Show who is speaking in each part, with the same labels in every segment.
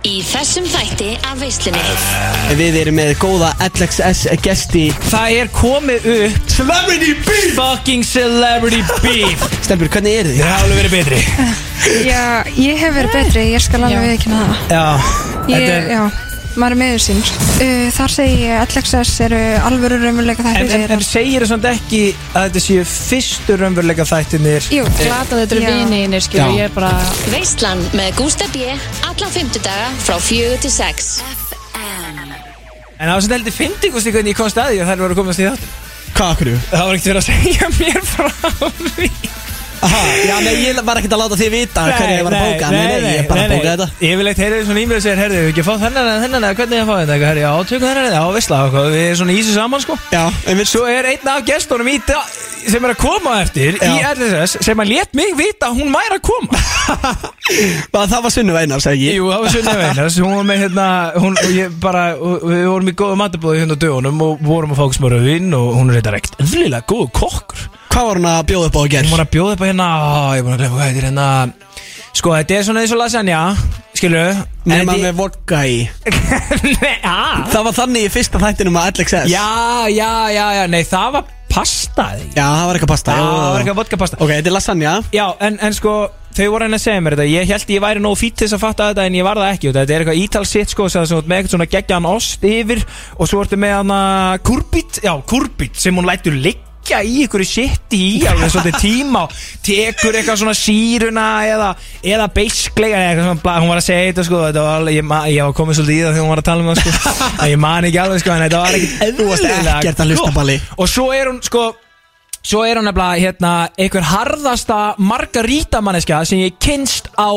Speaker 1: Í þessum þætti af veislunni
Speaker 2: Við erum með góða LXS gesti
Speaker 3: Það er komið upp
Speaker 2: Celebrity Beef
Speaker 3: fucking celebrity beef
Speaker 2: Stelbur, hvernig er þið?
Speaker 3: Það er alveg verið betri
Speaker 4: Já, ég hef verið betri, ég skal alveg við ekki naða.
Speaker 3: Já,
Speaker 4: Ég,
Speaker 3: þetta er
Speaker 4: já, maður er meður sín. Uh, þar segi ég að LXS eru alvöru raunveruleika
Speaker 3: En,
Speaker 4: þættir.
Speaker 3: en, en segir það samt ekki að þetta séu fyrstu raunveruleika þættinir
Speaker 4: Jú,
Speaker 5: Glata þetta eru
Speaker 4: Já.
Speaker 5: vinir, skilur, ég er bara
Speaker 1: Veislan með Gústa B Alla fymtudaga frá fjögur til sex
Speaker 3: En það var sem heldur fyndingusti hvernig ég komst að því að þær voru að komast í þátt
Speaker 2: Hvað okkur?
Speaker 3: Það var ekkert verið að segja mér frá því
Speaker 2: Aha, já, nei, ég var ekkert að láta þið vita hvernig ég var að bóka Nei, nei, ég er bara að bóka þetta
Speaker 3: Ég vil eitt heyra því svona í mér og segja, herðu, við ekki að fá þennan eða þennan eða hvernig ég að fá þetta Herðu, já, tökum þennan eða, já, veistla, hvað, við erum svona ísi saman, sko
Speaker 2: Já, en við
Speaker 3: Svo er einn af gestunum í dag sem er að koma á eftir
Speaker 2: Já.
Speaker 3: í LSS sem að let mig vita að hún væri að koma
Speaker 2: Bara það var sunnu veinar, segi ég
Speaker 3: Jú, það var Sunna Veilars Hún var með hérna hún, og ég bara, og, Við vorum í góðu matabóði hérna á dögunum og vorum að fá smá rauðin og hún er reyndar ekkert Ennilega góð kokkur
Speaker 2: Hvað var hún að bjóða upp á að
Speaker 3: Hún
Speaker 2: gera?
Speaker 3: var að bjóða upp að hérna á, Ég er búin að glemma hvað þetta er hérna Sko, þetta er svona eins og lasagna Skilu
Speaker 2: Nei, maður með vodka í
Speaker 3: Nei, að
Speaker 2: Það var þannig í fyrsta þættinum að LXS
Speaker 3: Já, já, já, já Nei, það var pastaði
Speaker 2: Já, það var eitthvað pasta
Speaker 3: Það
Speaker 2: já, já, já.
Speaker 3: var eitthvað vodka pasta
Speaker 2: Ok, þetta er lasagna
Speaker 3: Já, en, en sko, þau voru henni að segja mér þetta Ég held ég væri nógu fýtt til þess að fatta þetta En ég var það ekki, þetta er eitthvað ítalsitt sko sem þú ert með eitthvað svona geggjan ost yfir Og svo ertu með hana kurbit Já, kurbit, sem hún lætur liggja í ykkur shit í alveg svolítið tíma og tekur eitthvað svona síruna eða, eða beiskleika eða eitthvað svona bla, hún var að segja þetta sko þetta var alveg, ég, ma- ég var komið svolítið í það þegar hún var að tala með það sko en ég man ekki alveg sko en þetta var ekkert
Speaker 2: Þú varst
Speaker 3: eðlilega
Speaker 2: ekkert að hlusta,
Speaker 3: gott.
Speaker 2: Balli.
Speaker 3: og svo er hún sko Svo er hún nefnilega hérna, einhver harðasta margarítamanneskja sem ég kynst á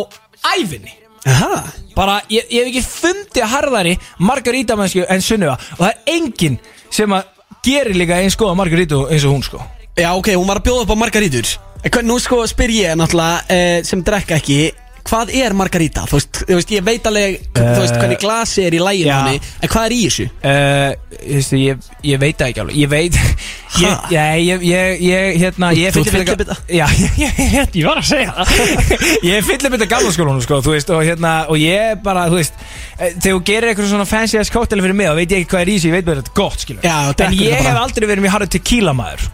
Speaker 3: æfinni
Speaker 2: Aha
Speaker 3: Bara, ég, ég hef ekki fundið harðari margarítamannesku en Sunniva Og það er enginn sem að gerir líka eins góða margarítu eins og hún sko
Speaker 2: Já, ok, hún var að bjóða upp á margarítur En hvern- Nú sko spyr ég náttúrulega eh, sem drekka ekki Hvað er margarita? Þú veist, þú veist ég veit alveg Þú veist, hvernig glasi er í læginu
Speaker 3: Eh, já.
Speaker 2: henni En hvað er í þessu?
Speaker 3: Uh, veistu, ég, ég veit það ekki alveg Ég veit ég,
Speaker 2: Ha?
Speaker 3: ég, ég, ég, ég, hérna, ég
Speaker 2: Þú- þú
Speaker 3: fyllir
Speaker 2: fyllir bita?
Speaker 3: Já, ég, ég, ég, ég var að segja það Ég fyllir bita gamla skólanum sko, þú veist, og, hérna, og ég bara, þú veist eh, Þegar þú gerir eitthvað svona fancy ass cocktail fyrir mig þá veit ég ekki hvað er í sig, ég veit bara að þetta er gott skilur
Speaker 2: Já, og drekkur
Speaker 3: En ég
Speaker 2: þetta bara.
Speaker 3: hef aldrei verið mér harður tequila maður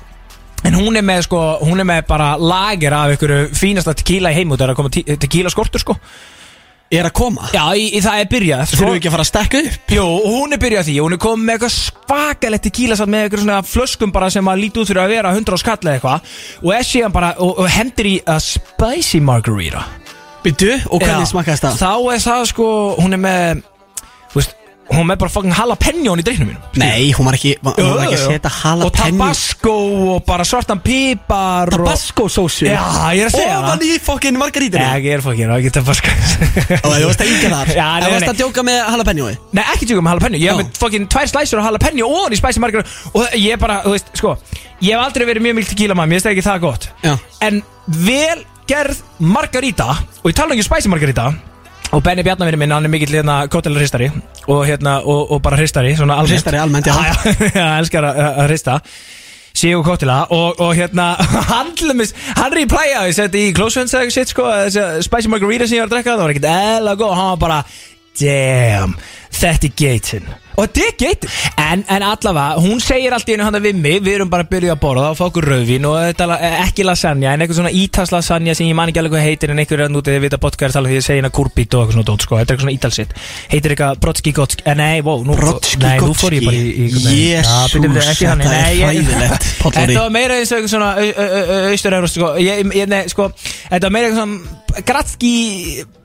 Speaker 3: En hún er með sko, hún er með bara lager af einhverju fínasta tequila í heim og það er að koma te- tequila skortur sko
Speaker 2: Ég er að koma
Speaker 3: Já, í, í, það er byrjað sko.
Speaker 2: Þurfum við ekki að fara að stekka upp?
Speaker 3: Jó, og hún er byrjað því, hún er komið með eitthvað svakalegt tequila satt með eitthvað svona flöskum bara sem að líti út fyrir að vera 100 á skall eða eitthvað og er síðan bara, og, og hendir í að spicy margarita
Speaker 2: Byttu, og hvernig
Speaker 3: Já.
Speaker 2: smakkaðist það?
Speaker 3: Þá er það sko, hún er með, þú veist, hún er með bara fucking jalapenjón í dreiknum mínum
Speaker 2: Nei, hún var ekki, hún var ekki að setja
Speaker 3: Og
Speaker 2: jalapeno
Speaker 3: tabasco og bara svartan pipar og-
Speaker 2: Tabasco sósu
Speaker 3: Já, ég er að segja
Speaker 2: Ofan í fokkin margarítinu
Speaker 3: Nei, ég er fucking, það er ekki tabasco
Speaker 2: Og þú varst að yngja þar
Speaker 3: Já, nei,
Speaker 2: Þú
Speaker 3: nei.
Speaker 2: varst að djóka með jalapenjói
Speaker 3: Nei, ekki tjóka með jalapeno Ég
Speaker 2: Já.
Speaker 3: hef með fokkin tvær slæsur á jalapeno og hann í spæsi margar Og ég bara, þú veist, sko Ég hef aldrei verið mjög mjög tequila maður, ég veist ekki það gott
Speaker 2: Já.
Speaker 3: En vel gerð margarita Og ég tala ekki um spæsi margarita Og Benni Bjarnavinni minn, hann er mikill hérna kóttelristari Og hérna, og, og bara hristari Svona almennt
Speaker 2: Hristari almennt, já.
Speaker 3: Já, já, elskar að- að að hrista Sigur Kóttila og, og hérna hann til dæmis, hann er í plæja ég seti í Close Friends eða eitthvað shit sko þessi spicy margarita sem ég var að drekka það var ekkert eðla góð og hann var bara damn þetta er geitin og þetta er geitin en, en allavega hún segir allt í hennu handa við mig við erum bara að byrja að borða og fá okkur rauðvín og þetta er la- eh, ekki lasagna en eitthvað svona ítals lasagna sem ég man ekki alveg hvað heitir en einhverjum úti þegar vita podcast alveg því ég segi hérna kurbít og eitthvað svona dót sko þetta er eitthvað svona ítalsitt heitir eitthvað brotski gotski eh, nei, wow, nú,
Speaker 2: Brotski
Speaker 3: nei, nú fór ég bara í, í nei.
Speaker 2: Jesús,
Speaker 3: Já, byrju, byrju, ekki þannig.
Speaker 2: þetta er
Speaker 3: Nei, ég-
Speaker 2: hræðilegt, Páll Orri.
Speaker 3: Þetta var meira eins og eitthvað svona austur-euróst sko. Ég- ég- nei, sko, Þetta var meira eitthvað svona Gratski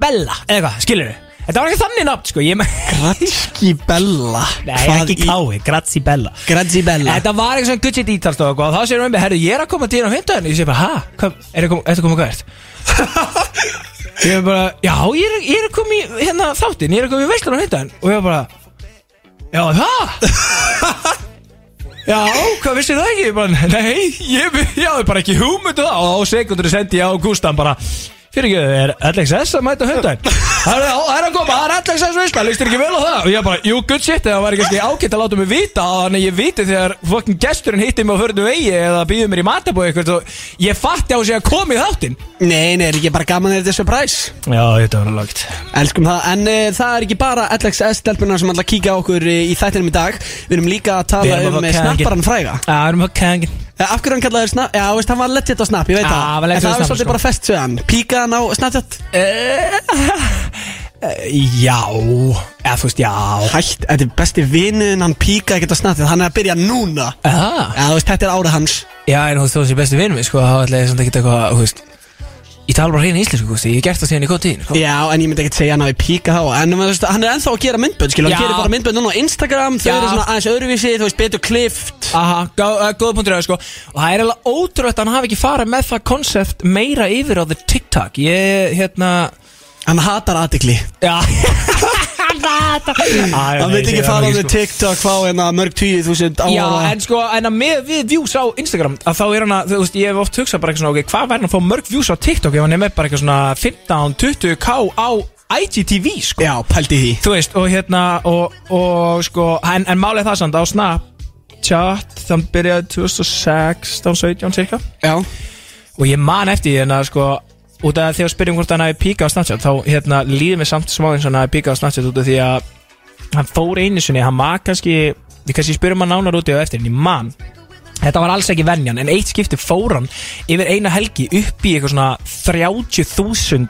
Speaker 3: Bella eða eitthvað, skilur við Þetta var ekki þannig nafn sko. ég, me-
Speaker 2: Gratski Bella
Speaker 3: Nei, ekki kái, Gratski Bella
Speaker 2: Gratski Bella
Speaker 3: Þetta var eitthvað svona good shit ítalst og eitthvað, og þá sér hún með, herru, ég er að koma til þér á fimmtudaginn Ég sé bara, hæ, er það komið kom hvert? ég er bara, já, ég er, ég er að koma í hérna þáttinn, ég er að koma í veislan á fimmtudaginn Og ég er bara, já, það? já, hvað vissið það um ekki? Ég bara, nei, ég, ég hafði bara ekki hugmyndu það Og á sekundur sendi ég á Gústan bara Fyrir ekki, er LXS að mæta hundar? Það er það er að koma, það er LXS veisla, líst þér ekki vel á það? Og ég bara, jú, good shit, það var ekki ágætt að láta mig vita Þannig að ég viti þegar fokkin gesturinn hitti mig á förðu vegi Eða býði mér í matabói eitthvað og Ég fatti á sig að koma í þáttinn
Speaker 2: Nei, nei, er ekki bara gaman að þetta er surprise
Speaker 3: Já, þetta var lagt
Speaker 2: Elskum það, en uh, það er ekki bara LXS-stelpunar sem ætla að kíkja á okkur eh, í þættinum í dag Við erum líka að
Speaker 3: Við
Speaker 2: tala
Speaker 3: erum að
Speaker 2: um
Speaker 3: fá
Speaker 2: eh,
Speaker 3: kængin.
Speaker 2: snapparann fræga
Speaker 3: Já, það erum að kængin
Speaker 2: Eh, Af hverju hann kallaði þér snap? Já, veist, hann var legit á snap, ég veit
Speaker 3: Já, hann
Speaker 2: það
Speaker 3: var
Speaker 2: En
Speaker 3: legit á
Speaker 2: það
Speaker 3: Snap,
Speaker 2: var svolítið
Speaker 3: sko. Eh,
Speaker 2: bara fest við hann Píkaði hann á Snapchat
Speaker 3: Já, eða þú veist, já
Speaker 2: Hætt, þetta er besti vinuðin, hann píkaði ekkert á Snapchat Hann er að byrja núna
Speaker 3: Aha.
Speaker 2: Já, þú veist, þetta er árið hans
Speaker 3: Já, en þú veist, þú sé bestu vinum minn, sko, þá ætla ég samt ekki eitthvað, þú veist Ég tala bara hreina íslensku, þú veist, ég hef gert það síðan í góð tíðin, sko
Speaker 2: Já, en ég myndi ekkert segja hann hafi píkað þá En um, þú veist, hann er ennþá að gera myndbönd, skilur
Speaker 3: Já.
Speaker 2: Hann gerir bara myndbönd núna á Instagram Þau
Speaker 3: Já.
Speaker 2: eru svona aðeins öðruvísi, þú veist, betur klift
Speaker 3: Aha, uh, góða punktur eða, sko Og það er alveg ótrúlegt að hann hafi ekki farað með það konsept meira yfir á the TikTok Ég, hérna
Speaker 2: Hann hatar aðtikli
Speaker 3: Já Hann
Speaker 2: Hann veit ekki fara á því TikTok fá hérna mörg tíu þúsund á
Speaker 3: sko. Já,
Speaker 2: ára
Speaker 3: en sko, en að með við views á Instagram að þá er hann að, þú veist, ég hef oft hugsað bara eitthvað svona, ok, hvað verður hann að fá mörg views á TikTok ef hann er með bara eitthvað svona 15, 20k á IGTV, sko
Speaker 2: Já, pældi í því
Speaker 3: Þú veist, og hérna, og, og sko, en, en málið er það samt á Snapchat, þann byrjaði 2016, 17 cirka
Speaker 2: Já
Speaker 3: Og ég man eftir því, en að sko, út af þegar spyrjum hvort hann hafi píkað á Snapchat, þá hérna líði mér samt smá eins og hann hafi píkað á Snapchat út af því að hann fór einu sinni, hann var kannski, við kannski spyrjum hann nánar út í á eftir, en ég man Þetta var alls ekki venjan, en eitt skipti fór hann yfir eina helgi upp í eitthvað svona 30.000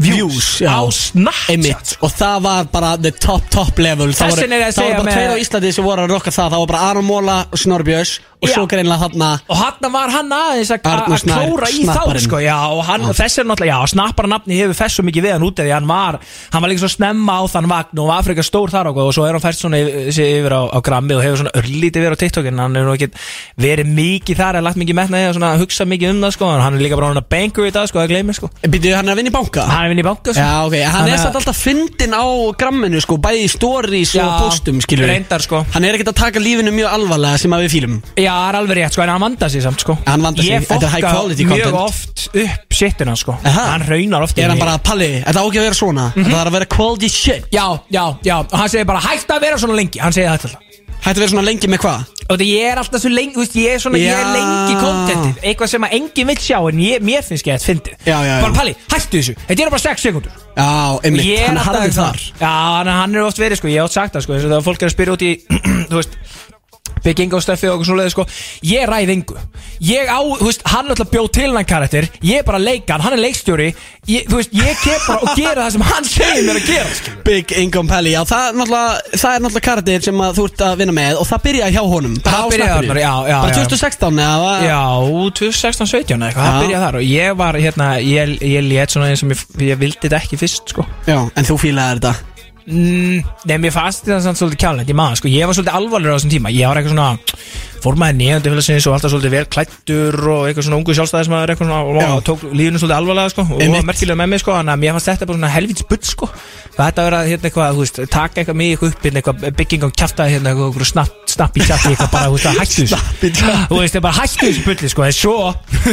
Speaker 3: views,
Speaker 2: Views, já.
Speaker 3: á Snapchat
Speaker 2: Einmitt Og það var bara the top, top level Það
Speaker 3: Þess
Speaker 2: voru-
Speaker 3: vegna er ég að
Speaker 2: Það
Speaker 3: segja
Speaker 2: voru bara
Speaker 3: með-
Speaker 2: tveir á Íslandi sem voru að rokka það Það var bara Aron Móla og Snorri Björns Og
Speaker 3: Já.
Speaker 2: svo greinlega þarna
Speaker 3: Og hann var hann aðeins að að-
Speaker 2: Arnór
Speaker 3: að
Speaker 2: Snær,
Speaker 3: klóra í þá
Speaker 2: snapparinn.
Speaker 3: sko, já, og hann, þessi er náttúrulega, já, snappara nafni hefur fest svo mikið við hann út eða hann var, hann var líka svo snemma á þann vagn og var Afrika stór þar og, og svo er hann fært svona yfir, sig yfir á, á grammi og hefur svona örlítið verið á TikTok en hann er nú ekki verið mikið þar, er lagt mikið metnaði og svona hugsa mikið um það sko, en hann er líka bara hann að bankur í dag sko, það gleymir sko,
Speaker 2: Býttu, hann er að vinna í banka
Speaker 3: hann er vinni í banka sko.
Speaker 2: Já, ok, hann
Speaker 3: Þannig
Speaker 2: er
Speaker 3: að-
Speaker 2: satt alltaf fyndin á gramminu sko Bæði í stories og
Speaker 3: Já,
Speaker 2: postum, skilur við.
Speaker 3: reyndar, sko.
Speaker 2: Hann er ekkert að taka lífinu mjög alvarlega sem að við fýlum
Speaker 3: Já, það er alveg rétt sko, en hann vandar sig samt sko
Speaker 2: Hann vandar sig,
Speaker 3: Ég
Speaker 2: þetta er high
Speaker 3: fokka
Speaker 2: quality
Speaker 3: mjög
Speaker 2: content.
Speaker 3: oft upp sittina sko
Speaker 2: Aha.
Speaker 3: Hann raunar oft Mhm.
Speaker 2: Er hann bara, Palli, þetta á ekki að vera svona Það er að vera quality shit
Speaker 3: Já, já, já, og hann segir bara hægt að vera svona lengi Hann segir þetta alltaf
Speaker 2: Hættu að vera svona lengi með hvað?
Speaker 3: Og þetta ég er alltaf svo lengi, þú veist, ég er svona, ég er
Speaker 2: Já.
Speaker 3: lengi í kontentið Eitthvað sem að enginn vill sjá en ég, mér finnst ekki að þetta fyndið
Speaker 2: Já, já, já.
Speaker 3: Bara Palli, hættu þessu, þetta eru bara 6 sekundur
Speaker 2: Já, einmitt,
Speaker 3: Ég er
Speaker 2: hann er
Speaker 3: alltaf
Speaker 2: harður
Speaker 3: þar
Speaker 2: þar
Speaker 3: Já, hann, hann er oft verið, sko, ég hef oft sagt það, sko Þess að fólk er að spyrja út í, þú veist Bygging á steffi og okkur svoleiði sko Ég ræð engu Ég á, þú veist, hann er alltaf bjóð til hann karakter Ég er bara leikan, hann er leikstjóri ég, Þú veist, ég kem bara og gera það sem hann segir mér að gera skilur.
Speaker 2: Big Income Pelli, já það er náttúrulega það er náttúrulega karatir sem að þú ert að vinna með og það byrjaði hjá honum bara
Speaker 3: Það
Speaker 2: á
Speaker 3: byrjaði
Speaker 2: snappinu.
Speaker 3: þarna, já, já, já.
Speaker 2: bara 2016 eða var-
Speaker 3: Já, 2016-17 eða eitthvað, það
Speaker 2: Já.
Speaker 3: byrjaði þar og ég var, hérna, ég, ég létt svona eins og ég, ég vildi þetta ekki fyrst, sko
Speaker 2: já, en þú fílaði þetta
Speaker 3: mm, Nei, mér fannst þetta samt svolítið kjálnætt, ég maður, sko, ég var svolítið alvarlegur á þessum tíma Ég var eitthvað svona, fór maður nýjandi félagsins og alltaf svolítið vel klættur og eitthvað svona ungu sjálfstæðismæður eitthvað svona og,
Speaker 2: Já.
Speaker 3: og tók lífinu svolítið alvarlega, sko, og
Speaker 2: Einmitt.
Speaker 3: var merkilega með mig, sko, þannig að mér fannst þetta bara svona helvíts bull, sko Þetta verið að, hérna, eitthvað, þú veist, taka eitthvað mig eitthvað upp, hérna, eitthvað bygging á kjafta, hérna, eitthvað, eitthvað snapp, snapp í kjafti, eitthvað bara, þú veist, að hættu þessu
Speaker 2: Snapp í kjafti.
Speaker 3: þú veist, ég bara hætti þessu bulli sko, en svo,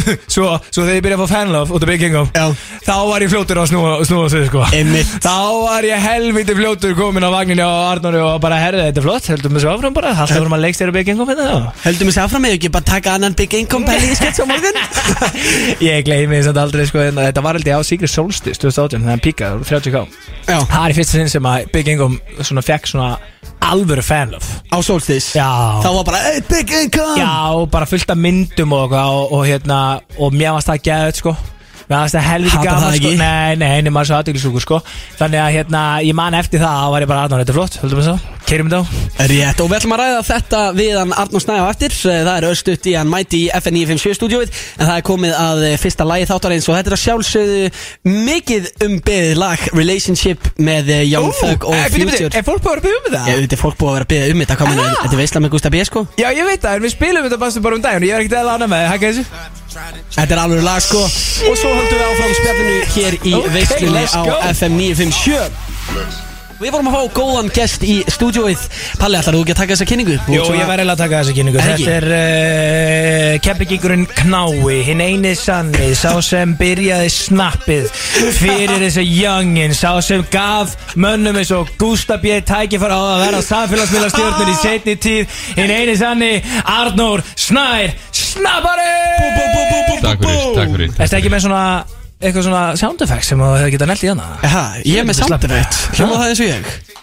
Speaker 3: svo, svo þegar ég byrjaði að fá fanlove út af Big Kingdom,
Speaker 2: Já.
Speaker 3: þá var ég fljótur að snúa, snúa sig sko.
Speaker 2: Einmitt.
Speaker 3: Þá var ég helviti fljótur komin á vagninu á Arnóri og bara herði þetta er flott, heldum við svo áfram bara, alltaf vorum að leikst þér á Big Kingdom hérna þá.
Speaker 2: Höldum við sér áfram með ekki bara taka annan Big Income Pelli í skets á morgun
Speaker 3: Ég gleymi þess að aldrei sko, en þetta var aldrei á Sigrid Solstis 2018, þannig að píkaði 30k.
Speaker 2: Já,
Speaker 3: Það er í fyrsta sinn sem að Big Kingdom svona fekk svona alvöru fanlove.
Speaker 2: á solstis
Speaker 3: Já.
Speaker 2: Þá var bara, hey Big Income
Speaker 3: Já, og bara fullt af myndum og, og, og, og hérna, og mér varst það geðið, sko Mér varst það helviti
Speaker 2: Hatar
Speaker 3: gaman,
Speaker 2: það
Speaker 3: sko
Speaker 2: ekki?
Speaker 3: Nei, nei, nema svo aðduglisúkur, sko Þannig að, hérna, ég man eftir það og var ég bara aðnáð, þetta er flott, höldum við svo Keirum þetta á
Speaker 2: Rétt, og við ætlum að ræða þetta við hann Arnur Snæði á eftir Eh, Það er östutt í hann mæti í FN957 stúdíóið En það er komið að eh, fyrsta lagi þáttarins Og þetta er að sjálfsögðu mikið umbeðið lag Relationship með eh, Young Thug Um og Future
Speaker 3: eh, Er fólk bara að byggja um
Speaker 2: Ég veit, er fólk búið að vera að byrja um þetta hvað meina,
Speaker 3: Aha.
Speaker 2: Þetta er veisla með Gustaf B, sko
Speaker 3: Já, ég veit það, en við spilum þetta bara, bara um daginn og Ég er ekkert eða annað með, þið, hækka þessu
Speaker 2: Þetta er alveg lag, sko Og svo höldum við áfram spjallinu hér í
Speaker 3: Ok,
Speaker 2: okay, veislunni
Speaker 3: let's
Speaker 2: á
Speaker 3: go.
Speaker 2: FM 957 Við vorum að fá góðan gest í stúdjóið Palli, ætlar þú ekki að taka þessa kynningu? Þú
Speaker 3: Jú,
Speaker 2: ert svona-
Speaker 3: ég væri eiginlega að taka þessa kynningu
Speaker 2: Er ekki?
Speaker 3: Þetta er uh, keppigíkurinn Knái, hinn eini sanni Sá sem byrjaði snappið Fyrir þessu youngin Sá sem gaf mönnum eins og Gustaf B. tækifæra á að vera Samfélagsmiðla stjórnir í setni tíð Hinn eini sanni, Arnór Snær Snappari
Speaker 2: bú, bú, bú, bú, bú.
Speaker 5: Takk fyrir, takk fyrir, takk
Speaker 3: Ertu ekki
Speaker 5: fyrir.
Speaker 3: með svona eitthvað svona sound effects sem þú hefur getað nelt í hana?
Speaker 2: Aha, ég er með
Speaker 3: Slappa.
Speaker 2: soundeffekt Hljóma það eins og ég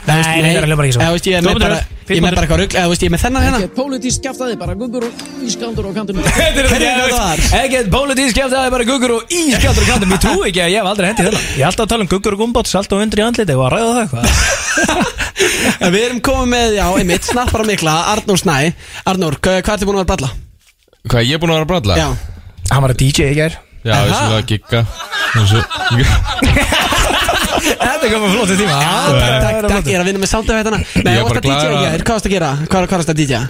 Speaker 3: Nei, nei, það hljómar ekki svona.
Speaker 2: Eða, veist, ég er með
Speaker 3: Hljómar
Speaker 2: bara
Speaker 3: rugl,
Speaker 2: Ég
Speaker 3: fínn
Speaker 2: er með
Speaker 3: rugl.
Speaker 2: bara eitthvað rugg Eða, veist, ég er með þennan hérna
Speaker 6: Ekkert pólitískt kjaftaði, bara gubbur og ískandur á kantinum.
Speaker 3: Þetta er
Speaker 2: Heyrðu þetta var.
Speaker 3: þetta Ekkert bólitísk kæft Það er bara guggur og ískjáttur og kantum Ég trú ekki að ég hef aldrei hendið þennan Ég er alltaf að tala um guggur og gumbots Alltaf undir í andliti og að ræða það eitthvað
Speaker 2: En Við erum komið með, já, einmitt Snappar og mikla, Arnór Snæ Arnór, hvað hvað ertu búin að vera að balla?
Speaker 5: Hvað, ég er búin að vera að bralla?
Speaker 2: Já
Speaker 3: Hann var að DJ í gær
Speaker 5: Já,
Speaker 2: Aha.
Speaker 5: þessu það að gigga Þessu
Speaker 3: Þetta kom að flóta tíma
Speaker 2: Takk, takk, ég er að vinna með soundeffektana Nei,
Speaker 5: Ég er
Speaker 2: hvað
Speaker 5: bara
Speaker 2: varst að DJ
Speaker 5: glaður að-
Speaker 2: ég er, hvað varst að gera? Hvað hvað varst að DJ?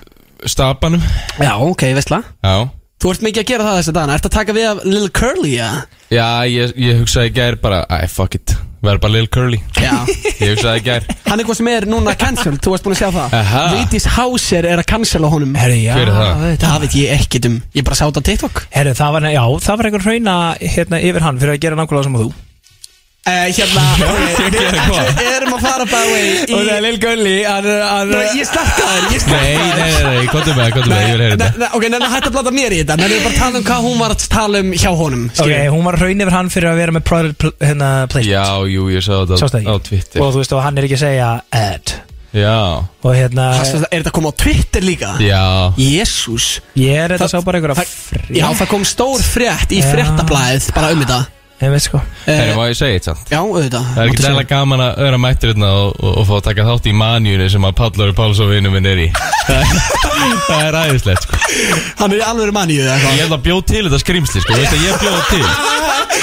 Speaker 5: Stapanum
Speaker 2: Já, ok, veistla
Speaker 5: Já
Speaker 2: Þú ert mikið að gera það þess að dana Ert að taka við af Lil Curly, já?
Speaker 5: Já, ég, ég hugsaði í gær bara Æ, fuck it Verð bara Lil Curly
Speaker 2: Já
Speaker 5: Ég hugsaði í gær
Speaker 2: Hann er hvað sem er núna cancelled, þú varst búin að sjá það
Speaker 5: Aha.
Speaker 2: Vigdís Hauser er að cancella honum
Speaker 3: Herri, já
Speaker 5: Hver er það?
Speaker 2: Það veit ég ekkert um Ég bara sá þetta á TikTok
Speaker 3: Herri, það var, já, það var einhver hrauna hérna yfir hann fyrir að gera nákvæmlega sem þú
Speaker 2: uh, Hérna Við erum að fara by the way
Speaker 3: Og það
Speaker 2: í
Speaker 3: er Lil Gulli hann, hann,
Speaker 2: Nei, Ég slakka þér, ég slakka
Speaker 5: Nei, nei, nei, nei, komdu með, komdu með, ég vil heyra þetta
Speaker 2: nei Ok, neina hætti að blata mér í þetta Neina við bara að tala um hvað hún var að tala um hjá honum
Speaker 3: Ok,
Speaker 2: skilur.
Speaker 3: hún var hraun yfir hann fyrir að vera með Private pl- hérna,
Speaker 5: Já,
Speaker 3: Placement
Speaker 5: jú, ég sagði
Speaker 3: Sástu það
Speaker 5: þetta á- á
Speaker 3: ekki?
Speaker 5: Twitter
Speaker 3: Og þú veist, og hann er ekki að segja ad
Speaker 5: Já,
Speaker 3: Og hérna,
Speaker 2: Fast, Er þetta að koma á Twitter líka?
Speaker 5: já
Speaker 2: Jésús
Speaker 3: ég er þetta
Speaker 2: Það-
Speaker 3: sá bara einhverja
Speaker 2: það- Já, það kom stór frétt í
Speaker 3: Já.
Speaker 2: fréttablaðið Bara um þetta
Speaker 3: Ég veit sko
Speaker 5: Þegar
Speaker 2: Eh,
Speaker 5: var ég að segja eitt samt
Speaker 2: Já, auðvitað
Speaker 5: Það er ekki
Speaker 2: Máttu
Speaker 5: dæla gaman að vera mættur hérna og, og, og fá að taka þátt í manjunni sem að Pallur Pálsófinu minn er í Það er æðislegt sko
Speaker 2: segja. Hann er í alveg manju eða eitthvað
Speaker 5: Ég held að bjóð til þetta skrimsli sko, veit að ég bjóð til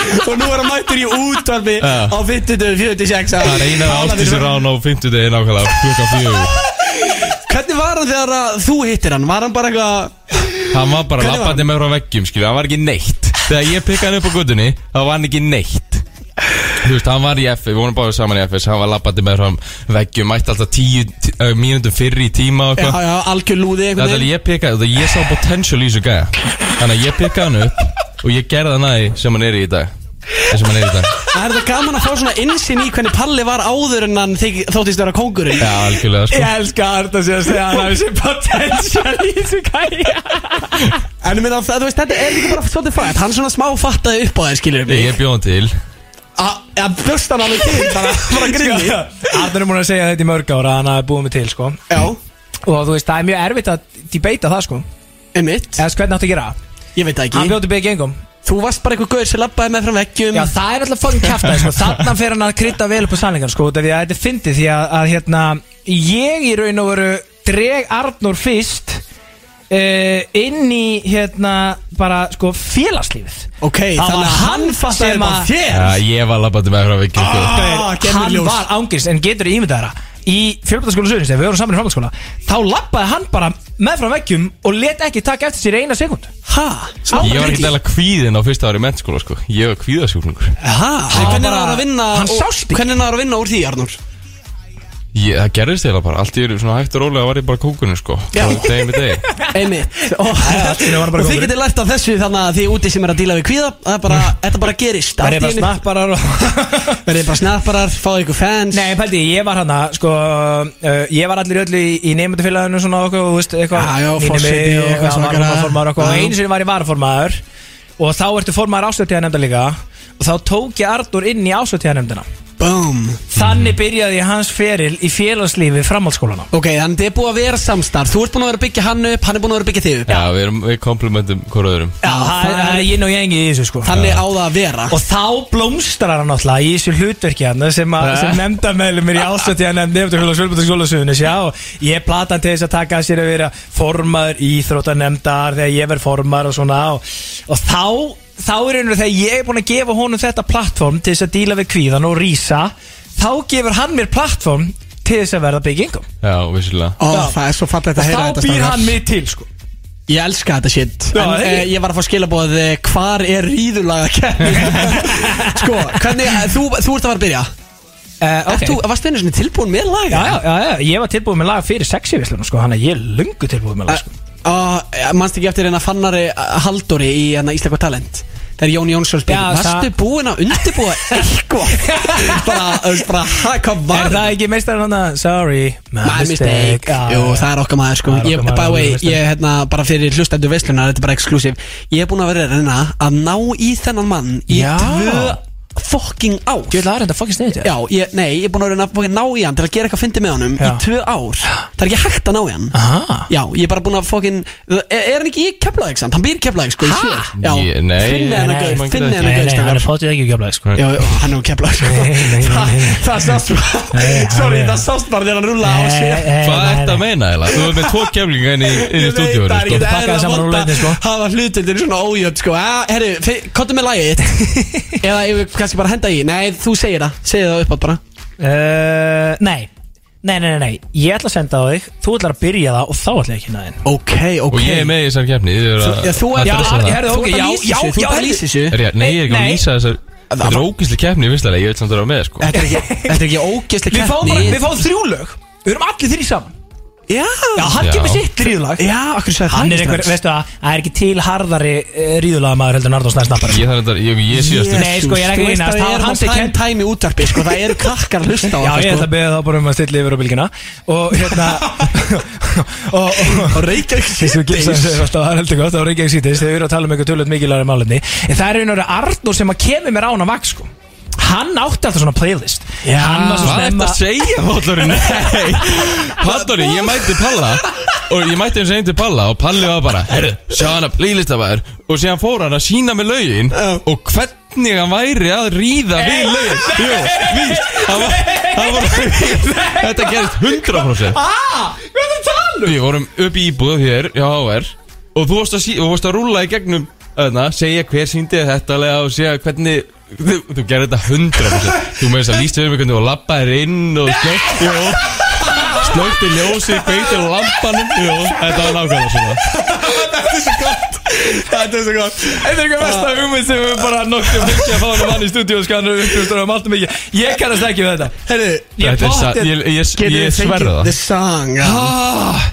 Speaker 2: og nú er hann mættur í útvarfi
Speaker 5: Já.
Speaker 2: á 50-46
Speaker 5: Það er eina ástísur á hann á 50 degi nákvæmlega, klukkan fjögur
Speaker 2: Hvernig var hann þegar að þú hittir hann? Var hann bara eitthvað
Speaker 5: Hann var bara
Speaker 2: Hvernig var
Speaker 5: lappandi með frá veggjum skilju, hann var ekki neitt Þegar ég pikkaði hann upp á guttunni, þá var hann ekki neitt Þú veist, hann var í FS, við vorum báðið saman í FS, hann var lappandi með frá veggjum Mætti alltaf tíu tí, uh, mínútum fyrri í tíma og
Speaker 2: já,
Speaker 5: eitthvað
Speaker 2: já, algjör lúði einhvern
Speaker 5: Þetta er
Speaker 2: veginn?
Speaker 5: ég pikkaði, þetta ég sá potential í þessu gæja Þannig að ég pikkaði hann upp og ég gerði hann aði sem hann er í í dag Sem hann er í dag
Speaker 2: Það er þetta gaman að fá svona innsinn í hvernig Palli var áður en hann þyk, þóttist vera kóngurinn
Speaker 5: Já, algjörlega sko
Speaker 3: Ég elska að Arda sér að segja að hann hafi sér potential í þessu gæja
Speaker 2: En ég meina, það- þú veist, þetta er líka bara svolítið frætt Hann svona smá fattaði upp á þér, skilur
Speaker 5: Ég bjóð hann til
Speaker 2: Það bjóst hann alveg til, bara, bara grinni Já,
Speaker 3: Arda er múin að segja þetta í mörg ára að hann hafi búið mig til sko Og þú veist, það er mjög erfitt að debeita það sko Eða
Speaker 2: einmitt,
Speaker 3: þess, hvernig áttu að gera það?
Speaker 2: ég veit það
Speaker 3: Hann
Speaker 2: ekki
Speaker 3: bjóti begge engum
Speaker 2: Þú varst bara eitthvað gaur sem labbaði með frá veggjum
Speaker 3: Já, það er alltaf fokkin kæftæði sko Þarna fer hann að krytta vel upp á sannleikann sko Því að þetta er fyndið því að, að hérna Ég í raun og veru dreg Arnór fyrst uh, Inn í hérna bara sko félagslífið
Speaker 2: Ok,
Speaker 3: Það
Speaker 2: þannig
Speaker 3: var
Speaker 2: að hann
Speaker 3: hann
Speaker 2: fattaði
Speaker 3: sem
Speaker 2: upp á
Speaker 3: að-
Speaker 2: þér
Speaker 5: Já, ég var labbandi með frá veggjum sko
Speaker 2: Ah,
Speaker 3: Gaur,
Speaker 2: kemur
Speaker 3: hann
Speaker 2: ljós.
Speaker 3: var ángist en getur ímyndaðara í fjölbjörnskóla sögurins þegar við vorum saman í framhaldsskóla þá lappaði hann bara með frá veggjum og let ekki taka eftir sér í eina sekund
Speaker 2: Ha?
Speaker 5: Ég var ekki dæla kvíðin á fyrsta ári mennskóla sko Ég var kvíðasjúklingur
Speaker 2: Ha? Hvernig
Speaker 3: bara-
Speaker 2: náður að vinna
Speaker 3: hann
Speaker 2: og-
Speaker 3: sást ekki.
Speaker 2: Hvernig náður að vinna úr því, Arnór?
Speaker 5: ég, Það gerðist þeirra bara, allt í eru svona hægt og rólega var ég bara kókunum sko
Speaker 2: Já.
Speaker 5: Bara Degi með degi
Speaker 2: Einmitt Og,
Speaker 3: allt í einu var hann bara
Speaker 2: og þið
Speaker 3: góður.
Speaker 2: getið lært af þessu þannig að þið úti sem er að díla við kvíða það er bara, Þetta bara gerist
Speaker 3: Það er
Speaker 2: Allt í
Speaker 3: bara
Speaker 2: einu-
Speaker 3: snapparar og
Speaker 2: Verðið bara snapparar, fáið ykkur fans
Speaker 3: Nei, pældi, ég var hann að, sko, uh, ég var allir öllu í, í neymendafélaginu svona okkur, og, þú veist, eitthvað
Speaker 2: Já, já,
Speaker 3: Nýnimi
Speaker 2: forseti og eitthvað
Speaker 3: já,
Speaker 2: svona
Speaker 3: var hann
Speaker 2: greiða.
Speaker 3: formaður okkur,
Speaker 2: Já,
Speaker 3: og
Speaker 2: já.
Speaker 3: einu sinni var ég varaformaður og þá ertu formaður ástöðtíða nefnda líka og þá tók ég Arnur inn í ástöðtíða
Speaker 2: Boom
Speaker 3: Þannig byrjaði ég hans feril í félagslífi framhaldsskólana
Speaker 2: Ok, þannig þið er búið að vera samstarf Þú ert búin að vera að byggja hann upp, hann er búin að vera að byggja þig upp
Speaker 5: Já, við, erum, við komplimentum hvort öðrum
Speaker 3: Já, það
Speaker 2: það
Speaker 3: það
Speaker 2: er-
Speaker 3: er inn og jengi í þessu, sko
Speaker 2: Þannig á það að vera
Speaker 3: Og þá blómstrar hann náttúrulega í þessu hlutverki hann sem, að,
Speaker 2: Eh?
Speaker 5: Ja.
Speaker 3: sem nefnda meðlum er í hérna ástöti að nefndi eftir hlutu svölbúti skólasuðunis Já, og ég plata hann til þess að taka að sér að vera formaður íþróttar nefndar þegar ég verð formaður og svona og, og þá, þá er einhverju þegar ég er búin að gefa honum þetta plattform til þess að díla við kvíðan og rísa þá gefur hann mér plattform til þess að verða byggingum
Speaker 5: Já, vissulega
Speaker 2: Ó,
Speaker 3: Já.
Speaker 2: það er svo fallegt að
Speaker 3: og
Speaker 2: heyra
Speaker 3: þá
Speaker 2: þetta
Speaker 3: býr
Speaker 2: strákar.
Speaker 3: hann mig til sko
Speaker 2: Ég elska þetta shit
Speaker 3: Já,
Speaker 2: En
Speaker 3: hei.
Speaker 2: eh, ég var að fá skilabóð eh, Hvar er ríðulaga Sko, hvernig, eh, þú, þú ert að fara að byrja
Speaker 3: Eh, ok.
Speaker 2: Ert þú, varst einu svona tilbúin með lag?
Speaker 3: Já, já, já, já, ég var tilbúið með lag fyrir sexyvislunum sko, hann að ég er lungu tilbúið
Speaker 2: Eh,
Speaker 3: með lag sko.
Speaker 2: Uh, Manst ekki eftir hérna fannari eh, Halldóri í hérna Íslako Talent Þegar Jón Jónsson spyr
Speaker 3: Já,
Speaker 2: Varstu
Speaker 3: það-
Speaker 2: búin að undirbúa eitthvað? bara, þú veist, bara, hæ, hvað var
Speaker 3: Er það ekki meistar hann að, sorry, my,
Speaker 2: My mistake
Speaker 3: Já,
Speaker 2: Jú,
Speaker 3: já.
Speaker 2: það er okkar maður sko
Speaker 3: Það er
Speaker 2: ég,
Speaker 3: okkar maður,
Speaker 2: By the way,
Speaker 3: meistari.
Speaker 2: ég hérna bara fyrir hlustendur veislunar Þetta er bara eksklusiv Ég er búin að vera að reyna að ná í þennan mann Í
Speaker 3: Já.
Speaker 2: tvö fucking ár
Speaker 3: Ég vil aðra þetta fucking sniðið
Speaker 2: Já, ég, nei, ég er búin að reyna að fucking ná í hann Til að gera eitthvað fyndi með honum
Speaker 3: Já.
Speaker 2: í tvö ár Það er ekki hægt að ná í hann
Speaker 3: Aha.
Speaker 2: Já, ég er bara búin að fucking Er, er hann ekki í keflaðið, sant? Hann býr keflaðið, sko, í hér Já,
Speaker 5: Ég- nei,
Speaker 2: finni hann
Speaker 5: nei,
Speaker 2: að
Speaker 5: nei,
Speaker 2: gauð Finni
Speaker 5: nei,
Speaker 2: hann að
Speaker 3: Nei,
Speaker 2: gauð,
Speaker 3: nei, hann er
Speaker 2: strákar.
Speaker 3: fótið ekki geflaði sko
Speaker 2: Já, já, hann er úr keflaðið,
Speaker 3: nei,
Speaker 2: sko
Speaker 3: nei, nei.
Speaker 2: Það- Það sást bara
Speaker 3: Nei, hann
Speaker 2: Sorry,
Speaker 3: er-
Speaker 2: það sást bara þegar hann rúla á sér
Speaker 5: Hvað ert að meina eiginlega? Þú ert með tvo kemlinga inn í, inn í stúdíóinu
Speaker 2: Það er
Speaker 5: sko.
Speaker 2: ekki
Speaker 3: Pakkaði
Speaker 2: eðla
Speaker 3: saman
Speaker 2: vonda
Speaker 3: rúlleitni, sko.
Speaker 2: Hafa hlutildir svona ójöfn sko Ah, Herru, kottu með lagið þitt. Eða ég vil kannski bara henda í Nei, þú segir það Segir það uppátt bara
Speaker 3: Uh, nei. nei, nei, nei, nei Ég ætla að senda á þig, þú ætlar að byrja það og þá ætla ég ekki að þinn
Speaker 2: Ok, ok
Speaker 5: Og ég er með í þessar keppni Þið eru að-
Speaker 2: Já, þú
Speaker 5: að
Speaker 2: er
Speaker 5: dressa það.
Speaker 2: herru, ok, já, já, já Þú ert að
Speaker 3: herru.
Speaker 2: lýsa þessu
Speaker 5: Er ég- Nei, ég er ekki að lýsa þessar Þetta er ógæsli keppni, ég veist það Ég veit samt að það er með sko.
Speaker 2: Þetta er ekki, þetta er ekki ógeðslega
Speaker 3: Við fáum, bara,
Speaker 2: keppni.
Speaker 3: við fáum þrjú lög Við erum allir þrjú saman Já,
Speaker 2: Já,
Speaker 3: hann
Speaker 5: Já.
Speaker 3: kemur sitt ríðulag
Speaker 2: já, okkur sagði það
Speaker 3: Hann er
Speaker 2: ekki
Speaker 3: einhver,
Speaker 2: strax.
Speaker 3: veistu það, það er ekki til harðari eh, ríðulagamaður heldur en Arnór Snær Snappari
Speaker 5: Ég þarf þetta, ég, ég sé að
Speaker 2: Jesus,
Speaker 3: Nei, sko, ég er ekki að grínast.
Speaker 2: Þú veist
Speaker 3: Hann-
Speaker 2: að
Speaker 3: hann
Speaker 2: það
Speaker 3: sé
Speaker 2: er
Speaker 3: kenn-
Speaker 2: prime time í útarpi sko. Það eru krakkar að hlusta á
Speaker 3: Já,
Speaker 2: þetta,
Speaker 3: ég
Speaker 2: sko.
Speaker 3: ætla að byrja þá bara um að stilla yfir á bylgina Og hérna Og, og,
Speaker 2: Og Reykjavík
Speaker 3: Þess að gilsa
Speaker 2: Síðdeis.
Speaker 3: þessu alltaf, það er heldur gott, það var Reykjavík síðist þegar við erum að tala um eitthvað tölvöld mikilvægri málefni en það er einhverju Arnur sem að kemur mér án að vaks sko. hann átti alltaf svona playlist
Speaker 2: Já.
Speaker 3: hann var svo
Speaker 5: Ah. Hvað ert
Speaker 3: snemma
Speaker 5: að segja, Pallari? Nei Pallari, ég mætti Palla Og ég mætti eins og einn til Palla Og Palli var bara, herru, sjá hann að playlistafæður Og síðan fór hann að sína með lögin Og hvernig hann væri að ríða við lögin Jú, víst Hann var, hann var Þetta gerist 100%
Speaker 3: Ah, hvað er það að tala um?
Speaker 5: Við vorum upp í íbúðu hér, já, er Og þú varst að, sí, þú varst að rúlla í gegnum öðna, Segja hver síndi þér þetta lega Og segja hvernig Þú, þú gerir þetta 100% Þú með þess að líst við mig hvernig þú lappaðir inn Og slögt, jú Slögti ljósið, beitir lampanum Jú, þetta var nákvæmlega svona
Speaker 3: Þetta er svo gott
Speaker 5: Þetta er eitthvað versta hugmynd sem við bara nokkuð fylgja að fá hann mann í stúdíu og skanur upp og stóðum um allt mikið Ég kannast ekki við þetta
Speaker 2: Herru,
Speaker 5: Þetta er satt,
Speaker 3: pottþétt-
Speaker 5: ég, ég,
Speaker 2: getum
Speaker 5: ég
Speaker 2: við fengið
Speaker 5: sverða það
Speaker 2: The Song já.
Speaker 3: Ah,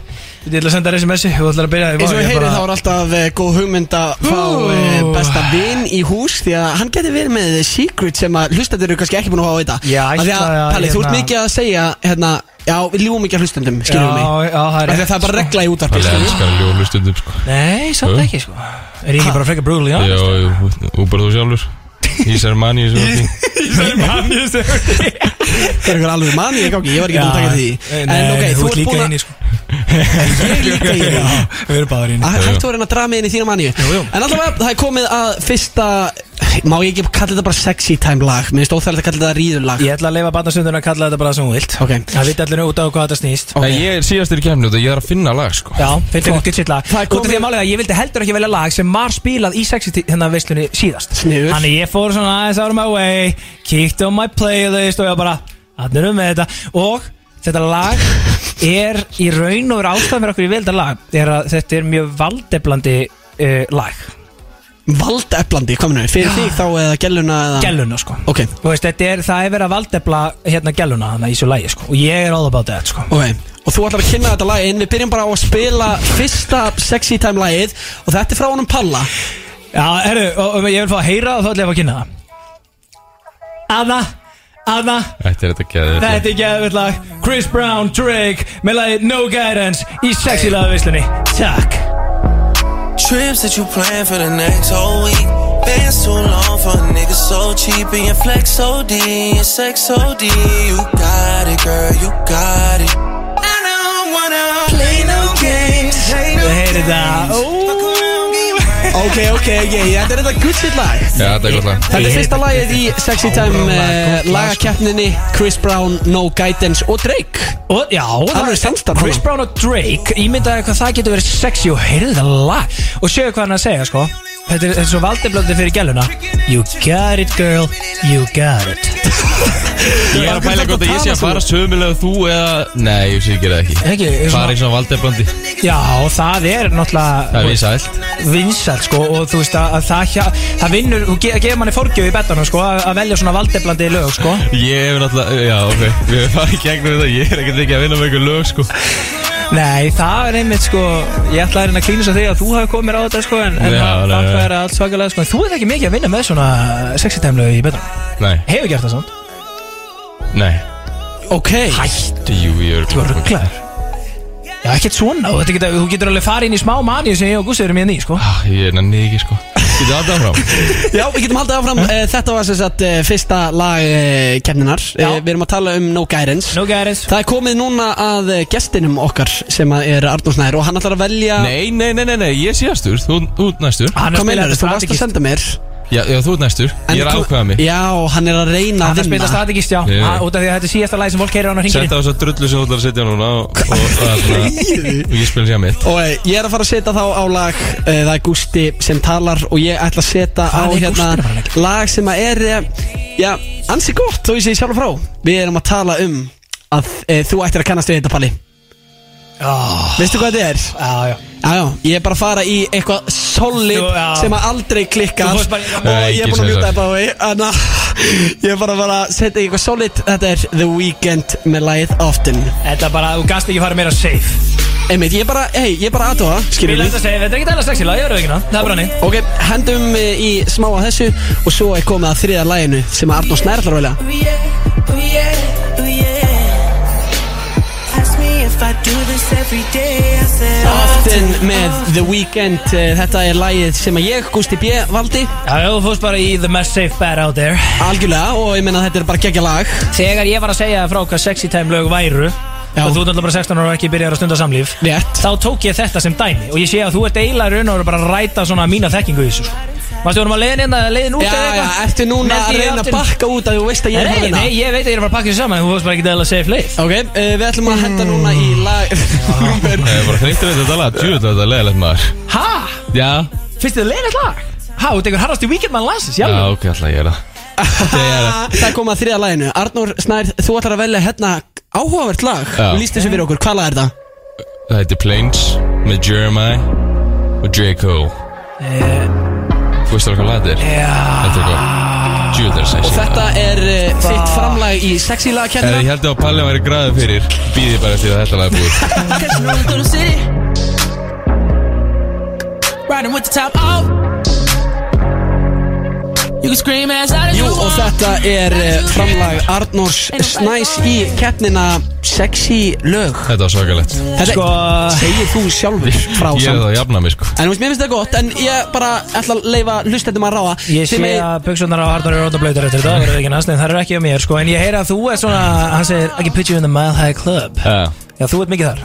Speaker 3: Ég ætla að senda þér SMS-i og ætla að byrja því
Speaker 2: eins og við heyrið þá er alltaf uh, góð hugmynd að fá uh,
Speaker 3: Ú.
Speaker 2: besta vin í hús því að hann getur verið með secret sem að hlustendur eru kannski ekki búin að fá að vita
Speaker 3: Já,
Speaker 2: Af því að,
Speaker 3: ætlaði að,
Speaker 2: Palli, þú ert
Speaker 3: hérna-
Speaker 2: mikið að segja hérna, já, við ljúum ekki að hlustendum, skiljum
Speaker 3: Já,
Speaker 2: mig
Speaker 3: já, það er
Speaker 2: Af því
Speaker 3: rétt,
Speaker 2: að það er bara
Speaker 3: sko.
Speaker 2: regla í útarpi
Speaker 5: Palli
Speaker 2: skilurðu.
Speaker 5: elskar að ljólu stundum sko
Speaker 3: Nei, samt
Speaker 5: Jú.
Speaker 3: ekki sko Er ég ekki bara frekar brúli, já?
Speaker 5: Já, jú, og bara þú sjálfur Ísar manni sem var því
Speaker 2: Það er einhver alveg mann, ég gangi, ég var ekki búin að taka því En ok, þú ert búin að,
Speaker 3: sko
Speaker 2: ég er líka Ah. í því
Speaker 3: Við erum báður inni
Speaker 2: Að Hættu að reyna að draga mig inn í þína manni
Speaker 3: jú.
Speaker 2: En allavega, það er komið að fyrsta Má ég ekki kalla þetta bara sexy time lag Mér finnst óþægilegt að kalla þetta ríður lag
Speaker 3: Ég ætla að leifa barnastundun að kalla þetta bara sem hún vilt
Speaker 2: Ok.
Speaker 3: Það viti allir út á hvað þetta snýst
Speaker 5: Nei, ég er síðastir í kemni út að ég þarf að finna lag sko
Speaker 3: Já, finnst ekki sitt lag
Speaker 2: Það er
Speaker 3: Út af því
Speaker 2: komið-
Speaker 3: að málega, ég vildi heldur ekki velja lag sem var spilað í sexi hennar veislunni síðast
Speaker 2: Sniðugt.
Speaker 3: Þannig ég fór svona aðeins out of my way Kíkti á my playlist og ég var bara Þannig um með þetta Og þetta lag er í raun og er ástæðan fyrir okkur í velda lag er að Þetta er mjög valdeflandi uh, lag
Speaker 2: Valdeflandi, hvað minnum við? Fyrir þig þá eða gelluna eða
Speaker 3: Gelluna sko
Speaker 2: Ok,
Speaker 3: Þú veist, þetta er, það er verið að valdefla hérna gæluna þannig í þessu lægi sko og ég er all about that sko
Speaker 2: ok Og þú ætlar að kynna þetta lag En við byrjum bara á að spila fyrsta sexy time lagið Og þetta er frá honum Palla
Speaker 3: Já, herru, og, og ég vil fá að heyra og þá ætla ég að fá að kynna það Anna, Anna,
Speaker 5: Þetta er þetta
Speaker 3: þetta
Speaker 5: geðið
Speaker 3: er gæðvöld lag Chris Brown, Drake, með lagi No Guidance í sexy lagavislunni Takk
Speaker 7: Trips that you plan for the next whole week. Bands too long for a nigga so cheap and your flex OD and sex OD. You got it, girl, you got it. I don't wanna play no games. Play no
Speaker 3: Þú heyrir þetta Ó,
Speaker 7: Fuck around, get right.
Speaker 2: Ok, ok, ok, þetta er þetta good shit lag
Speaker 5: Já, þetta er gott lag
Speaker 2: Þetta er
Speaker 3: Ég-
Speaker 2: fyrsta lagið í Sexy Time uh,
Speaker 3: sko.
Speaker 2: lagakeppninni Chris Brown, No Guidance og Drake
Speaker 3: Og, já, það
Speaker 2: Alveg samstarf,
Speaker 3: Chris
Speaker 2: hana.
Speaker 3: Brown og Drake Ímyndaði hvað það getur verið sexy og heyrðu þetta lag Og séu hvað hann er að segja sko Þetta er, þetta er svo valdeblöndi fyrir gæluna You got it girl, you got it
Speaker 5: Ég er að pæla hvort að ég sé að fara sömulega þú eða Nei, ég sé ekki það ekki
Speaker 3: Ekki, ég svona-
Speaker 5: Fara eins og valdebrandi
Speaker 3: Já, það er náttúrulega
Speaker 5: Það er vinsælt
Speaker 3: vinsælt sko og þú veist að, að það, hjá, það vinnur og ge, gefur manni forgjöf í betanum sko að, að velja svona valdeblandi lög sko
Speaker 5: Ég hef náttúrulega, já ok Við hefum farið í gegnum þetta, ég er ekkert ekki að vinna með einhver lög sko
Speaker 3: Nei, það er einmitt sko ég ætla að reyna að klínast að því að þú hafi komið mér á þetta sko en, en
Speaker 5: Já,
Speaker 3: það
Speaker 5: nei,
Speaker 3: það
Speaker 5: nei.
Speaker 3: er allt svakalega sko en þú ert ekki mikið að vinna með svona sexy time lög í betanum
Speaker 5: Nei,
Speaker 3: Hefur gert það samt?
Speaker 5: nei
Speaker 2: Ok
Speaker 5: Hættu, jú, ég er
Speaker 3: Þú er rugglaður Já, ekkert svona og þetta getur, þú getur alveg farið inn í smá maníu sem ég og Gústi erum í enn í sko
Speaker 5: Ah, Ég er nenni ekki sko Getur það áfram?
Speaker 2: Já, við getum haldið áfram Eh, Þetta var sem sagt eh, fyrsta lag eh, kemninar
Speaker 3: Já.
Speaker 2: Við erum að tala um No Guidance
Speaker 3: Nú gæris
Speaker 2: Það er komið núna að eh, gestinum okkar sem að er Arnús Nær og hann ætlar að velja
Speaker 5: Nei, nei, nei, nei, nei, ég er síðastur, þú þú ert næstur
Speaker 3: Hann
Speaker 2: Hvað
Speaker 3: er
Speaker 2: meinar þú?
Speaker 3: spilað
Speaker 2: Þú varst að
Speaker 3: strategist
Speaker 2: senda mér
Speaker 5: Já, já þú ert næstur,
Speaker 2: En
Speaker 5: ég er að
Speaker 2: þú-
Speaker 5: ákveða mig
Speaker 2: Já, hann er að reyna
Speaker 3: Hann
Speaker 2: að
Speaker 3: er spilað
Speaker 2: vinna
Speaker 3: strategist, já
Speaker 5: Já.
Speaker 3: Ah, Út af því að þetta er síðasta lagi sem fólk heyrir á hann að hringir
Speaker 5: Sett á þess drullu sem þú ætlar að setja núna og, og, og, og ég spil sér mitt
Speaker 2: Og eh, ég er að fara að setja þá á lag eh, Það er Gústi sem talar Og ég ætla að setja á
Speaker 3: Hvað er
Speaker 2: hérna
Speaker 3: Gústi að fara að leggja?
Speaker 2: Lag sem að er eh, Já, ansi gott Þó ég segi sjálf frá Við erum að tala um Að e, þú ættir að kannast við þetta palli
Speaker 3: Já,
Speaker 2: Veistu hvað þetta er?
Speaker 3: já, já
Speaker 2: Já, já, ég er bara að fara í eitthvað solid
Speaker 3: Þú- já.
Speaker 2: sem að aldrei klikkar
Speaker 3: Þú
Speaker 2: og
Speaker 3: fórst bara í-
Speaker 2: ég er
Speaker 5: Nei,
Speaker 2: búin að
Speaker 5: ekki
Speaker 2: mjúta
Speaker 5: séns.
Speaker 2: þetta á því en að ég er bara að fara að setja í eitthvað solid þetta er The Weeknd með lagið Often
Speaker 3: Þetta er bara, þú gast ekki fara meira safe
Speaker 2: einmitt, ég er bara, hei, ég er bara aðtóa
Speaker 3: Við
Speaker 2: skiljum
Speaker 3: lefum
Speaker 2: við
Speaker 3: að segja, þetta er ekki dæla sexy lag, ég verður ekki það er bara hann
Speaker 2: ok, hendum eh, í smá að þessu og svo er komið að þriða laginu sem að Arnó Snærlar velja
Speaker 7: Ooh, yeah, ooh, yeah, ooh, yeah. Ask me if I do this every day. I said
Speaker 2: Often með The Weeknd eh, þetta er lagið sem að ég, Gusti B. valdi
Speaker 3: Já, já, þú fórst bara í the most safe bet out there
Speaker 2: algjörlega og ég menna þetta er bara geggja lag
Speaker 3: Þegar ég var að segja frá hvað sexy time lög væru
Speaker 2: Já.
Speaker 3: og þú ert alltaf bara 16 ára og ekki byrjar að stunda samlíf
Speaker 2: rétt
Speaker 3: þá tók ég þetta sem dæmi og ég sé að þú ert eiginlega raun og verður bara að ræta svona mína þekkingu í þessu sko. Varstu vorum að leiðin inn að leiðin út
Speaker 2: Já,
Speaker 3: eða
Speaker 2: já,
Speaker 3: eitthvað?
Speaker 2: ertu núna
Speaker 3: Neldi
Speaker 2: að
Speaker 3: ég
Speaker 2: reyna að
Speaker 3: aftur-
Speaker 2: bakka hérna? út að þú veist að ég er að
Speaker 3: Nei,
Speaker 2: vinna?
Speaker 3: nei, ég veit að ég er bara að pakka þessu saman en þú fórst bara ekki dæla safe leið
Speaker 2: Ok, uh, við ætlum að
Speaker 3: Mm.
Speaker 2: henda núna í lag Númer
Speaker 5: Ég er bara þreytur við þetta lag, djúvel þetta er leiðilegt maður
Speaker 3: Ha?
Speaker 5: Já,
Speaker 3: Finnst þið leiðin lag? Ha, þú tekur harrasti víkendmann landsins, já
Speaker 5: já ok, alltaf ég er það
Speaker 2: Það kom að þriða laginu Arnór Snær, þú ætlar að velja hérna áhugavert lag
Speaker 5: Já.
Speaker 2: Lýst þessu
Speaker 3: Mm.
Speaker 2: fyrir okkur, hvað lag er það?
Speaker 5: Það heitir Planes Uh, með Jeremiah og J. Cole Þú veist það hvað lag þetta er?
Speaker 3: Já,
Speaker 5: Þetta er gott Djúvel þetta er
Speaker 2: Og
Speaker 5: sexy
Speaker 2: þetta er uh, þitt framlag í sexy
Speaker 5: Ef
Speaker 2: lagakennina
Speaker 5: ég held að Palli væri græðið fyrir Býði bara eftir að þetta lag er búið
Speaker 7: Catching rolling through the city. Riding with the top off. You can scream as loud as
Speaker 2: Jú,
Speaker 7: you
Speaker 2: og
Speaker 7: want.
Speaker 2: þetta er uh, framlag Arnórs Snæs í keppnina Sexy lög
Speaker 5: Þetta var svakalegt
Speaker 2: Þetta
Speaker 3: Sko-
Speaker 2: segir þú sjálfur frá
Speaker 5: Ég er
Speaker 2: samt
Speaker 5: það að jafna mig sko
Speaker 2: En þú veist, mér finnst það gott, en ég bara ætla að leifa hlustendum að ráða
Speaker 3: Ég
Speaker 2: Þið
Speaker 3: sé
Speaker 2: megið-
Speaker 3: að buksunar á Arnar eru orðnar blöytar eftir þetta, það verður ekki næst, en það eru ekki á mér sko En ég heyra að þú ert svona, hann segir, I can put you in the Mile High Club
Speaker 5: Já.
Speaker 3: Já, þú ert mikið þar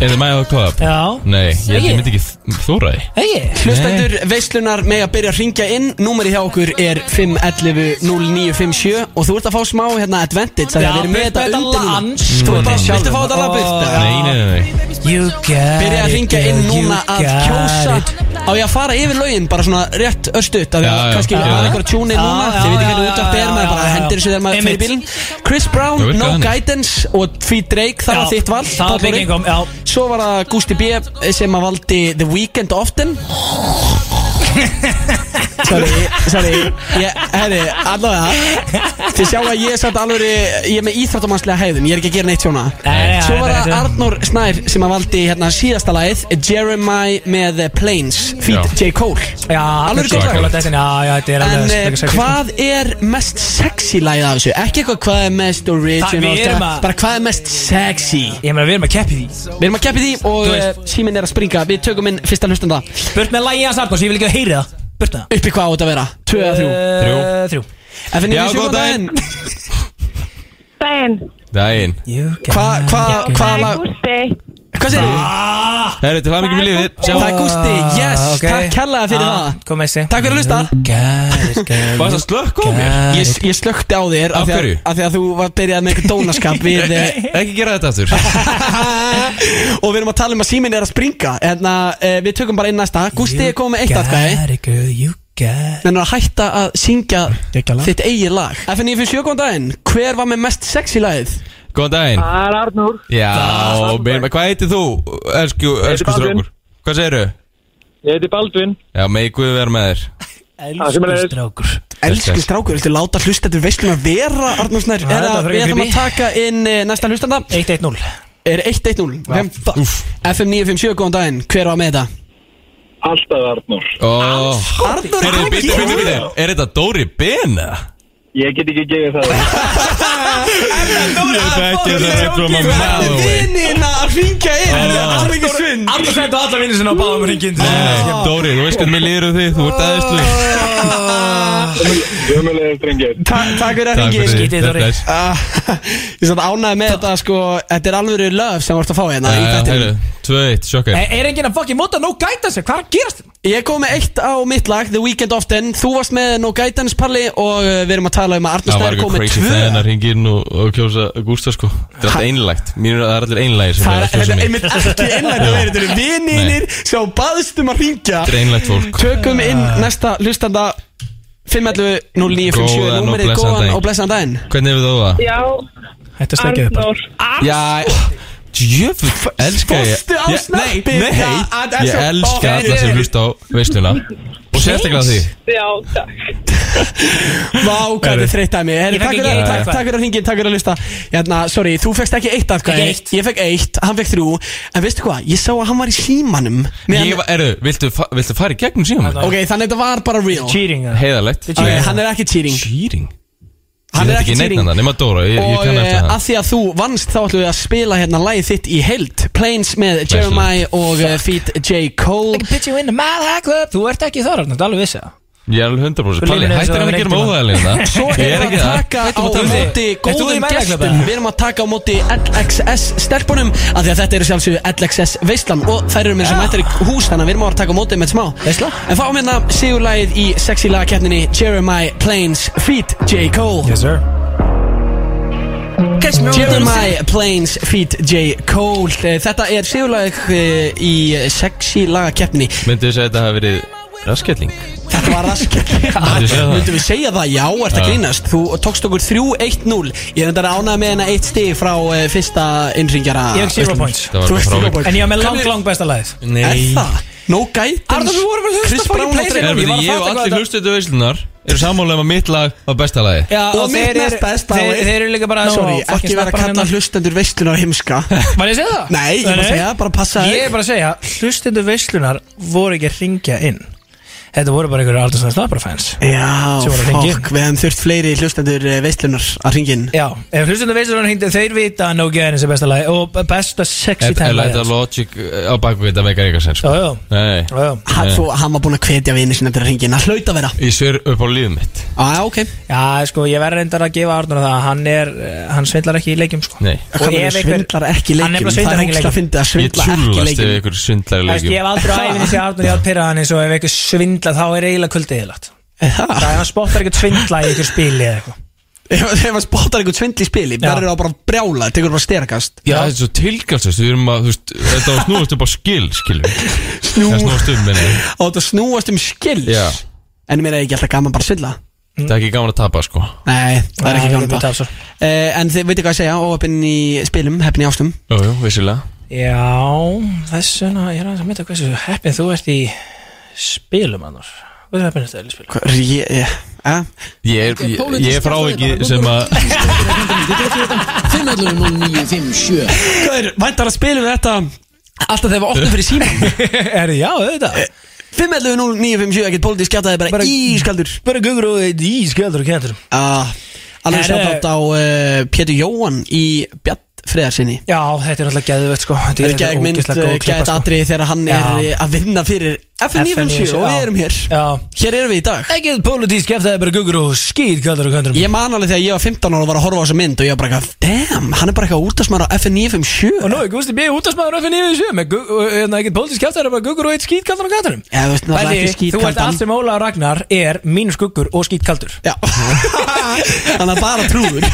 Speaker 5: Er þið mæðið á club?
Speaker 3: Já,
Speaker 5: Nei, ég held
Speaker 3: Ekki?
Speaker 5: ég myndi ekki þóra því
Speaker 3: hei
Speaker 2: Hlustendur veislunar með að byrja að ringja inn Númeri hjá okkur er 511 0957 Og þú ert að fá smá hérna advantage Þegar við erum með þetta undir núna
Speaker 3: Þú ert
Speaker 2: bara- viltu fá þetta lag burt?
Speaker 5: Nei, nei, nei, nei
Speaker 3: You got
Speaker 2: Byrja að
Speaker 3: it,
Speaker 2: ringja
Speaker 3: girl,
Speaker 2: inn
Speaker 3: you
Speaker 2: núna að
Speaker 3: got
Speaker 2: kjósa
Speaker 3: it.
Speaker 2: Á ég að fara yfir lögin bara svona rétt östut Af því
Speaker 5: Já,
Speaker 2: að
Speaker 5: já,
Speaker 2: kannski
Speaker 5: já,
Speaker 2: við
Speaker 5: já.
Speaker 2: varum einhverja tjúni
Speaker 3: Já,
Speaker 2: núna
Speaker 3: já,
Speaker 2: Þið veit
Speaker 3: já,
Speaker 2: ekki hvernig
Speaker 3: já,
Speaker 2: útvarp er
Speaker 3: já,
Speaker 2: Maður bara
Speaker 3: já,
Speaker 2: hendir þessu þegar maður
Speaker 3: Einmitt.
Speaker 2: fyrir bílinn Chris Brown,
Speaker 5: Það virkaði
Speaker 2: No
Speaker 5: þannig.
Speaker 2: Guidance og Tví Drake Það
Speaker 3: Já,
Speaker 2: var þitt val
Speaker 3: það var
Speaker 2: Páll Óri.
Speaker 3: bygging kom, já.
Speaker 2: Svo var það Gusti B sem að valdi The Weeknd often Sorry, sorry ég, Herri, allavega Þið sjá að ég er satt alveg Ég er með íþrættumannslega hegðun Ég er ekki að gera neitt svona
Speaker 3: Nei, nei,
Speaker 2: Svo
Speaker 3: nei,
Speaker 2: var
Speaker 3: nei,
Speaker 2: það
Speaker 3: nei.
Speaker 2: Arnór Snær sem að valdi hérna síðasta lagið Jeremiah með Planes Feat J.
Speaker 5: Já.
Speaker 2: Cole
Speaker 3: Já,
Speaker 2: Alveg gott
Speaker 3: þetta er
Speaker 2: lag.
Speaker 3: svakalegt, þetta er- Já, já, þetta er sko.
Speaker 2: En
Speaker 3: alveg
Speaker 2: eh,
Speaker 3: svakalegt, svakalegt.
Speaker 2: hvað er mest sexy lagið af þessu? Ekki eitthvað hvað er mest original
Speaker 3: Það- við erum
Speaker 2: hvað-
Speaker 3: að-
Speaker 2: Bara hvað er mest sexy
Speaker 3: Ég meina, við erum að keppi því
Speaker 2: Við erum að keppi því og
Speaker 3: Þú
Speaker 2: eh,
Speaker 3: veist.
Speaker 2: síminn er að springa Við tökum inn fyrsta hlustanda Upp
Speaker 3: Burt með lagi hans Arnors, ég vil ekki að heyri það Burt með það
Speaker 2: í hvað á þetta að vera? 2 eða 3
Speaker 5: Þrjú.
Speaker 3: Eh, Þrjú
Speaker 2: FN
Speaker 5: Já,
Speaker 2: 97
Speaker 5: góðan daginn.
Speaker 8: Daginn,
Speaker 5: Dæin
Speaker 3: You got
Speaker 2: Hvað, hvað, hvað
Speaker 8: það er
Speaker 2: lag
Speaker 8: Gústi
Speaker 2: Hvað segir þið?
Speaker 5: Herri, til hamingi með lífið Sjá
Speaker 2: Það er Gústi, yes,
Speaker 3: Ah, ok.
Speaker 2: takk kærlega fyrir
Speaker 3: Ah,
Speaker 2: það
Speaker 3: Kom með sig
Speaker 2: Takk fyrir að hlusta.
Speaker 5: Var það slökk á mér?
Speaker 3: Ah.
Speaker 2: Ég, ég slökti á þér
Speaker 5: Af
Speaker 2: af því að,
Speaker 5: hverju?
Speaker 2: af því að þú var byrjað með einhver dónaskap við, eh,
Speaker 5: Ekki gera þetta aftur
Speaker 2: Og við erum Hérna, eh, að tala um að síminn er að springa En að, e, við tökum bara inn næsta Gústi er komið með eitt atkvæði
Speaker 3: atkvæði Gekkja
Speaker 2: Menn að hætta að syngja
Speaker 3: Geggjað lag.
Speaker 2: þitt eigið lag FNF 7, góðan daginn Hver var með mest sex í lagið?
Speaker 5: Góðan daginn
Speaker 8: Það er Arnur
Speaker 5: Já, minn, hvað heitir þú, elsku, elsku
Speaker 8: Baldvin.
Speaker 5: strókur? Hvað segirðu?
Speaker 8: Ég heiti Baldvin
Speaker 5: Já, megi Guð vera með þér
Speaker 8: sömuleiðis.
Speaker 3: strákur
Speaker 2: Elsku
Speaker 5: Yes, yes.
Speaker 2: strákur, viltu láta hlustendur veislum að vera Arnur Snær
Speaker 3: Já,
Speaker 2: er
Speaker 3: þetta
Speaker 2: að,
Speaker 3: var
Speaker 2: Við
Speaker 3: frekar
Speaker 2: ætlum að
Speaker 3: creepy.
Speaker 2: taka inn eh, næsta hlustanda
Speaker 3: 1-1-0
Speaker 2: Er 1-1-0 Hvem fa- FM 957, góðan daginn Hver var með þetta?
Speaker 8: Alltaf Arnur
Speaker 5: Ó,
Speaker 2: Arnur,
Speaker 5: heyrðu,
Speaker 2: hvað
Speaker 5: bíddu, bíddu,
Speaker 2: gerir
Speaker 5: bíddu, er þetta Dóri Ben? eða?
Speaker 8: Ég get ekki gefið það
Speaker 5: Ég þekki þetta
Speaker 3: Þú
Speaker 5: from a
Speaker 3: ert
Speaker 5: mile away
Speaker 2: Vinnina að ringja inn Það er ekki svinn
Speaker 3: Alltaf sendu alla vinnir sinna á báðum ringin
Speaker 5: Nei, Dóri, þú veist hvernig mér líður um því, þú ert aðeinslu
Speaker 8: Sumulegir strengir
Speaker 2: Takk fyrir að ringi
Speaker 3: Skítið, Dóri.
Speaker 2: Ah, Ég satt ánæði með þetta sko Þetta er alvöru löf sem vart að fá hérna í
Speaker 5: Hæru,
Speaker 2: þættinum
Speaker 5: 2-1, sjokka
Speaker 3: Er er enginn að fokkin móta no guidance Hvað er að gerast?
Speaker 2: Ég kom með eitt á mitt lag, The Weekend Often Þú varst með No Guidance Palli Og uh, við erum að tala um að Arnur
Speaker 5: Það var
Speaker 2: Snær kom
Speaker 5: eitthvað
Speaker 2: með
Speaker 5: crazy
Speaker 2: tvö
Speaker 5: þegar hann ringir inn og, og kjósa Gústa sko Það er alltaf einlægt, mínur það er allir einlægir sem
Speaker 2: Það
Speaker 5: er
Speaker 2: er
Speaker 5: að
Speaker 2: þetta
Speaker 5: kjósa
Speaker 2: er
Speaker 5: mig
Speaker 2: einmitt ekki einlægt að vera Þetta eru vininir sem baðst um að ringja
Speaker 5: Þetta er einlægt fólk
Speaker 2: Tökum inn næsta hlustanda 511 0957
Speaker 5: Góðan og
Speaker 2: Númerið
Speaker 5: blessaðan
Speaker 2: góðan
Speaker 5: daginn.
Speaker 2: og blessan daginn
Speaker 5: Hvernig hefur þú það?
Speaker 9: Já,
Speaker 3: Þetta stekjaði upp
Speaker 9: Arnur
Speaker 5: Já, jöfull, elska ég
Speaker 2: Fórstu á
Speaker 5: Ég-
Speaker 2: snappið?
Speaker 5: Nei,
Speaker 2: Já, að það
Speaker 5: nei,
Speaker 2: er
Speaker 5: ég
Speaker 2: svo-
Speaker 5: elska
Speaker 2: Ó,
Speaker 5: alla sem
Speaker 2: heyrðu.
Speaker 5: hlusta á veisluna Og sérstaklega því
Speaker 9: Já, takk
Speaker 2: Vá, hvað þetta er þreytt að mig Heyrðu,
Speaker 3: Ég
Speaker 2: Takk
Speaker 3: fekk
Speaker 2: fyrir
Speaker 3: ekki
Speaker 2: að- takk-
Speaker 3: eitt atkvæði.
Speaker 2: takk fyrir að hringin, takk fyrir að hlusta Hérna, sorry, þú fekst ekki eitt atkvæði
Speaker 3: Ekki eitt.
Speaker 2: Ég fekk eitt, hann fekk þrjú En veistu hvað, ég sá að hann var í símanum meðan-
Speaker 5: Ég var, eru, viltu, fa- viltu fara í gegnum síðan? minn?
Speaker 2: Ok, þannig að þetta var bara real
Speaker 3: Cheating eða?
Speaker 5: Heiðarlegt
Speaker 2: Ok, Hann er ekki cheating
Speaker 5: Cheating?
Speaker 2: Hann
Speaker 5: Ég
Speaker 2: er
Speaker 5: veit
Speaker 2: ekki
Speaker 5: ekki neitt
Speaker 2: cheating.
Speaker 5: annað, nema Dóra, ég, ég
Speaker 2: Og
Speaker 5: kann
Speaker 2: eh,
Speaker 5: eftir
Speaker 2: að
Speaker 5: það
Speaker 2: því að þú vannst þá ætlum við að spila hérna lagið þitt í heild Planes með Jeremiah og eh, Feet J. Cole
Speaker 3: Like a bitch you in the mad hack club Þú ert ekki þar, Arnur, þetta er alveg vissi það
Speaker 5: Ég er alveg
Speaker 3: Þú
Speaker 5: 100% Palli,
Speaker 3: lifir eins og
Speaker 5: hættir hann
Speaker 3: þú
Speaker 5: að gera
Speaker 3: reyktir
Speaker 5: móðaðalina
Speaker 2: Svo
Speaker 5: Ég er
Speaker 2: erum
Speaker 5: ekki
Speaker 2: við að
Speaker 5: það
Speaker 2: taka á
Speaker 3: Hættum að tala um
Speaker 2: móti
Speaker 3: þig. Ert þú í
Speaker 2: góðum
Speaker 3: mælaklubbi?
Speaker 2: gestum Við erum að taka á móti LXS stelpunum af Því að þetta eru sjálfsögðu LXS veislan Og þær eru með sem mættar í hús Þannig að við erum að fara að taka á móti með smá
Speaker 3: Veisla?
Speaker 2: En fáum hérna sigurlægið í sexy lagakeppninni Jeremiah Plains Feet J. Cole
Speaker 3: Yes sir
Speaker 2: Jeremiah Plains Feet J. Cole Eh, Þetta er sigurlæg í sexy lagakeppni
Speaker 5: Myndu þess að þetta hafi verið raskelling?
Speaker 2: Þetta var rask
Speaker 5: Myndum við segja það?
Speaker 2: Myndum við segja það, já, ert að grínast Þú tókst okkur 3-1-0 Ég er þetta ánað með hennar eitt stig frá uh, fyrsta innringjara
Speaker 3: Ég hef zero points.
Speaker 5: Það var
Speaker 2: Þú
Speaker 5: bara
Speaker 2: ert zero
Speaker 5: frávik.
Speaker 2: points
Speaker 3: En ég var með lang, lang besta lagið
Speaker 2: Er það? No guidance
Speaker 3: Arnór, við vorum að hlusta
Speaker 2: Chris
Speaker 3: bara í
Speaker 2: Brown og
Speaker 3: playlist.
Speaker 2: Drake.
Speaker 5: Erum
Speaker 3: Ég var að
Speaker 5: við ég og
Speaker 3: fatta hvað
Speaker 5: allir
Speaker 3: þetta-
Speaker 5: hlustuðu veislunar eru sammála um að mitt lag var besta lagi
Speaker 3: Já,
Speaker 2: Og mitt
Speaker 3: þeir eru-
Speaker 2: næst besta
Speaker 3: þeir-
Speaker 2: lagið.
Speaker 3: Þeir eru líka bara
Speaker 2: Sorry,
Speaker 3: no, fucking
Speaker 2: ekki vera að
Speaker 3: snappa
Speaker 2: kalla
Speaker 3: hérna.
Speaker 2: hlustendur veislunar heimska
Speaker 3: Var ég að segja það?
Speaker 2: Nei, ég var að segja, bara passa þig.
Speaker 3: Ég er bara að segja, hlustindu veislunar voru ekki að ringja inn Þetta voru bara einhverju Aldarsson Snabbar fans
Speaker 2: Já,
Speaker 3: Sem voru að hringja
Speaker 2: fokk, við hefum þurft fleiri hlustendur eh, veislunar að ringin
Speaker 3: Já, ef hlustindu veislunar hringdi þeir vita að No Gaines er besta lagi og besta sexy
Speaker 5: Er er
Speaker 3: time
Speaker 5: þetta logic uh, á baku þetta megar eitthvað
Speaker 3: Já,
Speaker 5: sen sko
Speaker 3: já,
Speaker 5: Nei,
Speaker 3: já
Speaker 2: Hann þú- hann var búinn að hvetja vini sinna til að ringin Það hlaut að vera
Speaker 5: ég sver upp á lífið mitt
Speaker 2: ah, ok
Speaker 3: Já, sko, ég verði reyndar að gefa Arnur það að hann er, eh, hann svindlar ekki í leikjum, sko
Speaker 5: Nei.
Speaker 3: og
Speaker 2: Hann
Speaker 3: ef einhver,
Speaker 2: svindlar ekki
Speaker 3: Hann
Speaker 2: leikum
Speaker 3: nefnilega
Speaker 2: Það
Speaker 3: svindlar
Speaker 2: er
Speaker 3: ekki
Speaker 2: hókst að
Speaker 3: leikjum.
Speaker 2: fyndi að svindla
Speaker 5: Ég
Speaker 2: ekki
Speaker 5: tjúlast ef
Speaker 2: leikum
Speaker 5: ykkur svindlar
Speaker 3: Æst, ég hef
Speaker 5: í leikjum
Speaker 3: aldrei æfinni sér Arnur, ég hef pyrrað hann eins og ef eitthvað svindla þá er eiginlega kuldið eðlagt
Speaker 2: Það
Speaker 3: Það er hann spottar eitthvað svindla í eitthvað spili eða eitthvað
Speaker 2: Ef ef hann spottar einhvern svindli í spili
Speaker 3: Já.
Speaker 2: verður það bara brjála, tekur bara sterkast
Speaker 5: Já, þetta er svo tilgælsast, við erum að, þú veist, þetta var snúast upp á skil, skilum við. Það snúast um, minni.
Speaker 2: og þetta snúast um skils
Speaker 5: Já.
Speaker 2: en mér er ekki alltaf gaman bara að svindla
Speaker 5: Það er ekki gaman að tapa, sko.
Speaker 2: nei, það er
Speaker 3: Já,
Speaker 2: ekki
Speaker 3: ég
Speaker 2: gaman
Speaker 3: veit
Speaker 2: bara
Speaker 3: það, svo.
Speaker 2: uh, en þið veitir hvað að segja, óöpinn í spilum heppin í ástum,
Speaker 5: Jú, jú, vissilega.
Speaker 3: Já, þessu, ná, ég er aðeins að mynda hversu heppin þú ert í spilum annars Hversu heppin ertu í spilum?
Speaker 2: Hvað er ég, ég eh?
Speaker 5: Ég er, ég, ég er frá ekki sem að,
Speaker 6: 50957
Speaker 2: hvað er, væntar að spilum þetta alltaf þegar við opnum fyrir síman
Speaker 3: er já, auðvitað
Speaker 2: 511 0957, ekkert pólitíð skjátaði bara,
Speaker 3: Bara-
Speaker 2: bara ískaldur
Speaker 3: Bara gugur og eitt í skjöldur og kentur
Speaker 2: uh, alveg
Speaker 3: Herre.
Speaker 2: sjátt átt á uh, Pétur Jóhann í Bjart friðarsinni
Speaker 3: Já, þetta er alltaf gæðvöld sko Þetta
Speaker 2: Það er gæg mynd,
Speaker 3: ógeðslega góð klippa,
Speaker 2: gæg
Speaker 3: sko.
Speaker 2: atrið þegar hann er
Speaker 3: Já.
Speaker 2: eh, að vinna fyrir FN97 og við erum hér
Speaker 3: Já,
Speaker 2: Hér erum við í dag
Speaker 3: Ekkið pólitísk ef það er bara gugur og skýr kallar og kandurum
Speaker 2: Ég man alveg þegar ég var 15 ára og var að horfa á þessa mynd og ég var bara eitthvað, damn, hann er bara eitthvað útasmæður á
Speaker 3: Og
Speaker 2: FN957
Speaker 3: nú er Gusti B. útastmaður FN 97 með gu- og, hérna, ekkið pólitísk ef það er bara gugur og eitt skýr kallar og kandurum
Speaker 2: Já, þú veist, náttúrulega
Speaker 3: Bæði,
Speaker 2: ekki
Speaker 3: þú ert
Speaker 2: skítkaldan.
Speaker 3: allt sem Óla og Ragnar er mínus guggur og skýr kaldur
Speaker 2: Já, hann er bara trúður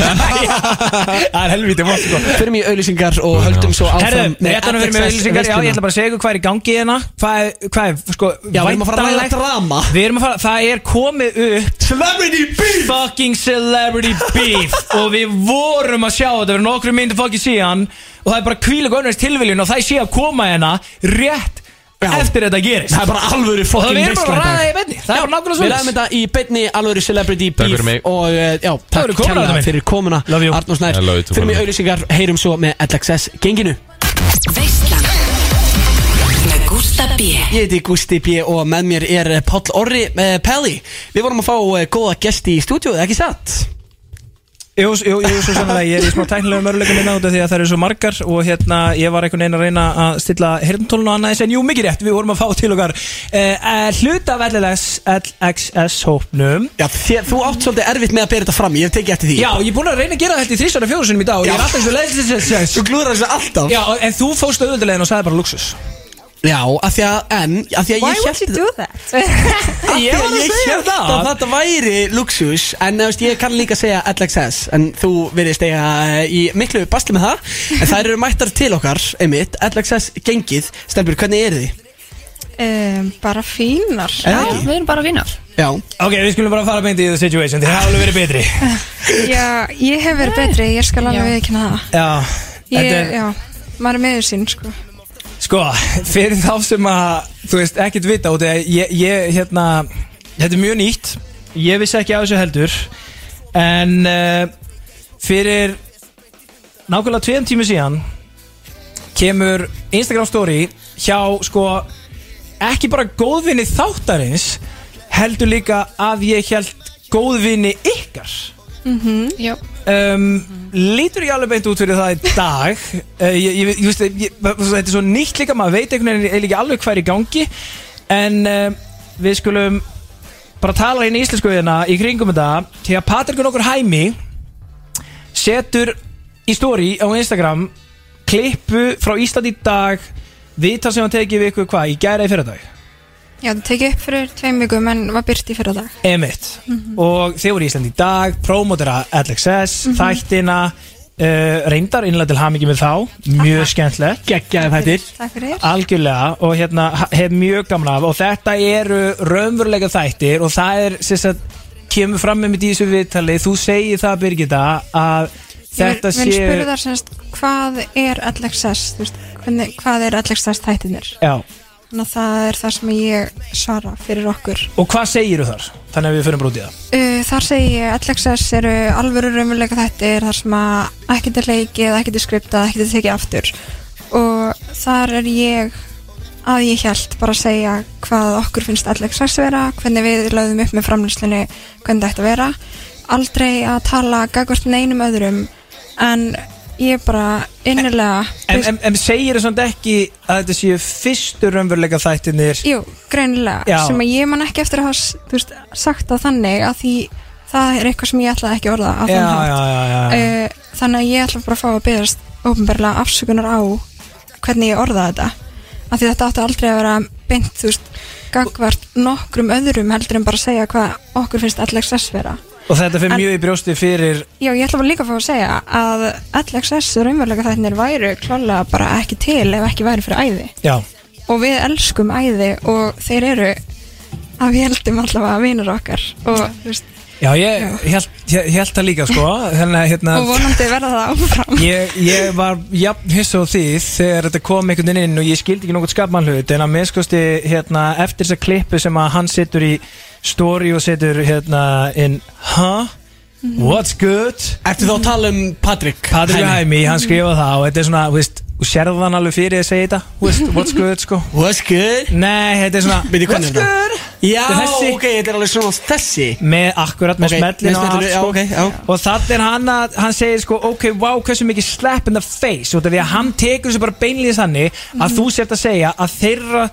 Speaker 3: Það er helvítið vant sko
Speaker 2: Fyrir mig í auðlýsingar og höldum svo áfram
Speaker 3: Herðu, réttan að vera með
Speaker 2: FXS
Speaker 3: auðlýsingar, já, ég
Speaker 2: veisluna.
Speaker 3: ætla bara að segja ykkur hvað er í gangi hérna Hvað er, hvað er sko,
Speaker 2: Já, við erum að fara að ræða
Speaker 3: væntanlegt-
Speaker 2: drama.
Speaker 3: Við erum að fara, það er komið upp
Speaker 2: Celebrity beef
Speaker 3: Fucking celebrity beef Og við vorum að sjá þetta fyrir nokkru myndu fucking síðan Og það er bara kvíla gönnveist tilviljun Og það sé að koma hérna rétt
Speaker 2: Já.
Speaker 3: eftir þetta gerist
Speaker 2: Það er bara alvöru
Speaker 3: Og það
Speaker 2: fucking
Speaker 3: við erum bara að
Speaker 2: veisla í dag.
Speaker 3: ræða það í beinni Það er bara nákvæmlega
Speaker 2: Við
Speaker 3: svoleiðis.
Speaker 2: ræðum þetta í beinni alvöru celebrity
Speaker 5: Takk
Speaker 2: beef
Speaker 5: fyrir mig.
Speaker 2: Og eh, já, takk
Speaker 3: fyrir komuna, Arnar
Speaker 2: kærlega
Speaker 3: minn.
Speaker 2: fyrir komuna
Speaker 3: Love you.
Speaker 2: Arnús Nær
Speaker 5: I love you too,
Speaker 2: Fyrir mig
Speaker 5: Arnar.
Speaker 2: auðlýsingar, heyrum svo með LXS genginu
Speaker 9: Veislan Með Gústa B
Speaker 2: Ég heiti Gusti B og með mér er eh, Páll Orri eh, Pelli Við vorum að fá eh, góða gesti í stúdíu, ekki satt?
Speaker 3: Jú, jú, jú, svo sannlega, ég er í smá tæknilega mörguleikum minna út af því að það eru svo margar og hérna, ég var einhvern veginn að reyna að stilla hirntólun og annað eins en jú, mikið rétt, við vorum að fá til okkar uh, uh, hluta af LLS, LXS hópnum
Speaker 2: Já, þér, þú átt svolítið erfitt með að bera þetta fram, ég hef tekið eftir því
Speaker 3: Já, ég er búin að reyna að gera þetta í þrísvara fjóðusunum í dag og ég er alltaf eins og leiðsins
Speaker 2: Þú glúðrar þessu alltaf
Speaker 3: Já, en þú fóst auðvöldulegin og sagði bara luxus
Speaker 2: Já, af því að, en, af því að
Speaker 10: Why
Speaker 2: ég
Speaker 10: would you
Speaker 2: hélt
Speaker 10: do that?
Speaker 3: Ég var að
Speaker 2: Ég
Speaker 3: segja
Speaker 2: hélt
Speaker 3: það.
Speaker 2: að þetta væri luxus En þú veist, ég kann líka segja LXS En þú virðist eiga eh, í miklu basli með það En þær eru mættar til okkar, einmitt LXS gengið, Stelbjörg, hvernig er þið?
Speaker 4: um, bara fínar
Speaker 2: Er það ekki?
Speaker 10: Við erum bara vinnar
Speaker 2: Já,
Speaker 3: Ok, við skulum bara fara beint í the situation, þið hafðu verið betri
Speaker 4: Já, ég hef verið betri, ég skal alveg
Speaker 10: Já.
Speaker 4: viðkynna það
Speaker 3: Já,
Speaker 4: ég,
Speaker 3: þetta er-
Speaker 4: Já, maður er meður sín sko.
Speaker 3: Sko, fyrir þá sem að þú veist, ekkert vita út eða ég, ég, hérna, þetta er mjög nýtt ég vissi ekki á þessu heldur en uh, fyrir nákvæmlega tveim tími síðan kemur Instagram story hjá sko ekki bara góðvinni þáttarins heldur líka að ég held góðvinni ykkar
Speaker 10: Mm.
Speaker 4: Já,
Speaker 3: um, lítur ég alveg beint út fyrir það í dag uh, ég, ég, ég, veist, ég, þetta er svo nýtt líka maður veit einhvern veginn eiginlega ekki alveg hvað er í gangi en um, við skulum bara tala hérna í íslenskuðina í kringum þetta því að Patrikun okkur hæmi setur í story á Instagram klippu frá Ísland í dag viðtal sem hann tekið við ykkur hvað í gæra í fyrradag
Speaker 4: já það tekið upp fyrir tveim vikum en var byrt í fyrir dag
Speaker 3: Emmett og þið voru í Íslandi í dag promotera LXS,
Speaker 4: Mhm.
Speaker 3: þættina uh, reyndar innlega til hamingi með þá mjög skemmtilegt
Speaker 2: geggjaði þættir
Speaker 4: Takk
Speaker 3: Ah,
Speaker 4: fyrir
Speaker 3: algjörlega og hérna ha- hef mjög gaman af og þetta eru raunverulega þættir og það er sérst að kemur fram með mitt í þessu viðtali þú segir það Birgitta að
Speaker 4: Þetta
Speaker 3: þetta
Speaker 4: ég vil spyrja
Speaker 3: sé
Speaker 4: þar semst hvað er LXS þú veist, hvernig, hvað er LXS þættinir
Speaker 3: Já,
Speaker 4: þannig að það er það sem ég svara fyrir okkur
Speaker 3: og hvað segir þar? Þannig að við fyrir bara út í það
Speaker 4: Uh, þar segi ég LXS eru alvöru raunveruleika þættir þar sem að ekkert er leikið, ekkert er skriptað, ekkert er tekið aftur og þar er ég að ég hjælt bara að segja hvað okkur finnst LXS vera, hvernig við lögðum upp með framlýslinu, hvernig þetta vera aldrei að tala gagvart neinum öðrum en ég bara innilega
Speaker 3: En, en, en segir það samt ekki að þetta séu fyrstu raunverulega þættinir
Speaker 4: Jú, greinilega,
Speaker 3: Já.
Speaker 4: sem að ég man ekki eftir að hafa s- þú veist, sagt það þannig að því það er eitthvað sem ég ætlaði ekki að orða að þann hátt.
Speaker 3: já, já, já.
Speaker 4: uh, þannig að ég ætla bara að fá að byrjast ofnbarlega afsökunar á hvernig ég orða þetta af því þetta átti aldrei að vera beint þú veist, gangvart nokkrum öðrum heldur en bara að segja hvað okkur finnst LXS vera
Speaker 3: Og þetta fyrir
Speaker 4: En-
Speaker 3: mjög í brjósti fyrir
Speaker 4: Já, ég ætla bara líka að fá að segja að LXS raunverulega þættinir væru klálega bara ekki til ef ekki væri fyrir æði
Speaker 3: Já,
Speaker 4: og við elskum æði og þeir eru að við heldum allavega vinur okkar og, þú veist,
Speaker 3: já ég
Speaker 4: Já.
Speaker 3: held, ég, ég held það líka sko Þannig að hérna
Speaker 4: og vonandi verða það áfram
Speaker 3: ég, ég var jafn hiss á því þegar þetta kom einhvern veginn inn og ég skildi ekki nokkuð skapmann hlut en að minnskosti hérna, eftir þessa klippu sem að hann setur í story og setur hérna inn Huh?
Speaker 4: Mhm.
Speaker 3: What's good?
Speaker 2: Ertu þá að tala um Patrik?
Speaker 3: Patrik
Speaker 2: Hæmi?
Speaker 3: Hæmi,
Speaker 4: Mhm.
Speaker 3: hann skrifa það og þetta er svona, þú veist, og sérðu hann alveg fyrir að segja þetta Þú veist, What's good sko?
Speaker 2: What's good?
Speaker 3: Nei, þetta er svona
Speaker 2: Bíddu, hvernig
Speaker 3: What's
Speaker 2: er þetta?
Speaker 3: good?
Speaker 2: Já,
Speaker 3: Þetta er þessi.
Speaker 2: ok, þetta er alveg svona þessi
Speaker 3: með akkurat,
Speaker 2: Ok,
Speaker 3: með okay, smellin
Speaker 2: með
Speaker 3: og allt
Speaker 2: smellinu,
Speaker 3: sko.
Speaker 2: já, ok, já.
Speaker 3: og þannig er hann að hann segir sko, ok, wow, hversu mikið slap in the face út af því að hann tekur þessu bara beinlýðis þannig
Speaker 2: Mhm.
Speaker 3: að þú sért að segja að þeirra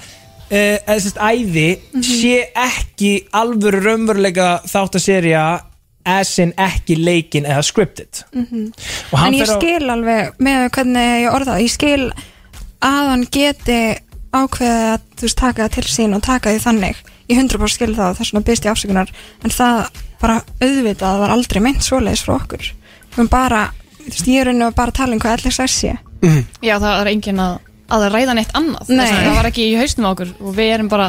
Speaker 3: uh, eða sérst æði
Speaker 2: Mhm.
Speaker 3: sé ekki alvöru raunverulega þátt að serja as in ekki leikin eða scripted
Speaker 2: Mhm.
Speaker 3: og hann
Speaker 4: en ég
Speaker 3: fer á-
Speaker 4: skil alveg með hvernig ég orða það. ég skil að hann geti ákveðið að þú veist taka það til sín og taka því þannig ég hundra bara skil það og það er svona byrst í afsökunar en það bara auðvitað var aldrei meint svoleiðis frá okkur við erum bara, þú veist, ég er unni að bara tala um hvað allir sér sé
Speaker 10: Já, það er engin að að ræða neitt annað
Speaker 4: Nei.
Speaker 10: Þess vegna, það var ekki í haustum á okkur og við erum bara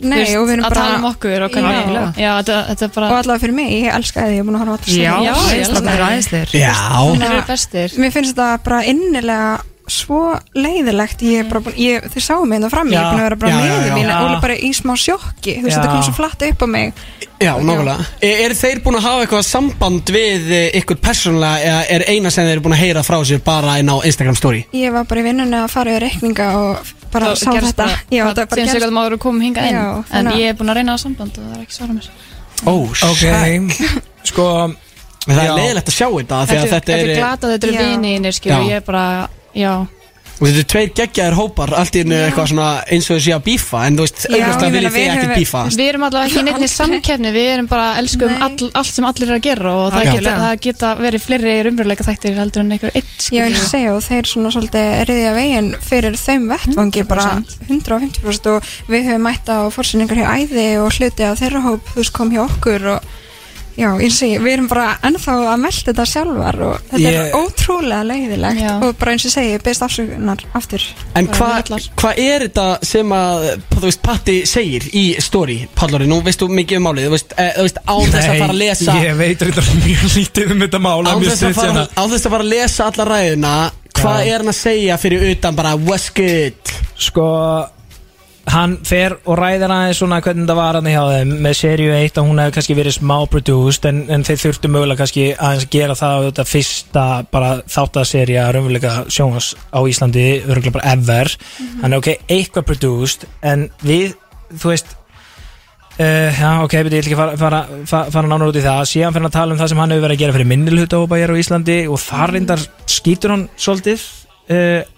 Speaker 4: Nei,
Speaker 10: þú veist,
Speaker 4: og við erum
Speaker 10: að
Speaker 4: bara-
Speaker 10: tala um okkur og
Speaker 4: Já.
Speaker 10: hvernig já, þetta, þetta er bara
Speaker 4: og allavega fyrir mig, ég elska þið, ég er búin að horfa á alla
Speaker 10: Já,
Speaker 4: serið.
Speaker 10: já, ég elska
Speaker 4: Þannig að-
Speaker 10: þær.
Speaker 2: Já
Speaker 10: þeir eru bestir
Speaker 4: Mér finnst þetta bara innilega svo leiðilegt ég er bara búin, ég, þið sáum mig þetta fram ég er
Speaker 2: Já,
Speaker 4: búin að vera bara
Speaker 2: já, já,
Speaker 4: meðið
Speaker 2: já.
Speaker 4: mín
Speaker 3: Já.
Speaker 4: og bara í smá sjokki þú veist,
Speaker 3: Já.
Speaker 4: þetta kom svo flatt upp á mig
Speaker 2: Já, nákvæmlega e Er þeir búin að hafa eitthvað samband við eh, ykkur persónulega eða er eina sem þeir eru búin að heyra frá sér bara inn á Instagram story?
Speaker 4: ég var bara í vinnunni að fara yfir reikninga og bara
Speaker 10: Það
Speaker 4: sá
Speaker 10: gerist
Speaker 4: þetta
Speaker 10: bara-
Speaker 4: já,
Speaker 10: það
Speaker 4: þetta bara
Speaker 10: finnst
Speaker 4: gerist
Speaker 10: eitthvað maður að koma hingað inn
Speaker 4: Já,
Speaker 10: en
Speaker 4: þannig að-
Speaker 10: ég er búin að reyna að samband og það er ekki svara mér
Speaker 2: Oh,
Speaker 3: Ok, sko
Speaker 2: Það er
Speaker 3: Já.
Speaker 2: leiðilegt að sjá þetta því að þetta
Speaker 10: er
Speaker 2: er e,
Speaker 10: glata, þetta
Speaker 4: Já.
Speaker 10: eru vinir skilur,
Speaker 2: Já.
Speaker 10: og ég er bara, já
Speaker 2: og þetta er tveir geggjaðir hópar allt í einu eitthvað svona eins og þau sé að bífa en þú veist,
Speaker 4: Já,
Speaker 2: auðvitað
Speaker 4: ég
Speaker 2: viljið
Speaker 4: meina,
Speaker 2: þið
Speaker 4: við
Speaker 2: ekkert
Speaker 4: höfum-
Speaker 2: bífa
Speaker 10: Við erum allavega ekki í neinni samkeppni, við erum bara elskum
Speaker 4: Nei.
Speaker 10: all, allt sem allir er að gera og það
Speaker 2: Já.
Speaker 10: geta, það geta verið fleiri raunveruleika þættir heldur en einhver sko. eitt
Speaker 4: ég
Speaker 10: skilur.
Speaker 4: vil segja og þeir svona svolítið riðja veginn fyrir þeim vettvangi bara 150% og við höfum mætt á fórsynningar hjá æði og hluti af þeirra hóp þú veist kom hjá okkur og já, ég segi, við erum bara ennþá að melda þetta sjálfar og þetta
Speaker 3: Ég-
Speaker 4: er ótrúlega leiðilegt
Speaker 10: Já.
Speaker 4: og bara eins og ég segi, beðst afsökunar aftur
Speaker 2: En
Speaker 10: Bara
Speaker 2: hvað
Speaker 10: við allar.
Speaker 2: hva er þetta sem að þú veist, Patti segir í story Pallari, nú veistu mikið um málið þú veist, e, þú veist, án þess að fara að lesa
Speaker 3: Ég veit reyndar mjög lítið um þetta mála
Speaker 2: án þess að
Speaker 3: hérna.
Speaker 2: fara, án þess að fara að lesa alla ræðina hvað
Speaker 3: Já.
Speaker 2: er hann að segja fyrir utan bara what's good
Speaker 3: Sko Hann fer og ræðir aðeins svona hvernig það var hann hjá þeim með serju 1 að hún hefði kannski verið smá produced en, en þeir þurftu mögulega kannski aðeins að gera það þetta fyrsta bara þáttaserja raunveruleika sjónvars á Íslandi örgulega bara ever Þannig ok, eitthvað produced en við, þú veist Uh, já, ok, beti, ég vil ekki fara, fara, fara, fara nánar út í það síðan fyrir að tala um það sem hann hefur verið að gera fyrir minnilhutahópa hér á Íslandi og þar reyndar skýtur hann svolítið uh,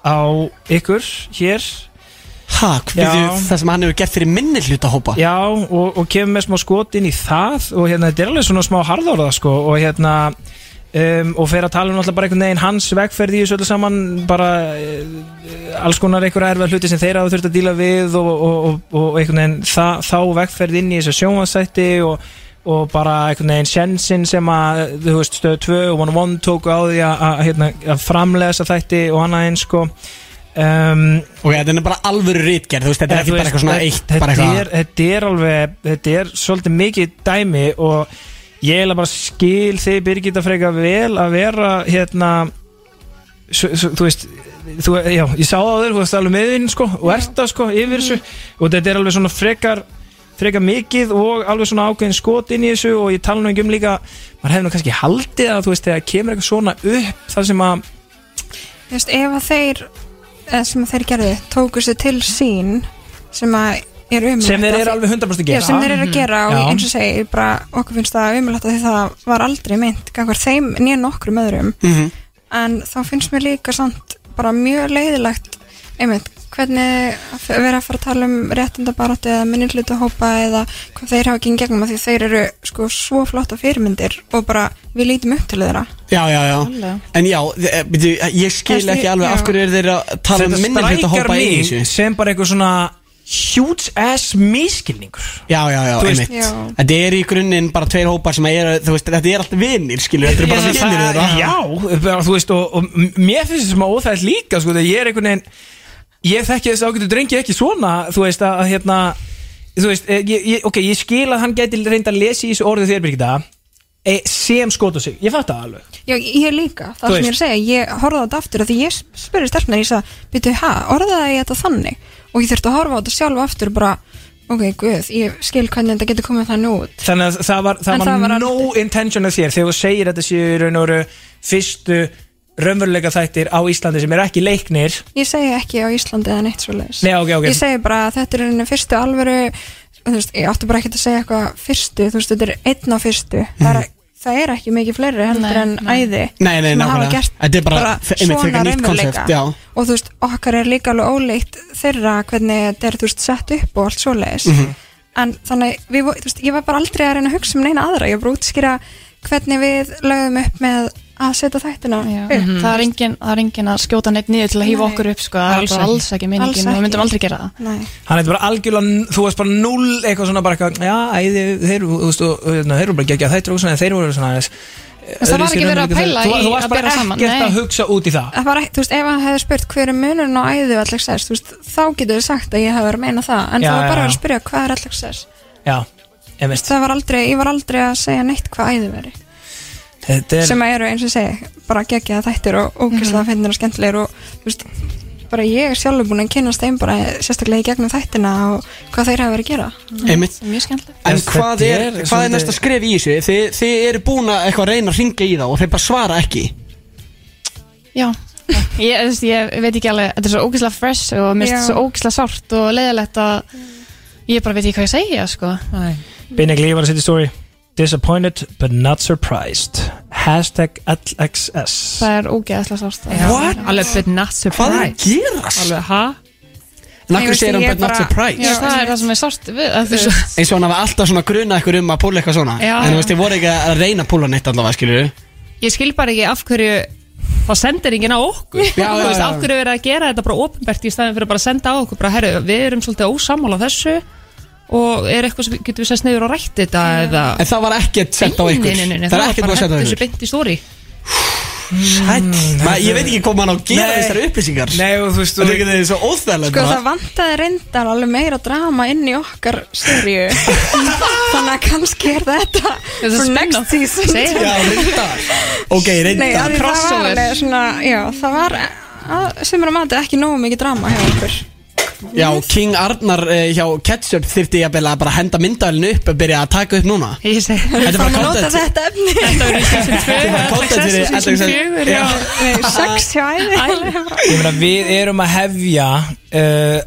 Speaker 3: á ykkur hér
Speaker 2: ha, við
Speaker 3: Já.
Speaker 2: það sem hann hefur gert fyrir minni hluta hópa
Speaker 3: já, og, og kemur með smá skot inn í það og hérna, þetta er alveg svona smá harðorða sko, og hérna um, og fer að tala um alltaf bara einhvern veginn hans vegferð í þessu öllu saman bara uh, alls konar einhverja erfa hluti sem þeir hafa þurft að díla við og, og, og, og einhvern veginn þa, þá vegferð inn í þessu sjónvansætti og, og bara einhvern veginn sjensin sem að, þú veist, stöð 2 og 1-1 tóku á því að, að, hérna, að framlega þessa þætti og annað eins sko um,
Speaker 2: ok, þetta er bara alvöru rítgerð þú veist, þetta er
Speaker 3: Eða, þú
Speaker 2: ekki bara
Speaker 3: veist,
Speaker 2: eitthvað svona
Speaker 3: þetta-
Speaker 2: eitt
Speaker 3: þetta
Speaker 2: bara eitthvað
Speaker 3: er, þetta er alveg, þetta er svolítið mikið dæmi og ég er bara skil þig Birgitta freka vel að vera hérna svo, svo, þú veist þú, já, ég sá það á þér, þú veist alveg meðin sko, og ert það sko yfir þessu
Speaker 2: Mm.
Speaker 3: og þetta er alveg svona frekar frekar mikið og alveg svona ákveðin skot inn í þessu og ég tala nú ekki um líka maður hefði nú kannski haldið að þú veist þegar kemur eitthvað svona upp þar sem að
Speaker 4: Þú veist, ef að þeir eða sem að þeir gerði, tóku sér til sín sem að er umlægt
Speaker 3: sem þeir eru alveg 100% að
Speaker 4: Já,
Speaker 3: gera Mhm.
Speaker 4: sem þeir eru að gera og
Speaker 3: Já.
Speaker 4: eins og segi, bara okkur finnst það umlægt því það var aldrei mynd gangvar þeim nýja nokkrum öðrum
Speaker 2: Mhm.
Speaker 4: en þá finnst mér líka samt bara mjög leiðilegt einmitt, hvernig að vera að fara að tala um réttindabaratu eða minnillutu hópa eða hvað þeir hafa ekki gegnum af því þeir eru sko svo flotta fyrirmyndir og bara við lítum upp til þeirra
Speaker 2: já, já, já
Speaker 10: Alveg.
Speaker 2: en já, e, byrju, ég skil
Speaker 4: Þessi-
Speaker 2: ekki alveg
Speaker 4: já.
Speaker 2: af hverju er þeir að tala um
Speaker 3: þetta
Speaker 2: minni hluta hópa
Speaker 3: strækjar
Speaker 2: í
Speaker 3: mig
Speaker 2: þessu
Speaker 3: sem bara eitthvað svona huge ass miskilningur
Speaker 2: já, já, já,
Speaker 3: Þú veist-
Speaker 2: einmitt
Speaker 4: Já.
Speaker 2: þetta er í grunninn bara tveir hópar sem er þú veist, þetta er allt vinnir, skilur þetta er bara vinnir þeirra
Speaker 3: já, bara, þú veist og, og mér finnst þetta sem að óþægt líka sko, þegar ég er einhvern veginn ég þekki þess ágætu drengi ekki svona þú veist að að, hérna þú veist, eh, ég, ég, ok, ég skil að hann gæti reynda að lesa í þessu orðið þér Birgitta e, sem skot á sig, ég fatt það alveg
Speaker 4: Já, ég líka,
Speaker 3: Þú
Speaker 4: það sem ég er
Speaker 3: veist.
Speaker 4: að segja ég horfði á þetta aftur af því ég spurði stelpnar ég sagði, byrju, ha, orðaði ég þetta þannig og ég þurfti að horfa á þetta sjálf aftur bara, ok, guð, ég skil hvernig þetta getur komið þannig út
Speaker 3: þannig að það var,
Speaker 4: En
Speaker 3: það var,
Speaker 4: það var
Speaker 3: no intention af þér þegar þú segir þetta séu í raun og veru fyrstu raunveruleika þættir á Íslandi sem er ekki leiknir
Speaker 4: Ég segi ekki á Íslandi eða neitt svoleiðis
Speaker 3: Nei, ok, ok.
Speaker 4: Ég segi bara að þetta er henni fyrstu alvöru þú veist, Ég átti bara ekki að segja eitthvað fyrstu Þú veist, þetta er einn á fyrstu það er, það er ekki mikið fleiri heldur
Speaker 10: Nei,
Speaker 4: en
Speaker 10: nei.
Speaker 4: æði
Speaker 2: Mhm. Nei, nei,
Speaker 4: sem að hafa
Speaker 2: nákvæmlega.
Speaker 4: gert
Speaker 2: Þetta er bara f- einmitt frekar nýtt
Speaker 4: raunveruleika.
Speaker 2: konsept, já.
Speaker 4: Og þú veist, okkar er líka alveg óleitt þeirra hvernig þetta er þú veist, sett upp og allt svoleiðis
Speaker 2: Mhm.
Speaker 4: En þannig, við, vo- þú veist, ég var bara aldrei að reyna að hugsa um neina aðra Ég var bara að útskýra hvernig við lögum upp með að setja þættina
Speaker 10: Já. Mhm.
Speaker 4: upp
Speaker 10: það, er engin, það er engin að skjóta neitt niður til að hýfa
Speaker 4: Mhm. Nei.
Speaker 10: okkur upp sko, það
Speaker 3: Alls
Speaker 10: er bara
Speaker 3: ekki.
Speaker 10: alls ekki
Speaker 4: Alls
Speaker 10: meiningin og
Speaker 4: ekki.
Speaker 10: við myndum aldrei gera það
Speaker 4: Nei
Speaker 3: Hann er bara algjörlega, þú veist bara null eitthvað svona bara eitthvað, já, æ, þeir, þeir, þú veist, og, og, hérna, þeir eru bara geggjað þættir og svona, en þeir voru svona aðeins
Speaker 10: Það var ekki verið að pæla í
Speaker 3: Þú
Speaker 10: að
Speaker 3: varst
Speaker 10: bera
Speaker 3: bara
Speaker 10: saman,
Speaker 3: ekkert
Speaker 10: nei.
Speaker 3: að hugsa út í það
Speaker 4: Það var ekki, þú veist, ef hann hefði spurt hver er munurinn á æðu og allagsess, þú veist, þá getur þið sagt að ég hefði verið að meina það, en
Speaker 3: Já,
Speaker 4: það var
Speaker 3: já,
Speaker 4: bara
Speaker 3: já.
Speaker 4: að spyrja hvað er allagsess.
Speaker 3: Já, ég veist
Speaker 4: Það var aldrei, ég var aldrei að segja neitt hvað æðu veri,
Speaker 3: Þetta er
Speaker 4: sem að eru eins og ég segi, bara geggjaða þættir og ógæslega mm og skemmtilegir og, þú veist, bara ég er sjálfur búin að kynast þeim bara sérstaklega í gegnum þættina og hvað þeir hafa verið að gera.
Speaker 2: Mhm. Einmitt.
Speaker 10: Mjög skemmtilegt
Speaker 2: En
Speaker 3: Þetta
Speaker 2: hvað er,
Speaker 3: er
Speaker 2: hvað er
Speaker 3: svolítið-
Speaker 2: næsta skref í þessu? Þið, þið eru búin að eitthvað reyna að ringa í þá og þeir bara svara ekki
Speaker 10: Já, ég, þú veist, ég veit ekki alveg Þetta er svo ógislega fresh og mér finnst
Speaker 4: Já.
Speaker 10: svo ógislega sárt og leiðilegt að ég bara veit ekki hvað ég segja sko.
Speaker 3: Binnig Lee var að setja í story Disappointed but not surprised Hashtag LXS
Speaker 10: Það er ógeðslega sárt
Speaker 2: What?
Speaker 11: Alveg but not
Speaker 2: Hvað er
Speaker 11: surprised
Speaker 2: að gerast?
Speaker 11: Alveg, ha?
Speaker 2: En
Speaker 4: Ég
Speaker 2: akkur
Speaker 4: veist,
Speaker 2: segir hann
Speaker 4: ég
Speaker 2: bara not
Speaker 4: bara-
Speaker 2: surprised
Speaker 10: Já, það er það sem er sárt við að þú veist
Speaker 2: Eins og hann hafa alltaf svona grunað ykkur um að púla eitthvað svona
Speaker 10: Já.
Speaker 2: En þú veist, þið voru ekki að reyna að púla neitt allavega, skilur
Speaker 11: Ég skil bara ekki af hverju þá sendir enginn á okkur
Speaker 2: Já,
Speaker 11: Þú
Speaker 2: já,
Speaker 11: veist,
Speaker 2: já.
Speaker 11: af hverju er verið að gera þetta bara ofinbært í staðin fyrir bara að senda á okkur bara, herru, við erum svolítið ósammála á þessu og er eitthvað sem getum við sérst neyður og rætt þetta eða
Speaker 2: En það var ekkert sett á ykkur
Speaker 11: Nei, nei, nei, nei,
Speaker 2: Það er ekkert búið að setja á
Speaker 11: þessu
Speaker 2: ykkur
Speaker 11: beint í stóri
Speaker 2: Sæll Ma- Ég veit ekki hvað mann á að gera
Speaker 3: Nei.
Speaker 2: þessari upplýsingar
Speaker 3: Nei, og þú veist
Speaker 2: Þetta
Speaker 3: þú-
Speaker 2: er ekki þeir svo óþægilegt
Speaker 4: Sko það
Speaker 2: bara.
Speaker 4: vantaði reyndar alveg meira drama inn í okkar serju Þannig að kannski er þetta
Speaker 10: Þetta er
Speaker 4: for next
Speaker 10: spin-off.
Speaker 4: season
Speaker 10: Segðu
Speaker 2: Já, reyndar Ok,
Speaker 4: Nei, af
Speaker 2: reyndar
Speaker 4: því það var
Speaker 10: Crossover.
Speaker 4: alveg svona, já, það var að- sem er að mati ekki nógu mikið drama hjá okkur
Speaker 2: Já, King Arnar eh, hjá Ketchup þyrfti ég að bara henda myndavælinu upp og byrja að taka upp núna
Speaker 11: Ég segi,
Speaker 2: Þetta er
Speaker 4: Þannig
Speaker 2: bara
Speaker 4: að nota
Speaker 2: content
Speaker 4: þetta efni
Speaker 11: það eru í season 2
Speaker 2: Þetta er bara content
Speaker 11: Success í
Speaker 2: fyrir
Speaker 11: season
Speaker 2: Alex-
Speaker 11: fjögur,
Speaker 2: Já.
Speaker 11: já.
Speaker 4: Nei, sex hjá æði
Speaker 3: Ég meina, við erum að hefja uh,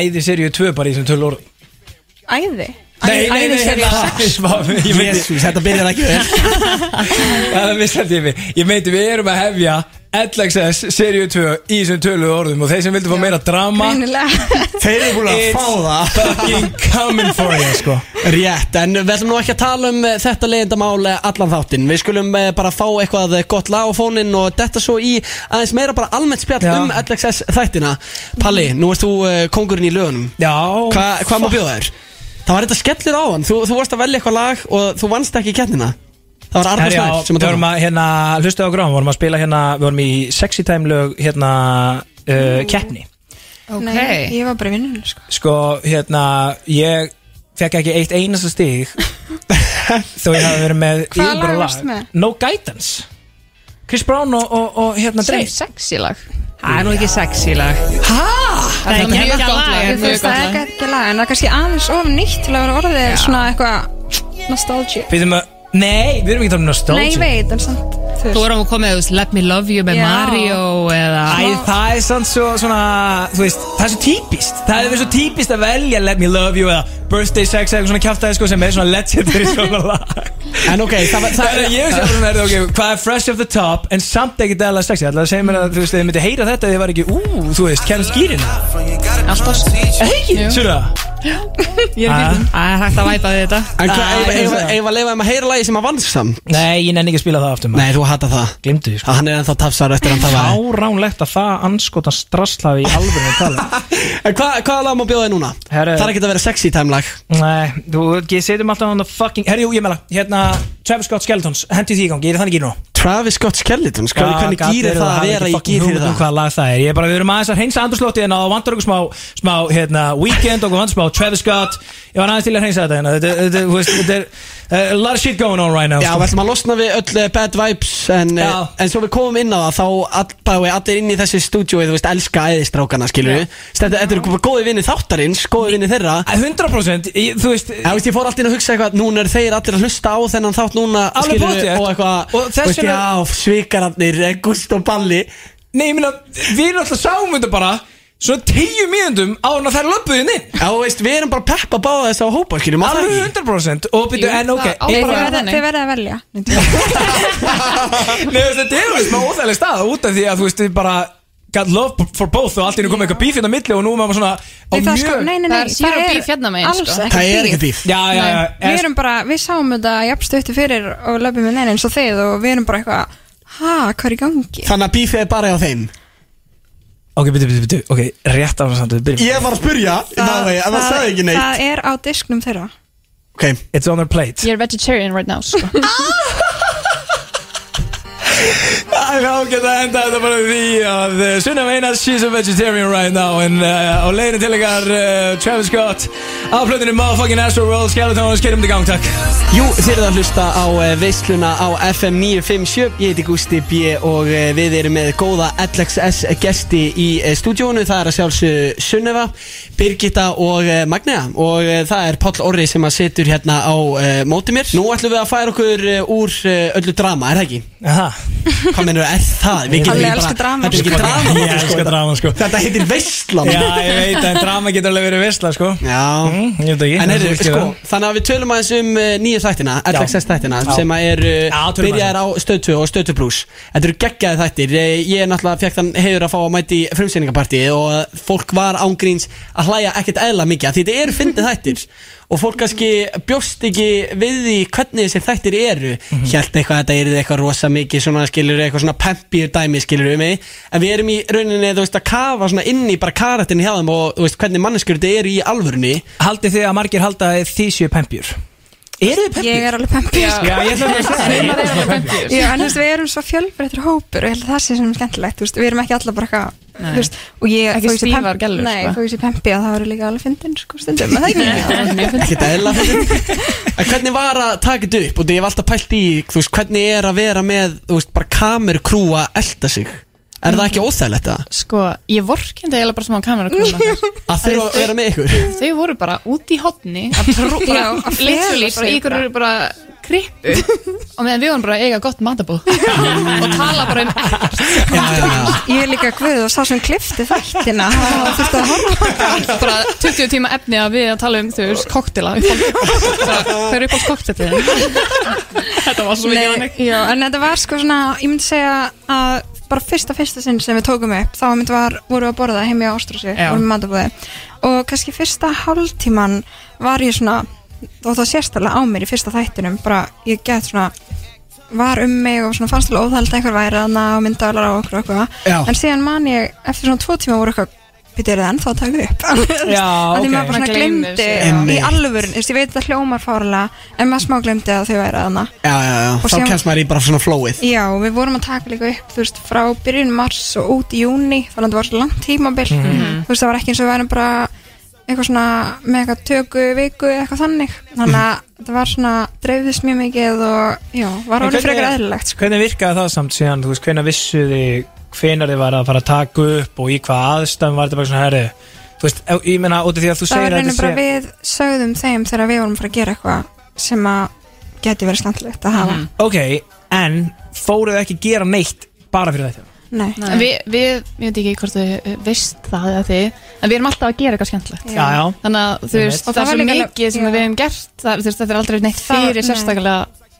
Speaker 3: Æði seríu 2 bara í þessum tölu orð
Speaker 4: Æði?
Speaker 3: Nei, nei, nei,
Speaker 4: Æðisería
Speaker 3: hérna- Svá- ég meinti-
Speaker 2: Jésús, þetta byrjar ekki vel
Speaker 3: Það mistætti ég mig Ég meinti við erum að hefja LXS seríu 2 í þessum tölu orðum og þeir sem vildu fá meira drama
Speaker 4: Greinilega
Speaker 2: Þeir eru búin að fá það
Speaker 3: fucking coming for you sko
Speaker 2: Rétt, en við ætlum nú ekki að tala um eh, þetta leiðindamál eh, allan þáttinn Við skulum eh, bara fá eitthvað eh, gott lag á fóninn og detta svo í aðeins meira bara almennt spjall
Speaker 3: Já.
Speaker 2: um LXS þættina Palli, nú ert þú eh, kongurinn í lögunum
Speaker 3: Já
Speaker 2: Hva, Hvað má bjóða þér? Það var þetta skellir á hann, þú, þú varst að velja eitthvað lag og þú vannst ekki kennina Það var Arnar
Speaker 3: Herjá,
Speaker 2: Snær sem
Speaker 3: við
Speaker 2: að
Speaker 3: vorum
Speaker 2: tala
Speaker 3: að hérna, hlustu á gráðum, við vorum að spila hérna, við vorum í sexy time lög hérna uh, keppni
Speaker 4: Nei,
Speaker 11: Ok,
Speaker 4: ég var bara í vinnunni sko
Speaker 3: Sko, hérna, ég fekk ekki eitt einasta stig þó ég hafi verið með í
Speaker 4: Hvaða
Speaker 3: einhverju
Speaker 4: lag varstu með?
Speaker 3: No Guidance Chris Brown og, og, og hérna
Speaker 10: Sem
Speaker 3: Drake
Speaker 10: sexy lag
Speaker 11: það er nú ekki sexy lag Það er
Speaker 10: mjög
Speaker 11: mjög
Speaker 10: gott
Speaker 11: gott
Speaker 10: lag,
Speaker 11: lag
Speaker 4: Þú
Speaker 11: mjög
Speaker 4: veist, það
Speaker 11: gott
Speaker 4: er
Speaker 11: lag.
Speaker 4: ekki lag, en það er kannski aðeins of nýtt til að vera orðið svona eitthvað nostalgic.
Speaker 3: Við erum að, nei, við erum ekki um tónum nostalgia
Speaker 4: Nei, ég veit, en samt, þú
Speaker 11: Þú
Speaker 4: veist.
Speaker 11: erum að koma með þú veist, Let Me Love You með
Speaker 4: Já.
Speaker 11: Mario eða
Speaker 3: Æ, það er samt svo svona, þú veist, það er svo típist Það er verið svo típist að velja Let Me Love You eða Birthday Sex eða eitthvað svona kjáftæði sko sem er svona legendary svona lag
Speaker 2: um En ok, það var
Speaker 3: Það er að ég sé bara svona, ok, hvað er fresh off the top en samt ekki dæla sexy Það er að segja mér að, þú veist, þið myndi heyra þetta þið var ekki, ú, þú veist, kæra skýrina
Speaker 7: Alltaf
Speaker 3: Ekki, svona
Speaker 11: Ég er ekki Það er hægt að væpa þig þetta
Speaker 2: En hvað,
Speaker 3: Æ,
Speaker 2: eigum-
Speaker 3: ég
Speaker 2: eigum
Speaker 3: sé það.
Speaker 2: eigum við að leifa um að heyra lagi sem að vannst samt?
Speaker 3: Nei, ég nenni ekki að spila það aftur maður
Speaker 2: Nei, þú hata það
Speaker 3: Glimtu því, sko
Speaker 2: Hann er ennþá tafsar eftir hann það var
Speaker 3: Áránlegt að það anskota strasslaði í alveg að tala
Speaker 2: En hva, hvaða lag má bjóða þér núna?
Speaker 3: Herru.
Speaker 2: Það er ekki að vera sexy time lag
Speaker 3: Nei, þú, ég setjum alltaf hann að fucking Herri, jú, ég meina, hérna, Travis Scott Skeletons Hendi því í gangi, ég er þannig gínu
Speaker 2: Travis Scott Skeletons Hvað,
Speaker 3: Ah,
Speaker 2: hvernig gýrir það að vera í gýr fyrir það?
Speaker 3: Hvað um lag það er, ég er bara, við erum aðeins að hreinsa andurslóti En á vantar okkur smá, smá, hérna, Weekend Okkur vantar smá Travis Scott Ég var aðeins til að hreinsa þetta hérna Þetta, þetta, þú veist, þetta er uh, A lot of shit going on right now
Speaker 2: Já,
Speaker 3: sko.
Speaker 2: við ætlum að losna við öll eh, bad vibes En, eh,
Speaker 3: Já.
Speaker 2: en svo við komum inn á það Þá all, bara við allir inn í þessi stúdíói Þú veist, elska æðistrákana, skilur við Þetta þetta eru bara góði vinni þáttarins, góði vinni þeirra
Speaker 3: Æ, 100% ég, Þú veist,
Speaker 2: Já, veist, ég fór alltaf inn að hugsa eitthvað Núna er þeir allir að hlusta á þennan þátt núna
Speaker 3: Alveg
Speaker 2: skilurðu,
Speaker 3: pottþétt.
Speaker 2: Og eitthvað,
Speaker 3: Og þess
Speaker 2: veist,
Speaker 3: vegna-
Speaker 2: já, svikararnir, eh, Gúst og Balli
Speaker 3: Nei, ég meina, við erum alltaf sáum þetta bara Svona tíu mínundum á hann að þær löpuðu inn
Speaker 2: Já, veist, við erum bara að peppa báða þess á hópa, skilur við
Speaker 3: Alveg 100% Og byrju,
Speaker 10: Jú,
Speaker 3: en ok
Speaker 10: það á
Speaker 3: ég
Speaker 4: Nei, þið
Speaker 10: bara-
Speaker 3: bara-
Speaker 4: verða-
Speaker 10: þannig.
Speaker 4: þið verða að velja.
Speaker 3: Nei, veist, þetta er alveg smá óþægileg stað út af því að þú veist, þið bara got love for both og allt í einu komið eitthvað bífinn á milli og nú er maður svona á
Speaker 4: Nei, það er
Speaker 3: mjög
Speaker 4: sko, nei, nei, nei,
Speaker 10: Það er zero beef hérna megin,
Speaker 4: alls
Speaker 10: sko.
Speaker 4: ekki
Speaker 2: Það er ekki
Speaker 4: beef.
Speaker 2: dýf
Speaker 3: Já, já, já,
Speaker 10: Nei.
Speaker 3: já
Speaker 4: Við erum bara, við sáum þetta jafnstöttu fyrir og löpum við neina eins og þið og við erum bara eitthvað, ha, hvað er í gangi?
Speaker 2: Þannig að bífið er bara á þeim
Speaker 3: Ok, byrju, byrju, byrju, ok, rétt á það samt við byrjum.
Speaker 2: Ég var að spurja, náði, en það sagði ekki neitt
Speaker 4: það er á disknum þeirra.
Speaker 2: Ok,
Speaker 3: It's on their plate
Speaker 10: Ég er vegetarian right now sko.
Speaker 3: Ah, Það er ágætt að enda þetta bara því að uh, Sunna Einars, she's a vegetarian right now en uh, á leiðinu til ykkar uh, Travis Scott á plötunni Motherfucking Astro World Skeleton og skerum til gang, takk
Speaker 2: Jú, þið eruð að hlusta á eh, veisluna á FM 957 Ég heiti Gusti B og eh, við erum með góða LXS gesti í eh, stúdíónu Það er að sjálfsög Sunneva, Birgitta og eh, Magnea Og eh, það er Páll Orri sem að situr hérna á eh, móti mér Nú ætlum við að færa okkur eh, úr eh, öllu drama, er það ekki?
Speaker 3: Aha.
Speaker 2: Hvað mennur er það? Við getum
Speaker 3: Palli
Speaker 2: ekki bara-
Speaker 3: elskar
Speaker 2: Þetta er
Speaker 3: drama.
Speaker 2: ekki drama
Speaker 3: Ég elska drama, sko.
Speaker 2: Þetta heitir veislan
Speaker 3: Já, ég veit að drama getur alveg verið vesla, sko
Speaker 2: Já
Speaker 3: mm, Ég veit ekki
Speaker 2: En
Speaker 3: það
Speaker 2: heyrðu,
Speaker 3: er
Speaker 2: sko,
Speaker 3: skilur.
Speaker 2: þannig að við tölum aðeins um uh, nýju þættina, LXS þættina
Speaker 3: Já.
Speaker 2: sem að er uh,
Speaker 3: Já, tölum um.
Speaker 2: byrjaðar á Stöð 2 og Stöð 2 Plus Þetta eru geggjaði þættir, Eh, ég er náttúrulega fekk þann hefur að fá að mæti frumsýningapartíð og fólk var ángríns að hlæja ekkert eðla mikið af því þetta eru fyndið þættir og fólk kannski bjóst ekki við því hvernig þessi þættir eru
Speaker 3: Mhm.
Speaker 2: mm eitthvað að þetta er eitthvað rosa mikið svona skilur eitthvað svona pempir dæmi skilur við mig en við erum í rauninni þú veist að kafa svona inn í bara karatinni hjá þeim og þú veist hvernig manneskur þetta eru í alvörunni
Speaker 3: Haldið þið að margir halda að þið séu pempjur? Eru þið
Speaker 4: Ég er alveg pempjur
Speaker 3: Já, ég ætla að segja það. Ég er alveg pempjur.
Speaker 4: Já, en þú veist, við erum svo fjölbreyttur hópur og ég held að það sé sem er skemmtilegt, þú veist, við erum ekki allar bara eitthvað,
Speaker 11: Nei.
Speaker 4: þú veist, og ég
Speaker 11: Ekki
Speaker 4: þó ég sé
Speaker 11: stífar
Speaker 4: pemp-
Speaker 11: gellur,
Speaker 4: Nei,
Speaker 11: sko.
Speaker 4: þó ég sé pempi að það verður líka alveg fyndin, sko, stundum, er það ekki?
Speaker 2: ekkert eðla En hvernig var að taka þetta upp og því ég hef alltaf pælt í þú veist, hvernig er að vera með þú veist, bara kameru krúa elda sig er það ekki óþægilegt það?
Speaker 11: Sko, ég vorkindi eiginlega bara smá kamera Að
Speaker 2: að þurfa að vera með ykkur
Speaker 11: Þau voru bara út í hotni að trú, bara,
Speaker 4: Já, að fela
Speaker 11: literally,
Speaker 4: sig
Speaker 11: bara í ykkur
Speaker 4: bara. Eh.
Speaker 11: eru bara krippu og meðan við vorum bara að eiga gott matabóð og tala bara um
Speaker 4: Ég er líka guð og sá sem klifti þættina, það þurfti að horfa á þetta.
Speaker 11: bara 20 tíma efni að við að tala um þau veist, koktela þau eru upp á koktelið þetta var svo mikið
Speaker 4: Nei,
Speaker 11: þannig
Speaker 4: já, en þetta var sko svona, ég myndi segja að bara fyrsta fyrsta sinn sem við tókum upp þá myndi var, voru við að borða heim í Ástrósi
Speaker 11: Já.
Speaker 4: og matabóði og kannski fyrsta hálftíman var ég svona og það sérstæðlega á mér í fyrsta þættinum bara ég get svona var um mig og svona fannst alveg óþælt að einhver væri þarna og myndaðalara og okkur og
Speaker 3: Já.
Speaker 4: eitthvað en síðan man ég eftir svona tvo tíma voru eitthvað Býtið er það ennþá að taka þau upp Þú veist,
Speaker 3: Já,
Speaker 4: að Því
Speaker 3: ok.
Speaker 4: maður bara svona
Speaker 11: Maður gleymir
Speaker 4: glemdi
Speaker 11: þessu,
Speaker 2: já.
Speaker 4: í
Speaker 2: Einmitt.
Speaker 4: alvörin Ég veit að það hljómar fárlega En maður smá glemdi að þau væri þarna
Speaker 2: Já, já, já,
Speaker 4: Og
Speaker 2: þá
Speaker 4: sem-
Speaker 2: kemst maður í bara svona flowið
Speaker 4: Já, við vorum að taka líka upp þú veist, frá byrjun mars og út í júni þannig að það var svo langt tímabil
Speaker 2: Mhm.
Speaker 4: þú veist, það var ekki eins og við værum bara eitthvað svona með eitthvað töku viku eða eitthvað þannig, þannig að
Speaker 3: Mhm.
Speaker 4: það var svona dreifðist mjög mikið og já, var orðið frekar eðlilegt sko.
Speaker 3: Hvernig virkaði það samt síðan, þú veist, hvenær vissu þið hvenar þið var að fara að taka upp og í hvað aðstæðum var þetta bara svona herri Þú veist, ef- ég meina, út af því að þú
Speaker 4: það var
Speaker 3: segir að
Speaker 4: reynir bara
Speaker 3: sé-
Speaker 4: við sögðum þeim þegar við vorum að fara að gera eitthvað sem að geti verið standlegt að hafa
Speaker 3: Ok, en fóruðu ekki að gera neitt bara fyrir þetta?
Speaker 4: Nei.
Speaker 11: En Við, við, ég veit ekki hvort þau veist það eða þið, en við erum alltaf að gera eitthvað skemmtilegt
Speaker 3: Já, já.
Speaker 11: Þannig að þú
Speaker 3: Ég
Speaker 11: veist, það
Speaker 3: veit.
Speaker 4: Og það
Speaker 11: er
Speaker 4: var
Speaker 11: svo
Speaker 4: líka alveg-
Speaker 11: mikið sem
Speaker 4: já.
Speaker 11: við hefum gert það, þú veist, þetta er aldrei neitt
Speaker 4: Það-
Speaker 11: fyrir
Speaker 4: nei.
Speaker 11: sérstaklega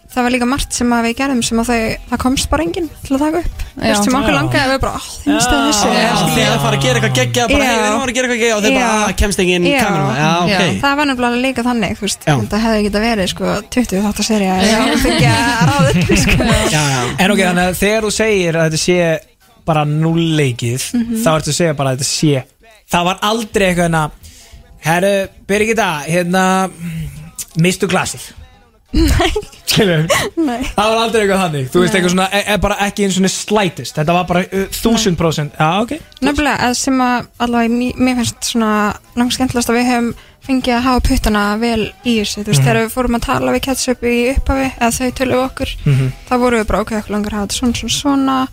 Speaker 4: það var líka margt sem að við gerðum sem að þau, það komst bara enginn til að taka upp þú
Speaker 11: Já.
Speaker 4: veist, sem okkur
Speaker 11: Já.
Speaker 4: langaði að við bara, "Ah, þið mistaði þessu
Speaker 2: Já, Þið að fara að gera eitthvað geggja bara,
Speaker 4: Já.
Speaker 2: hey, við erum að fara að gera eitthvað geggja og þau bara,
Speaker 4: Já.
Speaker 2: "Ah, kemst enginn
Speaker 4: Já.
Speaker 2: kameruna Já, ok
Speaker 4: Það var nefnilega líka þannig, þú veist,
Speaker 2: Já.
Speaker 4: þetta hefði geta verið, sko, 20 þátt að serja, ég fengi að ráða upp, sko.
Speaker 2: Já, já
Speaker 3: En ok, þannig að þegar þú segir að þetta sé bara núleikið þá ertu að segja bara að þetta sé það var aldrei eitthvað en að herru, byrja ekki það hérna, mistu glasið skilur
Speaker 4: Nei.
Speaker 3: það var aldrei eitthvað þannig þú veist eitthvað svona, e e bara ekki eins og slætist þetta var bara uh, 1000% já, ok
Speaker 4: Nefnilega, að sem að allavega, mí- mér finnst svona langskendlast að við höfum fengið að hafa puttana vel í þessu, þú veist,
Speaker 3: Mhm.
Speaker 4: þegar við fórum að tala við ketchup í upphafi, eða þau töluðu okkur,
Speaker 3: Mhm.
Speaker 4: þá vorum við bara, ok, okkur langar að hafa þetta svona, svona, svona,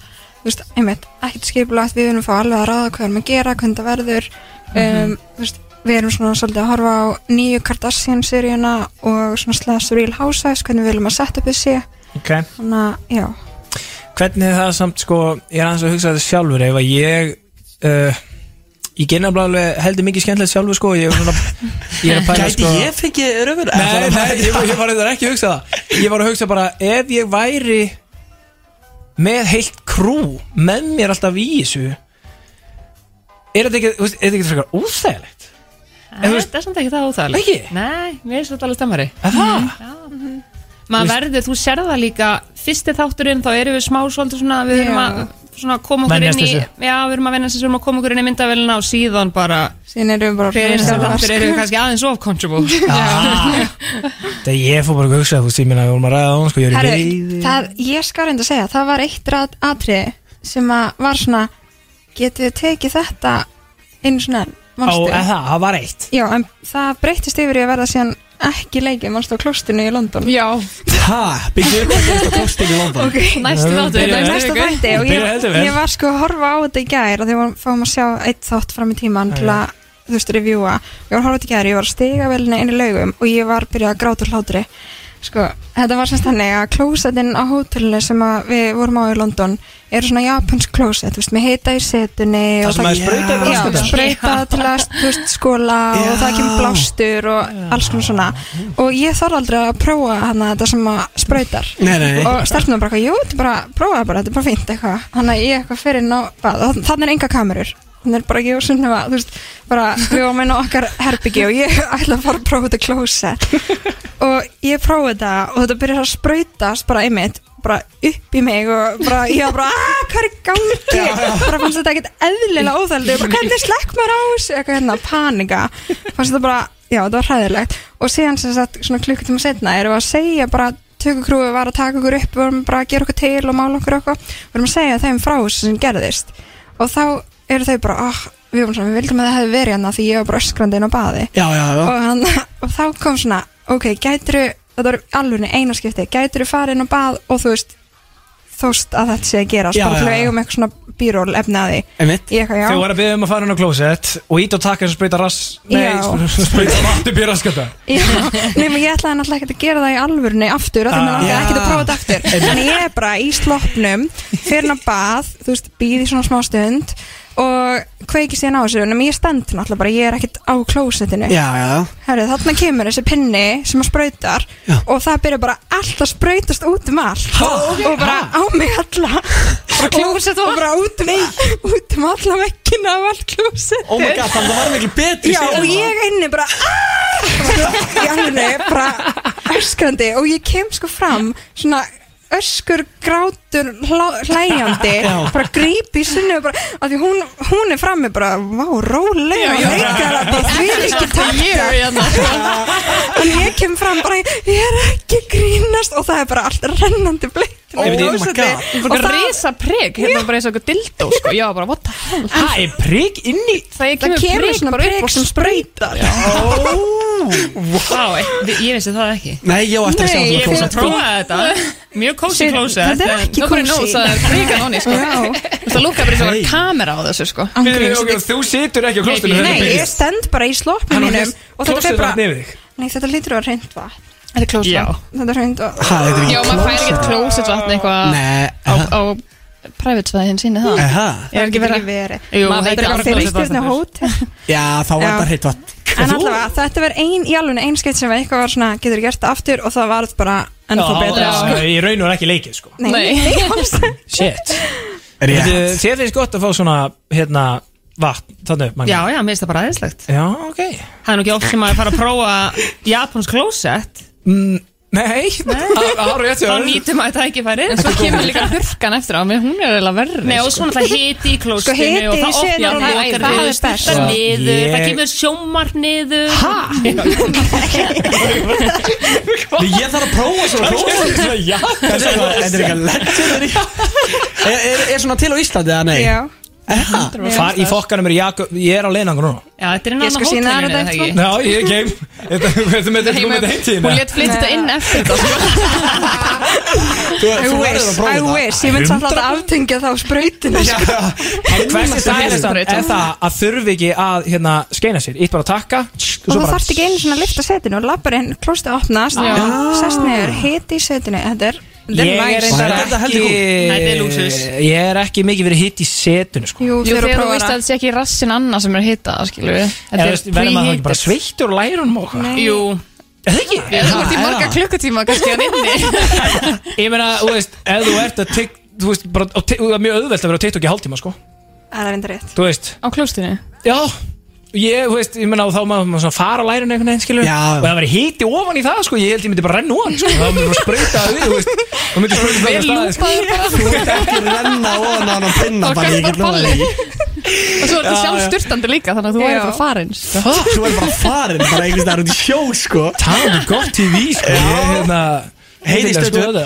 Speaker 4: þú veist, einmitt, ekkert skipulagt, við erum fá alveg að ráða hvað við erum að gera, hvernig það verður,
Speaker 3: Mhm.
Speaker 4: um, þú veist, við erum svona svolítið að horfa á nýju Kardashian-seríuna og svona slags Real Housewives, hvernig við viljum að setja upp þessi,
Speaker 3: ok
Speaker 4: þannig að, já,
Speaker 3: hvernig er það samt sko ég er aðeins að hugsa þetta sjálfur ef að ég uh, ég genna alveg heldur mikið skemmtilegt sjálfur sko ég er svona ég er að pæla
Speaker 2: Gæti
Speaker 3: sko
Speaker 2: ég fengið röfur?
Speaker 3: Nei, nei, ég, var- ég var eitthvað ekki að hugsa það Ég var að hugsa bara, ef ég væri með heilt krú með mér alltaf í þessu er þetta ekki, þú veist, er þetta ekki frekar óþægilegt?
Speaker 11: Nei, Þetta er samt ekki það óþægilegt
Speaker 3: Ekki?
Speaker 11: Nei, mér er svolítið alveg stemmari
Speaker 3: Er
Speaker 2: Mhm.
Speaker 3: það?
Speaker 11: Maður verður, þú sér það líka fyrsti þátturinn, þá erum við smá svolítið svona, við erum
Speaker 4: Já.
Speaker 11: að svona koma okkur
Speaker 3: Venjast
Speaker 11: inn í
Speaker 3: þessu.
Speaker 11: já, við erum að venja þessu, við erum að koma okkur inn í myndavélina og síðan bara
Speaker 4: síðan erum við bara
Speaker 11: fyrir
Speaker 4: Já.
Speaker 11: þáttur erum við kannski aðeins of comfortable
Speaker 3: Já. Þegar ég fór bara að hugsa, þú veist, ég minna, við vorum að ræða á hún, sko, ég er í
Speaker 4: Herru,
Speaker 3: reyði.
Speaker 4: það, ég skal reynda að segja, það var eitt ræð atriði sem að var svona getum við tekið þetta einu svona,
Speaker 3: Ó, eða það, það var eitt.
Speaker 4: Já, en það breytist yfir í að verða síðan ekki leikið, manstu á klostinu í London
Speaker 11: Já,
Speaker 2: Ha, byggðu upp að gerist á klostinu í London
Speaker 4: ok,
Speaker 11: Næsti þáttur,
Speaker 4: Þetta er
Speaker 11: heldur
Speaker 4: næsta
Speaker 11: vel.
Speaker 4: þætti og
Speaker 2: Byrjar
Speaker 4: ég,
Speaker 2: heldur vel.
Speaker 4: ég var sko að horfa á þetta í gær og þegar fáum að sjá eitt þátt fram í tíman til að, þú veist, revjúa ég var að horfa á þetta í gær, ég var að stiga velinni inn í laugum og ég var byrjað að gráta úr hlátri sko, þetta var semst þannig að klósetin á hótelinu sem að við vorum á í London eru svona japansk klóset, þú veist, með hita í setunni
Speaker 3: Það
Speaker 4: og
Speaker 3: sem maður sprautar í
Speaker 4: Já,
Speaker 3: rassgatið.
Speaker 4: sprauta til að, þú veist, skóla og það kemur blástur og alls konar svona og ég þarf aldrei að prófa hana þetta sem að sprautar
Speaker 2: Nei, nei, nei.
Speaker 4: og stelpunum bara, eitthvað, jú, þetta er bara, prófa það bara, þetta er bara fínt eitthvað þannig að ég eitthvað fyrir inn á bað og þannig er enga kamerur þannig er bara ekki og sunnum að, þú veist, bara við varum inn á okkar herbyggi og ég ætla að fara að prófa þetta klósett og ég prófa þetta og þetta byrjar að sprautast bara einmitt bara upp í mig og bara, ég var bara aah, hvað er í gangi bara fannst þetta ekkert eðlilega óþældi bara hvernig slekk maður á þessu eitthvað hérna, panika fannst þetta bara, já, þetta var hræðilegt og síðan sem sagt, svona klukkutíma setna erum við að segja bara tökukrúi var að taka okkur upp við vorum bara að gera okkur til og mála okkur okkur við vorum að segja þeim frá þessu sem gerðist og þá eru þau bara, ah, við vorum svona við vildum að það hefði verið hérna því ég var bara öskrandi inn á baði
Speaker 2: Já, já, já
Speaker 4: og, hann, og þá kom svona ok, gætur þetta var alveg eina skipti, gætur þú farin og bað og þú veist þóst að þetta sé að gera,
Speaker 3: Já,
Speaker 4: bara til
Speaker 3: já,
Speaker 4: að
Speaker 3: já.
Speaker 4: eigum eitthvað svona bíról efnaði
Speaker 2: Einmitt.
Speaker 4: ég eitthvað já,
Speaker 3: Þau voru að byggja um að fara inn á klósett og ít og taka þess að spreyta rass, nei,
Speaker 4: Já.
Speaker 3: spr- sprauta vatn upp í raskata.
Speaker 4: já. nema ég ætlaði náttúrulega ekkert að gera það í alvörni aftur, af því
Speaker 3: Ah.
Speaker 4: að það er ekkert að prófa þetta aftur
Speaker 3: Einmitt.
Speaker 4: þannig ég er bara í sloppnum fyrir að bað, þú veist, býð í svona smá stund og kveiki síðan á þessu nema ég stend náttúrulega bara, ég er ekkert á klósettinu
Speaker 2: Já, já, já
Speaker 4: Herri, þarna kemur þessi pinni sem að sprautar og það byrjar bara allt að sprautast út um allt og bara á mig alla og, og bara út um, út um alla vekkina af allt klósett
Speaker 2: Oh my god, þannig að það var miklu betri
Speaker 4: Já,
Speaker 2: síðan
Speaker 4: og ég einni bara "Ah!" í alvegni, bara öskrandi og ég kem sko fram svona öskur, grátur, hlá, hlæjandi
Speaker 2: Já.
Speaker 4: bara gríp í sunni og bara, af því hún, hún er frammi bara, vá, rólega
Speaker 11: Já, já.
Speaker 4: leikara, bara því ekki takta
Speaker 11: hérna.
Speaker 4: Þannig ég kem fram bara, ég er ekki að grínast og það er bara allt rennandi bleitt
Speaker 2: Ég veit, oh my God.
Speaker 11: Og
Speaker 4: Og
Speaker 11: bara
Speaker 4: það-
Speaker 11: risa prigg, hérna bara eins og eitthvað dildó sko. Já, bara what the hell
Speaker 3: Það er prigg inn í...
Speaker 11: Það
Speaker 4: Það
Speaker 11: kemur
Speaker 4: kemur
Speaker 11: prigg
Speaker 4: svona
Speaker 11: bara upp
Speaker 4: prigg
Speaker 11: og
Speaker 4: sem sprautar
Speaker 11: Vá, ég ég vissi það ekki
Speaker 2: Nei, ég á eftir að sjá
Speaker 4: Nei,
Speaker 2: svona
Speaker 4: ég-
Speaker 11: Ég finnst
Speaker 2: klósett
Speaker 11: að prófa þetta Mjög cozy
Speaker 4: Shit,
Speaker 11: closet
Speaker 4: þetta er
Speaker 11: en
Speaker 4: ekki
Speaker 11: nobody
Speaker 4: cozy.
Speaker 11: knows að Það er priggan onni sko.
Speaker 4: Já.
Speaker 11: Það lúka bara eins og það var kamera á þessu sko.
Speaker 4: Ángríns,
Speaker 3: Ok, Þú situr ekki á klóstinu.
Speaker 11: Nei,
Speaker 4: Nei, ég stend bara í sloppinu mínum og þetta fer bara,
Speaker 3: Nei,
Speaker 4: nei þetta lítur að reynd vatn
Speaker 11: Þetta er Já.
Speaker 4: klósett Þetta er hreint og
Speaker 2: Ha, þetta er
Speaker 11: Já,
Speaker 2: ekki
Speaker 11: maður fær ekkert
Speaker 2: klósett
Speaker 11: closet vatn eitthvað
Speaker 2: Nei,
Speaker 11: á, á private svæði hinn síni það
Speaker 2: eha
Speaker 11: Ég er ekki verið að
Speaker 4: verið
Speaker 11: Jú,
Speaker 4: Maður
Speaker 11: heitir
Speaker 4: veit
Speaker 11: alveg
Speaker 4: ekki fyrir
Speaker 11: closet vatn
Speaker 4: stjórna hótel
Speaker 2: Já, þá var
Speaker 4: Já.
Speaker 2: þetta hreitt vatn
Speaker 4: En allavega, þetta var ein, í alveg ein skeitt sem var eitthvað var svona, getur gert það aftur og það var bara ennþá betra sko.
Speaker 3: Ég raun og er ekki leikið, sko.
Speaker 4: Nei,
Speaker 11: Nei.
Speaker 4: nei, alls ekki.
Speaker 3: Shit.
Speaker 2: Er ég
Speaker 3: Þið þér finnst gott að fá svona, hérna, vatn, þannig upp,
Speaker 11: Já, já, mér finnst það bara aðeinslegt
Speaker 3: Já, ok.
Speaker 11: Það er nú ekki oft sem maður fara að prófa Japans closet
Speaker 3: Mm, Nei, ára rétt hjá
Speaker 11: Þá
Speaker 3: þér.
Speaker 11: nýtum maður tækifæri En svo kemur líka hurkan eftir á mig Hún er eiginlega verri sko.
Speaker 10: Nei, og
Speaker 11: svona það hiti í klóstinu
Speaker 4: Sko, hiti og það í opnar senunni, og það lokar það er niður, best. sturtar
Speaker 3: niður, það Ég- kemur
Speaker 11: sjómar niður
Speaker 2: Nei, Ég þarf að prófa svona klósett Þetta er eitthvað- þetta er eitthvað legendary Er- Er er svona til á Íslandi eða nei?
Speaker 4: Já,
Speaker 2: Eha.
Speaker 3: Far í fokkanum er Jakob, ég er á leiðangur núna.
Speaker 11: Já, þetta er
Speaker 4: Ég
Speaker 11: innan
Speaker 4: skal sýna þér þetta eitthvað.
Speaker 3: Já, ég er game. Þetta þetta með þetta með þetta heimtíðina.
Speaker 11: Hún let flytta þetta inn eftir þetta sko.
Speaker 2: Þú
Speaker 4: I
Speaker 2: þú verður að
Speaker 4: wish,
Speaker 2: prófa
Speaker 4: I
Speaker 2: þetta
Speaker 4: wish Ég mynd samt að aftengja þá sprautinu sko.
Speaker 3: En hversu sæðist er það að þurfi ekki að hérna, skeina sér, eitt bara að takka
Speaker 4: Og þú þarft ekki einu svona að lifta setinu og lappar inn, klósta opnast
Speaker 11: Já.
Speaker 4: sest niður, hiti í setinu Þetta er, þetta
Speaker 3: Ég
Speaker 4: er
Speaker 3: er
Speaker 4: næs
Speaker 2: reyndar-
Speaker 3: reyndar
Speaker 2: Þetta er
Speaker 3: ekki
Speaker 2: heldur
Speaker 11: góð. Þetta er lúxus.
Speaker 3: Ég er ekki mikið verið hitt í setinu sko.
Speaker 4: Jú,
Speaker 11: Jú,
Speaker 4: þegar
Speaker 11: þegar þú
Speaker 4: prófa
Speaker 11: veist að
Speaker 4: það
Speaker 11: þetta sé ekki rassin annað sem er hitta skilur við
Speaker 3: Eða
Speaker 11: Þetta
Speaker 3: veist, verður maður þá ekki bara sveittur og lærunum og hvað?
Speaker 11: Jú,
Speaker 3: Eða ekki?
Speaker 11: þú ert í marga klukkutíma kannski að inni
Speaker 3: Ég meina, þú veist, ef þú ert að tigg Þú veist, bara, á ti- það er mjög auðvelt að vera á TikTok í hálftíma, sko
Speaker 4: Það er reyndar rétt
Speaker 3: Þú veist,
Speaker 11: Á klóstinu
Speaker 3: já ég, þú veist, ég menna þá maður maður svona fara á lærinu einhvern veginn, skilur
Speaker 2: Já.
Speaker 3: og það væri híti ofan í það, sko, ég held ég myndi bara renna ofan, sko, þá myndi bara sprauta að við, þú veist þá myndi sprauta
Speaker 2: Vel lúpaður bara. Þú ert ekki að renna ofan á hann á pinna, bara, ég get lofað því.
Speaker 11: Og svo ertu
Speaker 2: Já, já.
Speaker 11: sjálfsturtandi líka Þannig að þú
Speaker 2: Já.
Speaker 11: væri bara farin
Speaker 2: Fuck, þú er bara farin bara einhvers þar út í sjó sko
Speaker 3: Talandi gott TV sko Ég er hérna
Speaker 2: Heidi
Speaker 3: Heidi
Speaker 2: stöðu
Speaker 3: stöðu,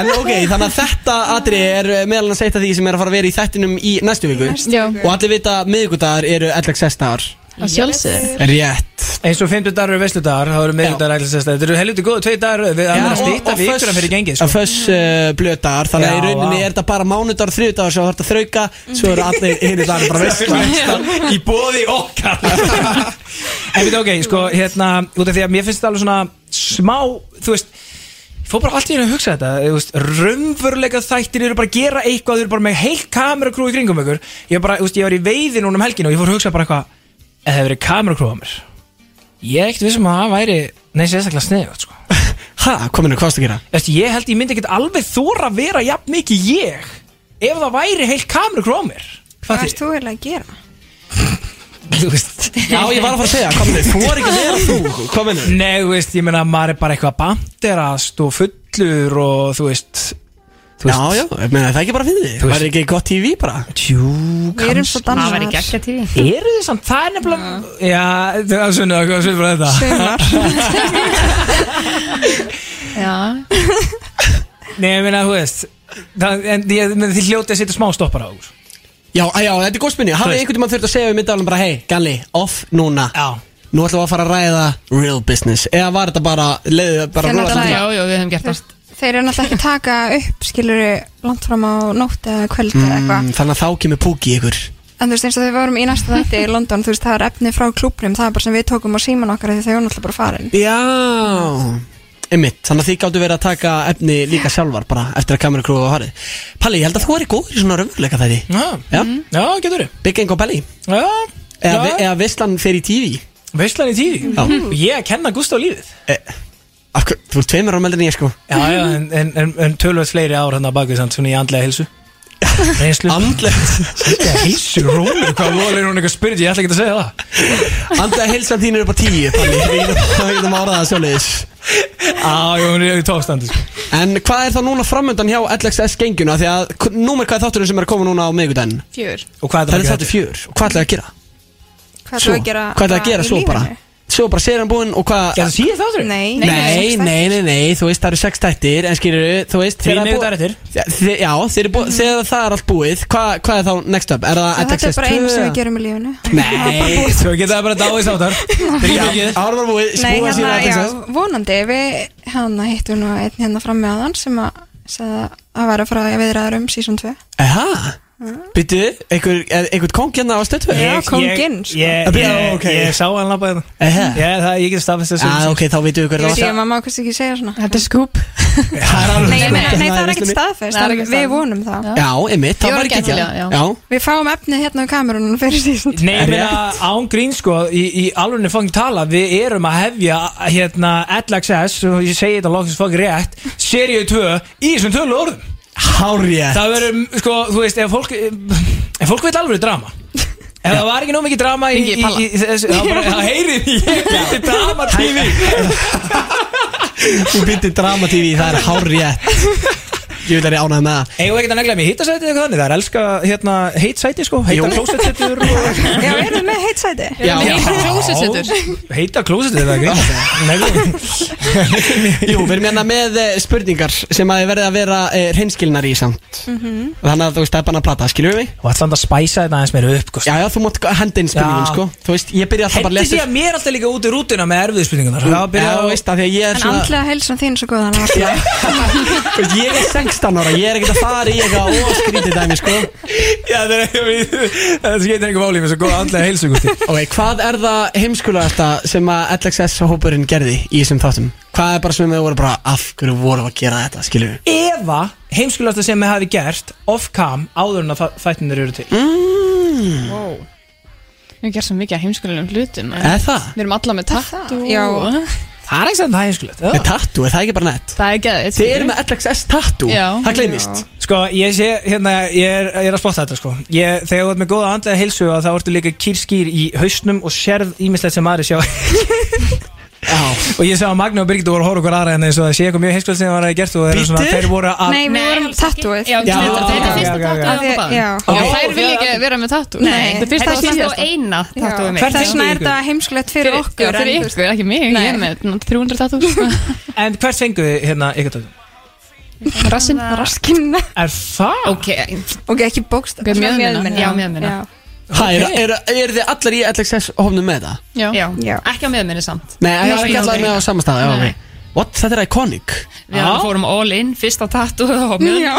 Speaker 2: En ok, þannig að þetta atri er eh, meðal annars eitt af því sem er að fara að vera í þættinum í næstu viku
Speaker 11: Næstu viku.
Speaker 2: Og allir vita að miðvikudagar eru 11.6 dagar
Speaker 11: Að sjálfsögðu.
Speaker 2: Rétt
Speaker 3: eins og 50 dagar eru veisludagar, það eru miðvikudagar ætlis þess að þetta eru helviti góðu tvei dagar við
Speaker 2: Já,
Speaker 3: erum að
Speaker 2: og-
Speaker 3: stýta
Speaker 2: og
Speaker 3: vikuna
Speaker 2: föss-
Speaker 3: fyrir gengið sko.
Speaker 2: Að föss uh, blötaðar Þannig að
Speaker 3: Já,
Speaker 2: í rauninni
Speaker 3: vá.
Speaker 2: er þetta bara mánudagar, þriðudagar Svo þarf þetta að þrauka Svo eru allir hinn í dagar bara veist sko.
Speaker 3: Í bóði okkar En við ok, sko, hérna út af því að mér finnst þetta alveg svona smá þú veist, ég fór bara allt í einu að hugsa þetta þú veist, raunveruleika þættir eru bara að gera eitthvað, þau eru bara með heilt kamerakrú í kringum ykkur, ég var bara, þú veist, ég var í veiði núna um helginu og ég fór að hugsa bara eitthvað ef það hefur verið kamerakrú á mér ég er ekkert vissum að það væri nei, sérstaklega sniðið, sko
Speaker 2: Ha, kominu, hvað varstu að gera?
Speaker 3: Eftir, ég held ég myndi ekkert alveg þóra að vera jafn mikið ég ef það væri heilt kamerakrú á mér
Speaker 4: Hvað erst þú eiginlega að gera?
Speaker 3: Þú veist
Speaker 2: Já, ég var að fara að segja, kominu, þú er ekki meira þú Kominu
Speaker 3: Nei, þú veist, ég meina maður er bara eitthvað banderast og fullur og þú veist þú
Speaker 2: Já, já, ég meina, það er ekki bara fyrir því
Speaker 3: Þú
Speaker 2: Það
Speaker 3: veist-
Speaker 2: er ekki gott TV bara
Speaker 3: Tjú,
Speaker 4: Við erum svo
Speaker 11: Það væri
Speaker 4: dansaðar
Speaker 11: geggja tíu
Speaker 3: Eru þið samt, það er nefnilega Já, það er svona, hvað er svona þetta?
Speaker 4: Sumar
Speaker 11: Já,
Speaker 3: Nei, ég meina, þú veist það, En ég, menn, þið hljótið að setja smá stoppar á úr
Speaker 2: Já, að já, þetta er góðspunni Hafið
Speaker 3: veist.
Speaker 2: einhvern tímann þurft að segja við myndavælum bara Hei, Galli, off núna
Speaker 3: Já
Speaker 2: Nú ætlum við að fara að ræða real business Eða var þetta bara, leiðu bara
Speaker 4: Þegar
Speaker 2: rosa-
Speaker 11: já,
Speaker 4: náttúrulega-
Speaker 11: já, við hefum gert það
Speaker 4: Þeir eru náttúrulega ekki að taka upp skiluru langt fram á nótt eða kvöld eða eitthvað
Speaker 2: mm, Þannig að þá kemur púki í ykkur
Speaker 4: En þú veist eins og þegar við vorum í næsta þætti í London þú veist það er efni frá klúbnum það er bara sem við tókum á síman okkar því þau eru náttúrulega bara farin
Speaker 2: Já Einmitt, þannig að þið gáttu verið að taka efni líka sjálfar bara eftir að kameru krúið á harið Palli, ég held að þú er í góður í svona raunveruleika þætti
Speaker 3: Já,
Speaker 2: Já,
Speaker 4: Mhm.
Speaker 3: já getur þið
Speaker 2: Big Gang og Palli
Speaker 3: Já,
Speaker 2: Eða,
Speaker 3: já.
Speaker 2: vi- eða Vistlan fer í TV
Speaker 3: Veistlan í tíði
Speaker 2: Já.
Speaker 3: Ég að kenna Gustaf lífið
Speaker 2: e, af, hver- Þú ert tveimur ámeldur en ég sko
Speaker 3: Já, já, en, en, en, en tölvöld fleiri ár hérna hann að baki samt svona í andlega hilsu Reynslu
Speaker 2: Andlegt
Speaker 3: Andlega hilsu, rólu, hvað voru er hún eitthvað spirit, ég ætla ekki að segja það
Speaker 2: Andlega heilsan þín er upp á tíu Palli, við getum- við getum að orða það sjóliðis
Speaker 3: Já, já, hún er í tófstandi sko.
Speaker 2: En hvað er þá núna framöndan hjá LXS genguna Því að, k- númer hvað er þátturinn sem er að koma núna á miðvikudaginn
Speaker 11: Fjör
Speaker 3: Og hvað
Speaker 2: Það
Speaker 3: er
Speaker 2: er
Speaker 3: það
Speaker 2: þáttur fjör, og hvað ætlaðu að gera?
Speaker 4: Hvað
Speaker 2: Svo,
Speaker 4: ætlum við að gera
Speaker 2: hvað ætlaðu að
Speaker 4: bara
Speaker 2: gera
Speaker 4: í
Speaker 2: svo bara?
Speaker 4: lífinu?
Speaker 2: Svo bara serían búin og hvað
Speaker 3: Gerðu síðan þáttur?
Speaker 4: Nei,
Speaker 2: Nei, nei, nei, nei, þú veist, það eru sex tættir En skilur, þú veist
Speaker 3: Því
Speaker 2: þegar það er
Speaker 3: miðvikudagur
Speaker 2: búið-
Speaker 3: eftir.
Speaker 2: Já, þi- Já, þegar, búið, þegar það er allt búið Hvað hvað er þá next up? Er það
Speaker 4: Mhm. En Þetta er
Speaker 2: LXS2?
Speaker 4: bara einu sem við gerum í lífinu
Speaker 2: Nei,
Speaker 3: Svo geta það bara dáið sáttar Þrjá
Speaker 2: ára var búið,
Speaker 4: Nei,
Speaker 2: spúið
Speaker 4: hérna,
Speaker 2: síðan
Speaker 4: já,
Speaker 2: LXS
Speaker 4: vonandi við hérna hittum nú einn hérna fram með aðan sem að sagði að það væri að fara að viðraður um sísón 2
Speaker 2: Eha, byttu, einhver, er einhvern kong hérna á stötu?
Speaker 4: Já, kónginn, sko.
Speaker 3: Ég,
Speaker 2: Já,
Speaker 3: ég,
Speaker 2: ok.
Speaker 3: ég sá hann labba hérna
Speaker 2: Ehe.
Speaker 3: Ég, það, ég get staðfist þessu
Speaker 2: Já, Ah, ok, þá veitum við
Speaker 4: Ég
Speaker 2: hver
Speaker 4: veit
Speaker 2: það
Speaker 4: ég
Speaker 2: var
Speaker 4: að maður má kannski ekki segja svona
Speaker 11: Þetta er skúp
Speaker 2: Það er alveg
Speaker 4: Nei, ég
Speaker 2: sko.
Speaker 4: meina, nei það er ekkert
Speaker 2: veistu mér.
Speaker 4: staðfest
Speaker 11: Nei, það er
Speaker 4: en
Speaker 11: ekkert
Speaker 4: Við
Speaker 11: staðfest.
Speaker 4: vonum það
Speaker 2: Já, einmitt,
Speaker 11: Ég
Speaker 2: það
Speaker 11: var ekki
Speaker 2: var ekki ekki
Speaker 11: að telja, já.
Speaker 2: Já,
Speaker 4: Við fáum efnið hérna á kamerunum fyrir sísón 2
Speaker 3: Nei, ég meina án grín sko Í, í alveg fangin tala Við erum að hefja hérna LXS Og ég segi þetta loksins fangin rétt Seríu 2 í þessum tölu orðum
Speaker 2: hárið
Speaker 3: Það verður, sko, þú veist, ef fólk Ef fólk veit alveg drama Ef það var ekki nóg mikið drama í, í,
Speaker 11: Hringi í Palla.
Speaker 3: í, í þessu Það bara, það heyrið í Ég geti drama TV
Speaker 2: Þú byttu dramatífi, það er hárið Ég vil að ég ánægð með það
Speaker 3: Eigum við ekkert að negla mig hittasætið eitthvað þannig? Það er elska, hérna, heitsæti, sko Heita
Speaker 2: Jú.
Speaker 3: klósetsetur og...
Speaker 4: Já, erum við með heitsæti?
Speaker 2: Já,
Speaker 11: Með
Speaker 2: já.
Speaker 11: heitt klósetsetur
Speaker 3: Heita klósetsetur, það er grín Neglum
Speaker 2: Jú, við erum hérna með eh, spurningar sem að þið verðið að vera eh, reynskilnar í samt Þannig að þú veist, það er bara að plata, skiljum við?
Speaker 3: Og að samt að spæsa þetta aðeins meira upp, sko
Speaker 2: Já, já, þú mátt henda inn spurningum,
Speaker 3: Já.
Speaker 2: sko Þú veist, ég byrja alltaf bara að
Speaker 3: Hendi
Speaker 2: lesa
Speaker 3: því að mér alltaf líka út í rútuna með erfiðu spurningunar Já,
Speaker 2: Já,
Speaker 3: byrja
Speaker 2: þú
Speaker 3: að
Speaker 2: veist, af því að ég er
Speaker 4: En
Speaker 2: svona
Speaker 4: andlega helsan þín er svo góð þannig að-
Speaker 2: Þú veist, Ég er 16 ára, ég er ekkert að fara í eitthvað óskrítið dæmi, sko
Speaker 3: Já, það er Það skeitir einhver máli með svo góða andlega heilsugústi
Speaker 2: Ok, hvað er það heimskulegasta sem að LXS-hópurinn gerði í þessum þáttum? Hvað er bara sem við voru bara, af hverju voru að gera þetta, skiljum við?
Speaker 3: Eva, heimskulasta sem þið hafi gert off-cam áður en að þa- þættinir eru til
Speaker 10: Hmm.
Speaker 11: Wow Við erum gert svo mikið að heimskulegum hlutum en
Speaker 2: Eða Eh? það?
Speaker 11: Við erum alla með tattu
Speaker 4: Já.
Speaker 3: Það er ekki sem það heimskulast
Speaker 2: Með tattoo, er það ekki bara nett?
Speaker 11: Það er geðið
Speaker 2: Þið eru með LXS tattoo,
Speaker 11: Já.
Speaker 2: það gleymist
Speaker 3: Sko, ég sé, hérna, ég er, ég er að spotta þetta sko ég, Þegar þú ert með góða andlega heilsu að þá ertu líka kýrskýr í hausnum og sérð ímislegt sem aðri sjá Og ég sá að Magna og Birgit voru að horfa okkur aðra en eins og það sé eitthvað mjög heilskvöld sem það var að gert og þeir eru svona,
Speaker 4: Bíddu?
Speaker 3: þeir voru að
Speaker 4: Nei, við vorum tattúið
Speaker 10: Já,
Speaker 3: Já,
Speaker 10: þetta þetta
Speaker 3: ok,
Speaker 10: er fyrsta
Speaker 3: ok, ok.
Speaker 10: tattúið
Speaker 4: Af því- já. Ok.
Speaker 10: Já, þær vilja ekki vera með tattú
Speaker 4: Nei.
Speaker 10: Þetta er
Speaker 4: Þetta
Speaker 10: fyrsta og
Speaker 4: er
Speaker 10: samt og
Speaker 4: síðasta.
Speaker 10: eina tattúið mitt
Speaker 4: Þess vegna er þetta heimskulegt fyrir okkur
Speaker 10: Fyrir
Speaker 4: en-
Speaker 10: ykkur, ekki mig, ég er með 300 tattú
Speaker 3: En hvert fenguð þið hérna ykkur tattoo?
Speaker 10: Rassin
Speaker 4: Raskinn
Speaker 3: Er það?
Speaker 10: Ok,
Speaker 4: Ok, ekki bókst
Speaker 10: Ok, mjöðmina. Já, mjöðmina.
Speaker 2: Hæ, eru er, er þið allar í LXS hófnum með það?
Speaker 10: já.
Speaker 2: Já.
Speaker 10: Ekki á miðminni samt
Speaker 2: Nei, ég er ekki allar
Speaker 10: aldrei.
Speaker 2: með á samastaði
Speaker 10: Nei.
Speaker 2: okay. What, þetta er iconic
Speaker 10: Við hann fórum all in, fyrsta tattoo á miðminni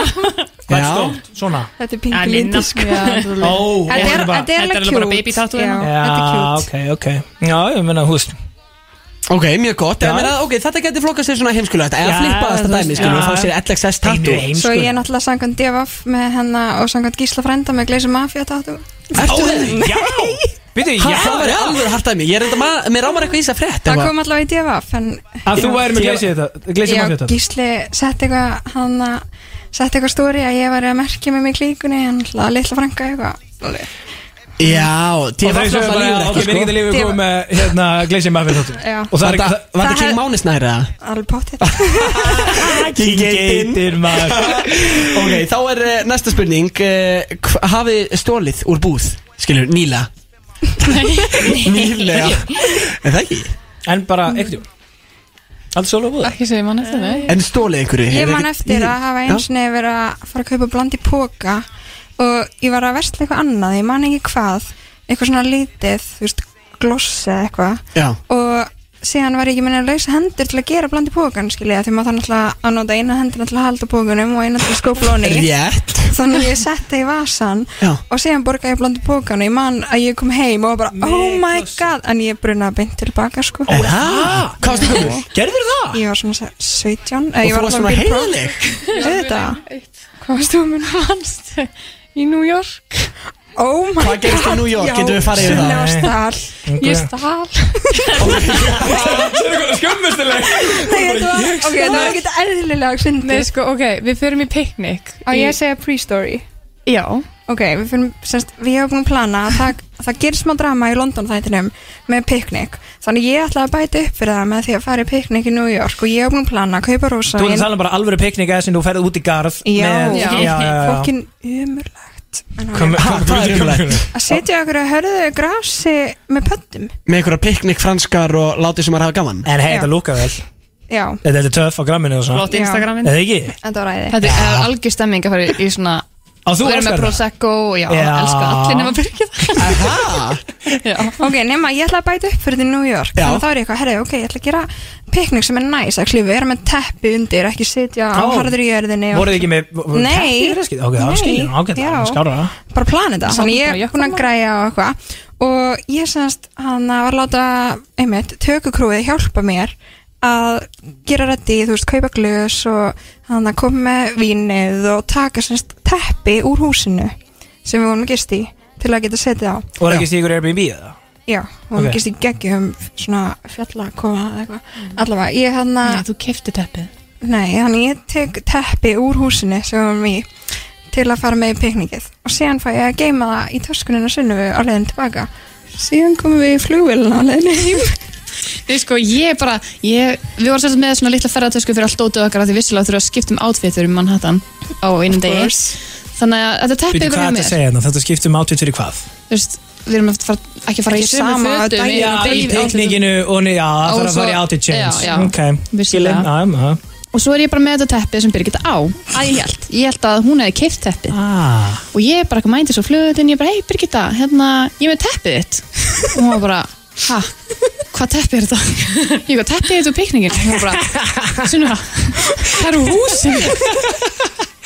Speaker 3: Hvað er stórt? Svona?
Speaker 4: Þetta er
Speaker 10: Ja,
Speaker 4: pingu
Speaker 10: Ninna.
Speaker 4: lítið sko
Speaker 10: Já, þetta er-
Speaker 3: Ó,
Speaker 4: Þetta er-
Speaker 3: hún bara-
Speaker 4: þetta er alveg
Speaker 10: bara
Speaker 4: cute.
Speaker 10: baby tattoo
Speaker 4: Já,
Speaker 10: hérna.
Speaker 4: þetta er
Speaker 3: Já,
Speaker 4: cute
Speaker 3: ok, ok Já, ég meina, húst
Speaker 2: Ok, mjög gott
Speaker 3: Já.
Speaker 2: Ég meina, ok, Þetta getur flokkast þér svona heimskulegt Eða
Speaker 3: Já,
Speaker 2: flippaðast
Speaker 3: þú
Speaker 2: að
Speaker 3: veist,
Speaker 2: dæmi, skilur við
Speaker 3: já.
Speaker 2: Fá sér LXS tattoo
Speaker 4: Svo ég er náttúrulega sangkvæmt Devaf með hennar og sangkvæmt Gísla frænda með Gleisi Mafia tattoo
Speaker 2: Ertu það?
Speaker 3: Já Býtu,
Speaker 2: já Það var alveg hartæmi Ég er enda maður, mér rámar eitthvað í þess að frétt
Speaker 4: Það
Speaker 2: ef að-
Speaker 4: kom allavega í Devaf en-
Speaker 3: Að þú væri með gleysið þetta, gleysið maður
Speaker 4: Já,
Speaker 3: þetta
Speaker 4: Gísli sett eitthvað hann að sett eitthvað stóri að ég var að merkja með mig klíkunni en alltaf litla franga eitthvað
Speaker 2: Já,
Speaker 3: Og
Speaker 2: DFF
Speaker 3: þeir sögðu
Speaker 2: náttúrulega
Speaker 3: bara,
Speaker 2: líður
Speaker 3: ok,
Speaker 2: ekki,
Speaker 3: við
Speaker 2: sko.
Speaker 3: getum lífið komið með hérna gleysið maður þetta
Speaker 4: Já.
Speaker 3: Og það
Speaker 2: Var
Speaker 3: er ekki
Speaker 2: þetta- Var þetta King Mánis nærið það?
Speaker 4: alveg potið
Speaker 3: Geitir maður
Speaker 2: Ok, þá er uh, næsta spurning uh, Hafið stólið úr búð Skilur, nýla Nýlega En það ekki
Speaker 3: En bara, ekkert jú Aldrei sólu á búða
Speaker 10: Ekki sem ég mann eftir, nei
Speaker 2: En stólið einhverju
Speaker 4: Ég
Speaker 2: hefur
Speaker 4: man
Speaker 2: ekkert-
Speaker 4: eftir að hafa eins
Speaker 2: Já.
Speaker 4: og verið að fara að kaupa bland í póka og ég var að versla eitthvað annað, ég man ekki hvað eitthvað svona lítið, þú veist gloss eða eitthvað
Speaker 2: Já
Speaker 4: og síðan var ég ekki minna að lausa hendur til að gera bland í pókan skilja því maður þannig að nota eina hendur til að halda pókunum og eina til að skópla honi
Speaker 2: Rétt
Speaker 4: þannig að ég setti í vasan
Speaker 2: Já.
Speaker 4: og síðan borgaði ég bland í pókan og ég man að ég kom heim og var bara oh my god en ég brunaði beint tilbaka sko
Speaker 2: Er það? Hvað varstu gömul?
Speaker 3: Gerður það?
Speaker 4: ég var svona eh, 17
Speaker 2: Og þú varst svona heiðaleg
Speaker 4: Þetta? Hvað varst þú minn fannst í New York? Oh my
Speaker 2: Hvað gerist í New York?
Speaker 4: já,
Speaker 2: Getum við farið yfir það?
Speaker 4: Sunna á stál
Speaker 10: Ég stál
Speaker 3: Skömmustileg
Speaker 4: Nei, þetta var, ok, þetta var ekkert eðlilega
Speaker 10: Nei,
Speaker 4: syndir
Speaker 10: sko, ok, við förum í piknik
Speaker 4: Á ég að segja pre-story
Speaker 10: Já
Speaker 4: Ok, við fyrir, semst, við hefum búin að plana að það, það gerir smá drama í London þættinum með piknik Þannig ég ætlaði að bæta upp fyrir það með því að fara í piknik í New York og ég hef búin að plana að kaupa rosa
Speaker 3: Þú ert að tala um bara alvöru piknik eða sem þú ferð út í garð
Speaker 4: Já,
Speaker 3: með-
Speaker 4: já,
Speaker 3: já, já.
Speaker 4: fokkin umurlegt En ok.
Speaker 3: Kom- kom-
Speaker 2: Það er umlegt
Speaker 4: Að setja okkur að hörðu grasi með pöttum
Speaker 2: Með einhverja piknik franskar og látið sem að hafa gaman
Speaker 3: En hei,
Speaker 4: Já.
Speaker 3: þetta lúka vel
Speaker 4: Já,
Speaker 3: Þetta er töff á gramminu og svona
Speaker 10: Flott Instagramin
Speaker 3: Eða ekki?
Speaker 4: þetta var æði
Speaker 10: Þetta er eh, algjör stemming að fara í svona
Speaker 3: Á þú
Speaker 10: Við erum með
Speaker 3: elskar það?
Speaker 10: Prosecco Já,
Speaker 3: Já.
Speaker 10: elska allir nema byrgið
Speaker 2: Aha.
Speaker 4: Ok, nema ég ætla að bæta upp fyrir því New York
Speaker 2: Já.
Speaker 4: Þannig þá er ég eitthvað, herri, ok, ég ætla að gera piknik sem er næs að klifu, vera með teppi undir ekki sitja á
Speaker 3: Ó.
Speaker 4: harður í jörðinni og-
Speaker 3: Voruð þið ekki með
Speaker 4: Nei.
Speaker 3: teppi, Ok, það
Speaker 4: Nei.
Speaker 3: skilur hún ágætt
Speaker 4: Já.
Speaker 3: Það skára það
Speaker 4: bara plana þetta,
Speaker 10: Samt
Speaker 4: þannig
Speaker 10: bara
Speaker 4: ég er
Speaker 10: jökkum
Speaker 4: búin að græja og eitthvað og ég semst hann var að láta einmitt, tökukrúið hjálpa mér að gera reddi, þú veist, kaupa glös og hann að koma með vínið og taka semst teppi úr húsinu sem við vorum gist í til að geta setið á
Speaker 3: Og er ekki stíkur Airbnb eða?
Speaker 4: já, og hann
Speaker 3: Ok.
Speaker 4: gist í geggjum svona fjallakofa eða eitthvað allavega, ég hann að
Speaker 10: þú kefti teppið
Speaker 4: Nei, þannig ég tek teppi úr húsinu sem var mér til að fara með í piknikið og síðan fæ ég að geima það í töskuninu sunnu á leiðin tilbaka síðan komum við í flugvélina á leiðinu heim
Speaker 10: Nei, sko, ég bara ég, Við varum sérst með svona litla ferðartösku fyrir allt dótið okkar af Því vissilega þurfa að skipta um átfitur um Manhattan á einum degi Þannig að þetta
Speaker 3: Býtu,
Speaker 10: teppið
Speaker 3: hvað er
Speaker 10: var hjá
Speaker 3: þetta að
Speaker 10: mér
Speaker 3: segja hérna? Þetta skiptum átvitt fyrir hvað?
Speaker 10: Þú veist, Við erum að fara, ekki að fara í
Speaker 4: Ekki
Speaker 10: sömu
Speaker 4: sama
Speaker 10: fötum
Speaker 4: daginn.
Speaker 10: við
Speaker 3: Já,
Speaker 10: erum að
Speaker 3: í
Speaker 10: deila í átfitum.
Speaker 3: teikninginu og nei, já, það
Speaker 10: Og
Speaker 3: þarf að
Speaker 10: svo-
Speaker 3: fara í outfit change
Speaker 10: já, já.
Speaker 3: Ok,
Speaker 10: Vissulega.
Speaker 3: skilum, já, já
Speaker 10: Og svo er ég bara með þetta teppið sem Birgitta á að ég held, ég held að hún hefði keift teppið
Speaker 3: Ah,
Speaker 10: og ég bara ekki mændi svo flöðutinn ég bara, hei Birgitta, hérna, ég er með teppið þitt og hún var bara, ha hvað teppið er þetta? ég var teppið þitt úr pikningin og hún bara, sunna, það eru húsin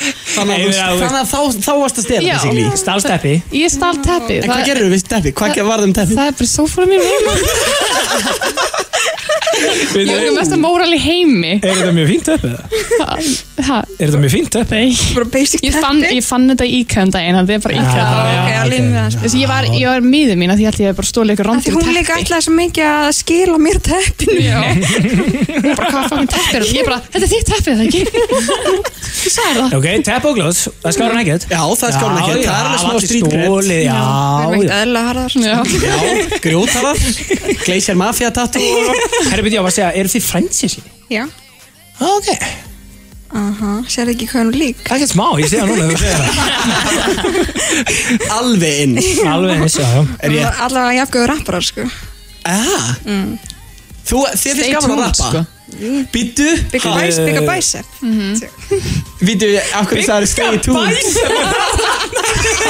Speaker 2: Þannig að, þú- þannig að þá, þá varst að stela
Speaker 10: Já.
Speaker 2: basically.
Speaker 3: Stálsteppi
Speaker 10: ég stál teppið,
Speaker 2: En hvað um hérna?
Speaker 10: það,
Speaker 2: gerir þú við teppi? Hvað varðum teppi?
Speaker 10: það er bara sófóra mér heima Ég er með mesta móral í heimi
Speaker 3: Er þetta mjög fínt upp eða?
Speaker 10: Ha,
Speaker 3: Er þetta mjög fínt upp?
Speaker 10: Nei ég fann, ég fann þetta í IKEA um daginn Þannig að þetta er bara IKEA
Speaker 3: já, ok, alveg með það, sko.
Speaker 10: Þessi, Ég var, ég var miður mín af Því ég held ég hef bara stólið ykkur
Speaker 4: Því
Speaker 10: randum
Speaker 4: hún líka ætlaði svo mikið að skila mér teppinu
Speaker 10: Hún bara, hvað fangin teppi er þetta? Ég bara, þetta er þitt teppið það ekki Ég sagði það
Speaker 3: Ok, tap og glöðs, það skára hann ekkert
Speaker 2: Já, það skára hann ekkert, það er alveg smá street red.
Speaker 3: stólið, já,
Speaker 4: Það er
Speaker 3: já.
Speaker 4: meitt eðla harðar
Speaker 2: Já, grjótarar Glacier Mafia tattoo
Speaker 3: Herri, byrja, ég var að segja, eru þið frændsins?
Speaker 4: Já
Speaker 3: Ok
Speaker 4: Aha, sér ekki hvað hún er lík
Speaker 3: Ekkert smá, ég sé það núna, þú segir
Speaker 2: Alveg inn
Speaker 3: Alveg eins, já, já
Speaker 2: Er ég
Speaker 4: Allavega jafngöður rapparar sko
Speaker 2: Ah,
Speaker 4: Mm.
Speaker 2: þú, þið finnst gaman að
Speaker 10: sko.
Speaker 2: rappa Býttu
Speaker 4: Bigga
Speaker 2: Ha?
Speaker 4: bæs, bigga bæsef
Speaker 2: Býttu, af hverju það er stay tuned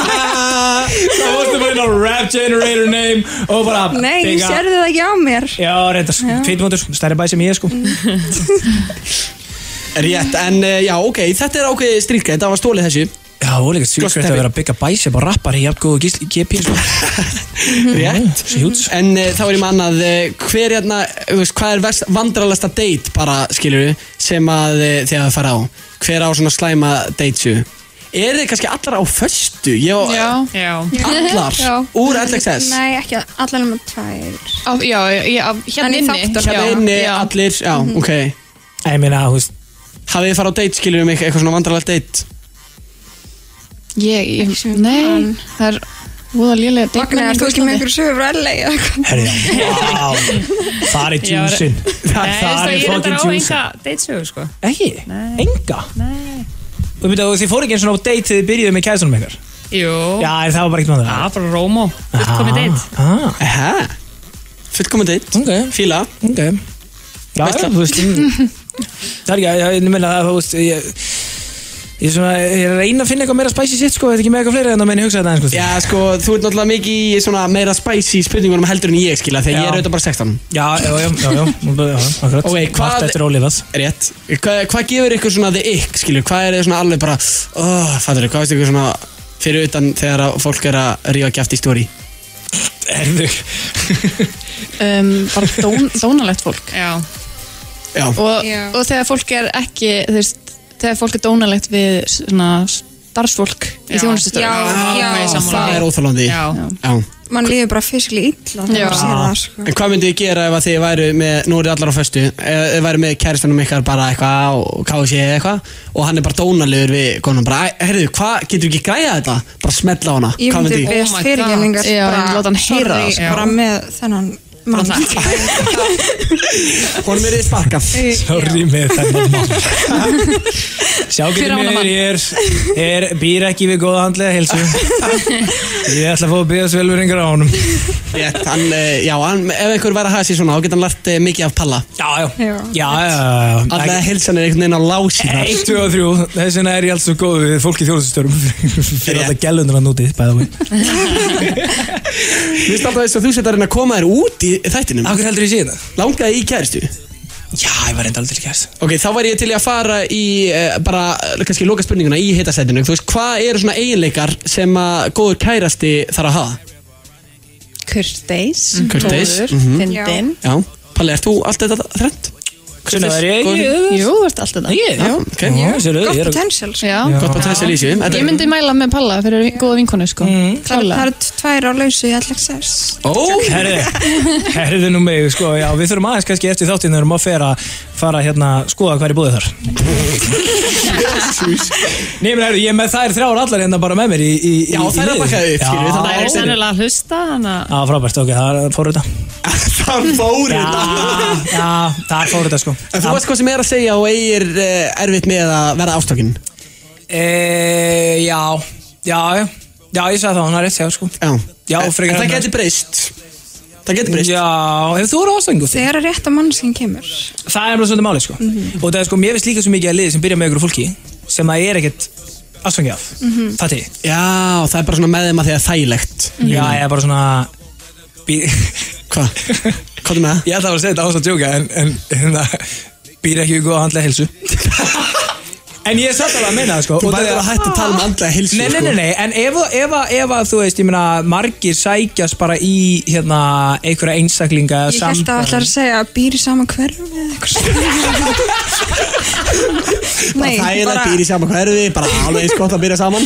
Speaker 3: Það varstu bara inn á rap generator name og bara
Speaker 4: Nei,
Speaker 3: bigga-
Speaker 4: sérðu það ekki á mér
Speaker 3: Já, reynda, feitmóndur, stærri bæ sem ég er, sko
Speaker 2: Rétt, en eh, já, ok, þetta er ákveðið strýtgrein, það var stólið þessu
Speaker 3: Já, og líka sjúkvæmt að vera að byggja bæsef og rappar í jafn góðu gísli GP, sko
Speaker 2: Rétt
Speaker 3: Sjúts
Speaker 2: En uh, þá er ég með annað, uh, hver hérna, þú veist, hvað er verst, vandralasta date bara, skilur við, sem að uh, þið hafa farið á? Hver á svona slæma datesu? Er þið kannski allar á föstu? Ég,
Speaker 11: Já
Speaker 2: Allar?
Speaker 4: Já.
Speaker 2: Úr LXS?
Speaker 4: Nei, ekki allar nema tvær
Speaker 10: Á- Já, já, hérna
Speaker 4: Þannig
Speaker 10: inni
Speaker 4: þáttar.
Speaker 10: já,
Speaker 2: Hérna inni,
Speaker 10: já.
Speaker 2: allir, já, ok
Speaker 3: Ég meina, þú veist
Speaker 2: Hafið þið farið á date, skilur við mig, eitthvað svona vandralast date?
Speaker 10: Ég, ég, nei Það er úða lélega sko.
Speaker 4: Magna, ert þú ekki með einhverju sögur frá LA eða eitthvað?
Speaker 3: Herri, wow Það er djúsin
Speaker 11: Nei,
Speaker 3: Það
Speaker 11: það
Speaker 3: er
Speaker 11: ég er
Speaker 3: fucking
Speaker 11: þetta á
Speaker 3: djúsin
Speaker 11: enga deitsögu sko
Speaker 3: Ekki,
Speaker 11: Nei,
Speaker 3: enga
Speaker 11: nei
Speaker 3: Þú veit að þið fóru ekki eins og á date þegar þið byrjuðu með kæðstunum ykkar
Speaker 11: Jú
Speaker 3: Já, en það var bara eitt með
Speaker 11: Já, bara Rómo Fullkomi deitt
Speaker 3: það ah,
Speaker 2: Aha, fullkomið date,
Speaker 3: Ok,
Speaker 2: fíla
Speaker 3: ok Já,
Speaker 2: Veistla.
Speaker 3: þú veist mm. Það er ekki, ég- ég meina það, þú veist Ég, ég, er svona, ég er að reyna að finna eitthvað meira spæsi sitt, sko Þetta er ekki með eitthvað fleiri en það meina hugsa þetta aðeins, sko
Speaker 2: Já, sko, þú ert náttúrulega mikið í svona meira spicy spurningunum heldur en ég, skilja, þegar
Speaker 3: Já.
Speaker 2: ég er auðvitað bara 16
Speaker 3: Já, já, já, já, já, já, já akkurat
Speaker 2: Ok, hvað-
Speaker 3: Allt eftir ólifað
Speaker 2: Rétt, Hva, hvað gefur ykkur svona the ick, skilju, hvað er þið svona alveg bara oh, fattur hvað veist ykkur svona fyrir utan þegar að fólk er að rífa kjæft í stóri
Speaker 3: Herðu
Speaker 10: um, Bara dón, dónalegt fólk
Speaker 11: Já
Speaker 2: Já,
Speaker 10: og,
Speaker 4: Já.
Speaker 10: og þegar fólk er ekki þú veist, þegar fólk er dónalegt við svona starfsfólk
Speaker 11: Já.
Speaker 10: í þjónustustöðu
Speaker 4: Já, já,
Speaker 11: ég er sammála.
Speaker 2: það er óþálandi Já.
Speaker 11: Já
Speaker 4: Man líður bara fysikli illa þegar
Speaker 10: Já.
Speaker 4: maður sér það sko
Speaker 2: En hvað myndið þið gera ef að þið væru með, nú eru þið allar á föstu ef þið væru með kæristanum ykkar bara eitthvað og kási eða eitthvað og hann er bara dónalegur við konum bara, "Æ, heyrðu, hvað, getur ekki græða þetta? Bara smetla á hana,
Speaker 4: Ég
Speaker 2: hvað
Speaker 4: myndi
Speaker 2: myndið þið?
Speaker 4: beðast
Speaker 11: Oh my
Speaker 4: fyrirgemingar
Speaker 10: God. Já,
Speaker 4: bara-
Speaker 10: en láta hann heyra það,
Speaker 4: sorry,
Speaker 11: sko.
Speaker 4: Bara
Speaker 11: Já.
Speaker 4: með þennan mann
Speaker 2: Honum er þið sparkað
Speaker 3: Sorry með þennan mann Sjá
Speaker 10: Hver
Speaker 3: getur
Speaker 10: á þennan
Speaker 3: mér, ég er, er býr ekki við góða handlega heilsu Ég ætla að fá að byggja svelveringar á honum
Speaker 2: Rétt, hann, eh, Já, hann, ef einhver væri að hafa sér svona þá getur hann lært eh, mikið af palla
Speaker 3: Já, já, já,
Speaker 4: Já.
Speaker 3: já, já, já.
Speaker 2: Alla
Speaker 3: Ekki-
Speaker 2: helsan er einhvern veginn á lásínar
Speaker 3: Eitt, tvö og þrjú, þess vegna er ég alls svo góð við fólk í þjóðsustörm fyrir
Speaker 2: Rétt.
Speaker 3: alltaf gælundur að núti, bæða við
Speaker 2: Mér finnst alltaf þess að þú setjar hérna að koma þér út í þættinum
Speaker 3: Akkur heldur ég síðan það?
Speaker 2: Langaði í kæristu
Speaker 3: Já, ég var reynda aldrei til kæst
Speaker 2: Ok, þá var ég til í að fara í eh, bara, eh, kannski loka spurninguna í hitasætinu Þú veist, hvað eru svona eiginleikar sem að góður kærasti þarf að hafa?
Speaker 12: Kurteis
Speaker 2: Kurteis,
Speaker 12: Góður,
Speaker 2: mhm.
Speaker 12: fyndinn
Speaker 2: Já, Palli, ert þú allt þetta þrennt?
Speaker 3: Svona það er ég
Speaker 2: Góður-
Speaker 12: Jú, þú ert alltaf það
Speaker 3: Ég?
Speaker 2: Já, ok
Speaker 3: Já, sérðu, ég er
Speaker 4: Gott potential sko.
Speaker 10: Já.
Speaker 2: Gott að þessi lýsi
Speaker 10: ég myndi mæla með Palla fyrir vi- góða vinkonu sko.
Speaker 11: Mhm.
Speaker 10: mm.
Speaker 4: Það
Speaker 10: klála
Speaker 4: eru tvær á lausu í LXS
Speaker 2: Ó,
Speaker 3: Herðu, herðu nú mig, sko, já, við þurfum aðeins kannski eftir þáttinn þegar maður fer að fara hérna skoða hvað er í búið þar Nei, menn, herðu, ég er með þær þrjár allar hérna bara með mér í, í
Speaker 2: Já,
Speaker 3: í-
Speaker 2: þær
Speaker 3: í
Speaker 2: að bakka
Speaker 3: liði.
Speaker 2: upp, skilur við,
Speaker 11: Það
Speaker 2: þannig
Speaker 3: Já,
Speaker 11: er sennilega að hlusta hana
Speaker 3: Já, frábært, ok, það fór þetta
Speaker 2: það fór þetta
Speaker 3: Já, já, það fór þetta, sko
Speaker 2: En þú veist hvað sem er að segja og eigir eh, erfitt með að vera ástökin
Speaker 3: E, já, já, já, já, ég sagði það, hún er rétt hjá, sko.
Speaker 2: Já,
Speaker 3: Já,
Speaker 2: En-
Speaker 3: frekar
Speaker 2: en
Speaker 3: en-
Speaker 2: Það getur breyst Það getur breyst
Speaker 3: Já, ef þú eru ástæðingu þig.
Speaker 4: Þegar að rétta mannskinn kemur
Speaker 3: Það er alveg svona máli, sko. Og það er sko, mér finnst líka svo mikið að liði sem byrja með ykkur fólki sem það er ekkert ástæðingi af. Mm -hmm. Það til.
Speaker 2: Já, það er bara svona með þeim að því að það er þægilegt
Speaker 3: Já, ég er bara svona... Bí...
Speaker 2: Hvað? Hvað er með það?
Speaker 3: ég ætla að vera að segja þetta ástæðingi að djóka, en, en hérna, býr ekki við góða handlega helsu. En ég er satt alveg að minna það sko
Speaker 2: Þú
Speaker 3: út af því
Speaker 2: verður að hætta að tala um andlega heilsu,
Speaker 3: Nei, nei,
Speaker 2: sko.
Speaker 3: nei, nei, en ef, ef, ef að þú veist, ég meina Margir sækjast bara í hérna, einhverja einstaklinga
Speaker 4: Ég held að það ætlar að segja að býr í sama hverfi eða eitthvað svona.
Speaker 2: bara
Speaker 4: Nei,
Speaker 2: það er að býra í sama hverfi bara alveg eins gott að býra saman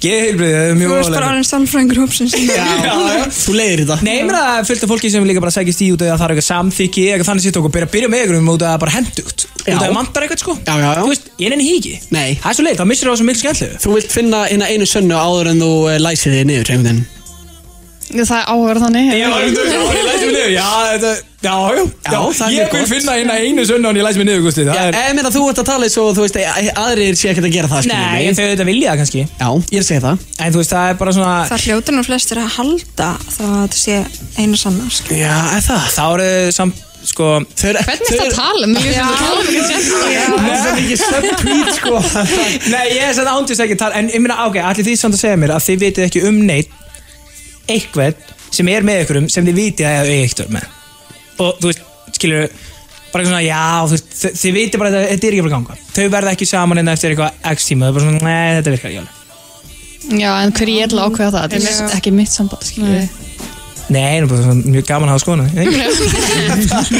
Speaker 3: Geðheilbrigði, það er
Speaker 4: Þú
Speaker 3: mjög
Speaker 4: veist bara orðin sálfræðingur hópsins
Speaker 2: Þú leiðir þetta
Speaker 3: Nei, ég meina það er fullt af fólki sem líka bara sækjast í út af því að það er eitthvað samþykki eitthvað þannig sitt okkur byrja að byrja með einhverjum út af að bara hendugt út af að það vantar eitthvað sko
Speaker 2: Já, já, já Þú
Speaker 3: veist, ég nenni híki
Speaker 2: Nei
Speaker 3: Það er svo leið, það missir það svo mikil skemmtlegu
Speaker 2: Þú vilt finna hérna einu sönnu áður en þú eh, læsir þig niður einhvern veginn
Speaker 10: Það er áhverð þannig
Speaker 3: Já, ég læst mig niður, já, þetta, já, já, já,
Speaker 2: það er mjög
Speaker 3: ég vil
Speaker 2: gott.
Speaker 3: finna eina einu sunna og ég læst mig niður, Gusti, það
Speaker 2: Já,
Speaker 3: er,
Speaker 2: Ég meina þú ert að tala eins og þú veist eh, aðrir sé ekkert að gera það skilur
Speaker 3: Nei,
Speaker 2: við.
Speaker 3: en þau auðvitað vilja það kannski
Speaker 2: Já, ég segi það
Speaker 3: En þú veist, það er bara svona
Speaker 4: Það hljóta nú flestir að halda þá að þetta sé eina sannar sko.
Speaker 3: Já, er það Þá eru þau samt, sko Þau eru
Speaker 10: Hvernig er það að tala um? Mér finnst það að tala um eitthvað
Speaker 3: Nei,
Speaker 10: sérstaklega.
Speaker 3: það er ekki subtweet, sko Nei, ég er sann ándist ekki að tala En ég meina, ok, allir því samt að segja mér að þið vitið ekki um neitt Eitthvað sem er með ykkurum sem þið vitið að þau eigi eitt með Og þú veist, skilur bara eitthvað svona, já, þú veist, þið, þið vitið bara að þetta er ekki bara að ganga Þau verða ekki saman en eftir eitthvað x tíma Þau bara svona, nei, þetta virkar ekki alveg
Speaker 10: Já, en hver ég ætla að ákveða það?
Speaker 11: Ég
Speaker 10: Þetta er ekki mitt samband, skiljum við.
Speaker 3: Nei, það er bara svona mjög gaman að hafa skoðuna eða ekki?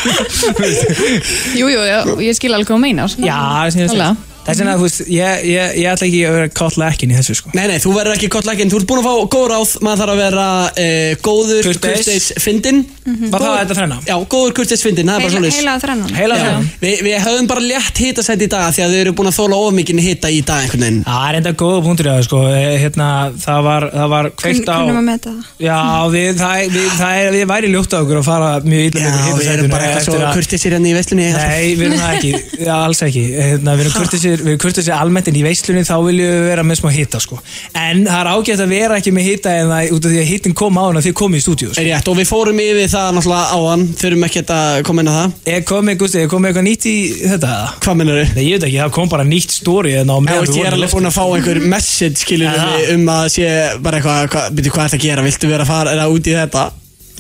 Speaker 10: Jú, jú, já, ég skil alveg hvað þú meinar.
Speaker 3: Já, það er svona Þess vegna, þú veist, ég, ég, ég ætla ekki að vera kottla ekkin í þessu, sko
Speaker 2: Nei, nei, þú verður ekki gott lækinn, þú ert búin að fá góð ráð, maður þarf að vera eh, góður
Speaker 3: Kurteis.
Speaker 2: kurteisfindin
Speaker 3: Mhm. Var það þetta þrenna?
Speaker 2: Já, góður kurteisfindin, það er bara
Speaker 4: Heila,
Speaker 2: svona
Speaker 4: heila þrennan
Speaker 3: Heila þrennan.
Speaker 2: Við vi höfum bara létt hitasætt í dag af því að þau eru búin að þóla ofmikinn hita í dag einhvern veginn
Speaker 3: Það er enda góða punktur í það sko Eh, hérna, það var, það var kveikt á
Speaker 4: Hvernig maður með það?
Speaker 3: Já, við, það, er- við, það er, við væri ljótt á okkur að fara mjög illa
Speaker 2: Já,
Speaker 3: með
Speaker 2: við erum bara eitthvað svo kurteisir hérna í veislunni
Speaker 3: Nei, við erum það ekki, já, alls ekki hérna, Við erum kurtisir, við erum kurtisir almennt en í veislunni þá viljum við vera með smá hita sko. En það er ágætt að vera ekki með hita en það, út af því að hitin kom á hana því komið í stúdíu sko.
Speaker 2: Er rétt, og við fórum yfir það náttúrulega áðan, þurfum ekkert að koma inn á það
Speaker 3: Er komið, Gusti, er komið eitthvað nýtt í þetta?
Speaker 2: Hvað mennar þau?
Speaker 3: Nei, ég veit ekki, það kom bara nýtt stóri en á
Speaker 2: Já,
Speaker 3: meðan
Speaker 2: veist,
Speaker 3: við
Speaker 2: ég er
Speaker 3: vorum í
Speaker 2: alveg búin að fá einhver message skilur
Speaker 3: Ja.
Speaker 2: við um að sé bara eitthvað, hva, byrju hvað er að gera, viltu vera að fara eða út í þetta?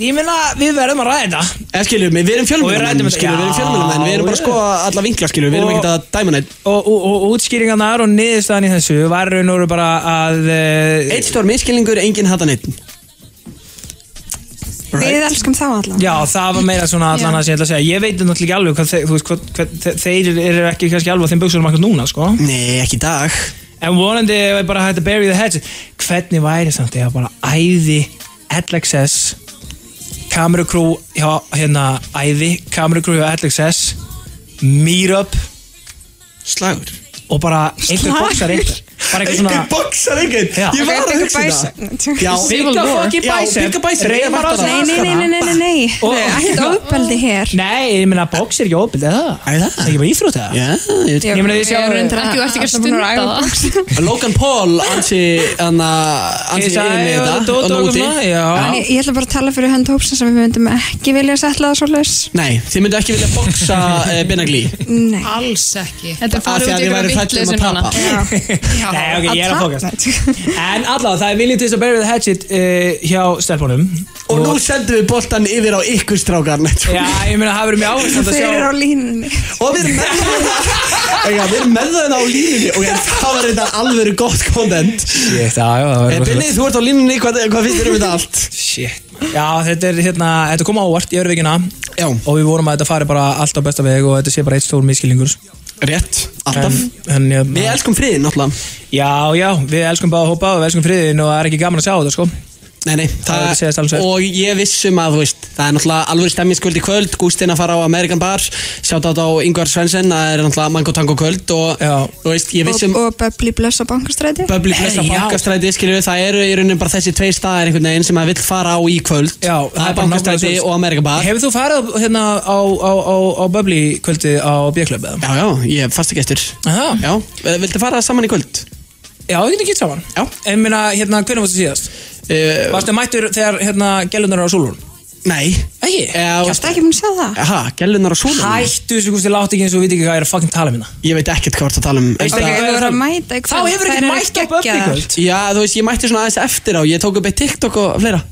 Speaker 3: Ég meina, við verðum að ræða þetta
Speaker 2: En skilur við, við erum
Speaker 3: ræddum
Speaker 2: fjölmjölamenn,
Speaker 3: þetta-
Speaker 2: skilur við, við erum fjölmjölamenn, við erum bara að
Speaker 3: Já,
Speaker 2: skoða alla vinkla skilur við, við erum
Speaker 3: Og-
Speaker 2: ekkert að dæma neitt.
Speaker 3: og, og, og útskýringarnar og niðurstaðan í þessu var raun og veru bara að uh,
Speaker 2: Eitt stór miskilningur, enginn hata neitt.
Speaker 4: Við elskum þá allan
Speaker 3: Já, það var meira svona allan að ég ætla að segja Ég veit náttúrulega ekki alveg hvað þeir, þú veist, hvað, hvað, þe- þeir eru ekki kannski alveg á þeim buksunum akkur núna, sko
Speaker 2: Nei, ekki í dag
Speaker 3: En vonandi ef ég bara hægt að bury the head Hvernig væri samt eða bara æði LXS kamerukrú hjá hérna æði, kamerukrú hjá LXS meetup
Speaker 2: slagur
Speaker 3: og bara einhver
Speaker 2: Slagur?
Speaker 3: boxar einhver bara einhver svona
Speaker 2: boxar einhvern,
Speaker 3: Já.
Speaker 2: ég var að
Speaker 4: Ok, pick
Speaker 2: hugsa
Speaker 4: a
Speaker 2: þetta.
Speaker 4: bicep.
Speaker 2: Já,
Speaker 3: Civil War. Já, pick a bicep.
Speaker 2: reymar á
Speaker 4: Nei, nei, nei, nei, nei, nei, nei Nei, Ekkert ofbeldi hér
Speaker 3: Nei, ég meina box er ekki ofbeldi, er það? Er það? ekki bara íþrótt eða?
Speaker 2: Já, ég
Speaker 3: Ég meina, ég sjá-
Speaker 10: Ekki, þú ert ekki að stunda
Speaker 4: það
Speaker 2: Logan Paul, ansi, anna, ansi
Speaker 3: Ég
Speaker 2: yfir
Speaker 3: sagði,
Speaker 2: með
Speaker 3: já,
Speaker 2: þetta,
Speaker 3: Dota
Speaker 2: þarna
Speaker 3: og
Speaker 2: úti.
Speaker 3: svona, já.
Speaker 4: En ég, ég ætla bara að tala fyrir hönd hópsins að við myndum ekki vilja að setla það svo laus
Speaker 2: Nei, þið myndu ekki vilja boxa uh, Benagli
Speaker 4: Nei
Speaker 10: Alls ekki. Þetta
Speaker 2: Af því
Speaker 10: farið út
Speaker 2: að
Speaker 10: í
Speaker 2: við værum
Speaker 10: eitthvað
Speaker 2: hrædd um að
Speaker 10: vittleysu
Speaker 2: tapa.
Speaker 10: núna.
Speaker 3: Nei, ok, ég er að fókast
Speaker 4: fókast
Speaker 3: En allavega, það er viljum til þess að bury the hatchet uh, hjá stelpunum
Speaker 2: Og nú sendum við boltan yfir á ykkur strákar nei,
Speaker 3: Já, ég meina, það verður mjög áhersand að
Speaker 4: Þeir eru á
Speaker 3: sjá
Speaker 4: línunni
Speaker 2: Og við erum með það Já, við erum með það á línunni Og það var þetta alveg gott kontent
Speaker 3: Shit, já, já, það
Speaker 2: Eh, Binni, þú ert á línunni, hvað, hvað finnst þér um þetta allt?
Speaker 3: Shit Já, þetta er hérna, þetta kom ávart í örvíkina
Speaker 2: Já
Speaker 3: Og við vorum að þetta fari bara allt á besta veg Og þetta sé bara eitt stór miskilningur
Speaker 2: Rétt, alltaf
Speaker 3: en, en,
Speaker 2: Við
Speaker 3: já,
Speaker 2: elskum friðin, náttúrulega
Speaker 3: já, já, við elskum báða hópa og við elskum friðin Og það er ekki gaman að sjá þetta, sko
Speaker 2: Nei, nei,
Speaker 3: Það er að segjast alveg sér.
Speaker 2: og ég vissum að, þú veist, það er náttúrulega alveg stemminskvöld í kvöld, Gústin að fara á Amerikan Bar, sjátt á Ingvar Svensson, það er náttúrulega Mango Tango kvöld og,
Speaker 3: Já.
Speaker 2: þú veist, ég um vissum
Speaker 4: Og, og Böbli blöss á bankastræti
Speaker 2: Böbli Plessa
Speaker 3: Nei, já.
Speaker 2: bankastræti, skilju, það eru í rauninni bara þessi tvei staðar einhvern veginn sem maður vill fara á í kvöld
Speaker 3: Já,
Speaker 2: það er bankastræti
Speaker 3: nákvæmlega svo-
Speaker 2: og Amerikabar
Speaker 3: Hefur þú farið á- hérna á, á, á, á Böbli kvöldi á B-klubbi?
Speaker 2: Já, já, ég er fastegestur
Speaker 3: Aha.
Speaker 2: Já, eh, viltu fara saman í kvöld?
Speaker 3: Já, við getum gitt saman
Speaker 2: Já.
Speaker 3: En minna, hérna, hvernig varstu síðast?
Speaker 2: Uh,
Speaker 3: Varstu mættur þegar, hérna, gælunar á súlun?
Speaker 2: nei Eh,
Speaker 3: Ægi
Speaker 4: Kjást ekki mun að sjá það
Speaker 2: Aha, gælunar á súlunum
Speaker 3: Hættu þessu gústi látt ekki eins og við ekki hvað ég er að fucking tala minna
Speaker 2: Ég veit ekkert hvað þú ert að tala um
Speaker 3: Veistu
Speaker 2: Það-
Speaker 3: ekki-
Speaker 4: Þeir eru að mæta í
Speaker 3: Þá
Speaker 4: kvöld.
Speaker 3: hefur
Speaker 4: Þær
Speaker 3: ekki
Speaker 4: eru
Speaker 3: mætt á Böbli
Speaker 4: geggjaðar.
Speaker 3: kvöld
Speaker 2: Já, þú veist, ég mætti svona aðeins eftir á Ég tók upp eitt TikTok og fleira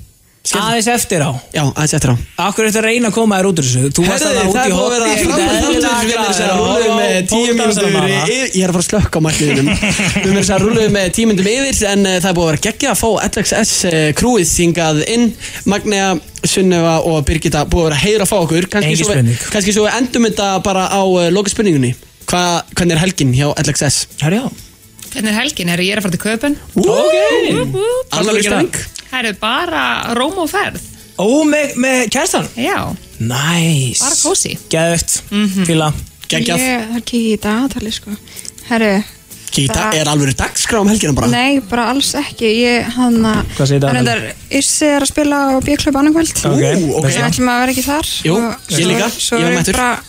Speaker 3: aðeins eftir á
Speaker 2: Já, aðeins eftir á
Speaker 3: Akkur eftir að reyna að koma þér út úr þessu Þú varst
Speaker 2: Herðu,
Speaker 3: þarna út
Speaker 2: það
Speaker 3: í
Speaker 2: er búið að vera
Speaker 3: hotni, ekkert
Speaker 2: frábært
Speaker 3: eðlilega
Speaker 2: þáttur, við erum þess að
Speaker 3: glaðir.
Speaker 2: rúluðu með tíu
Speaker 3: Fótboltanum
Speaker 2: mínútur
Speaker 3: hana.
Speaker 2: yfir- Ég er að fara að slökka á markmiðunum Við erum þess að rúluðu með tíu mínútum yfir En eh, það er búið að vera geggja að fá LXS eh, krúið þingað inn Magnea, Sunneva og Birgitta búið að vera heiður að fá okkur Kannski
Speaker 3: Engin
Speaker 2: svo við-
Speaker 3: spurning.
Speaker 2: Kannski svo við endum þetta bara á loka spurningunni Hva, Hvernig er helgin hjá LXS?
Speaker 3: Herjá
Speaker 11: Hvernig er helgin? Herri, ég er að fara til Köpen
Speaker 3: Ok Alveg stang.
Speaker 11: Herri, bara róm og ferð
Speaker 3: Ó, með, með kærstan?
Speaker 11: Já,
Speaker 3: Næs
Speaker 11: bara kósi
Speaker 3: Geðvegt, fíla
Speaker 4: Ég þarf ekki í dagatali sko Herru
Speaker 2: Kíta,
Speaker 4: Það-
Speaker 2: er alveg dagskrá um helgina bara?
Speaker 4: Nei, bara alls ekki Ég hann að
Speaker 2: Hvað segir dagatalið?
Speaker 4: Reyndar, Issi er að spila á B-klub annarkvöld
Speaker 2: Ú, ok.
Speaker 4: Þannig ætlum að vera ekki þar
Speaker 2: Jú,
Speaker 4: Og
Speaker 2: ég
Speaker 4: svo-
Speaker 2: líka. Ég
Speaker 4: Svo
Speaker 2: var
Speaker 4: er ég
Speaker 2: mættur.
Speaker 4: bara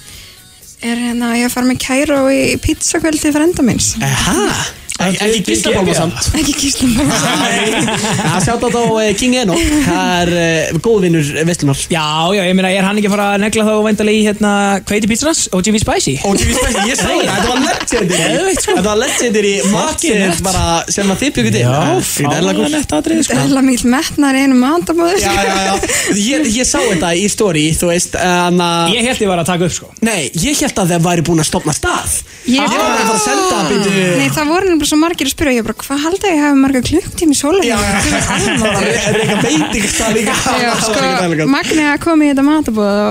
Speaker 4: Er hérna, ég að fara með kæru í pizzakvöld til frenda minns
Speaker 2: Aha Ekki gíslabálma samt
Speaker 4: Ekki gíslabálma
Speaker 2: Það sjátt á þá eh, King Eno Það er eh, góðvinur Vestlunar
Speaker 3: Já, já, ég meina, er hann ekki að fara að negla þá væntalega í hérna kveiti pítsarnas, OGV Spicy?
Speaker 2: OGV Spicy, ég segi það, þetta var legendary Þetta var legendary Makkið bara sem að þið byggur til sko. Já,
Speaker 3: fáránlegt atriði,
Speaker 4: Það er alveg mikil metnar í einu matabóður
Speaker 2: Já, já, já Ég, ég sá þetta í story, þú veist en,
Speaker 3: Ég held ég var að taka upp sko
Speaker 2: Nei, ég held að þeir væri búin að stopna stað
Speaker 4: Ég
Speaker 2: var bara að fara að senda
Speaker 4: Nei,
Speaker 2: byrju
Speaker 4: það voru nefnilega svo margir að spyrja Ég bara, hvað haldið þið að ég hafi marga klukktími í sólinni?
Speaker 2: Er er eitthvað veitingstað líka
Speaker 4: Já,
Speaker 2: Það var
Speaker 4: sko,
Speaker 2: ekki það líka.
Speaker 4: Magna kom í þetta matabóð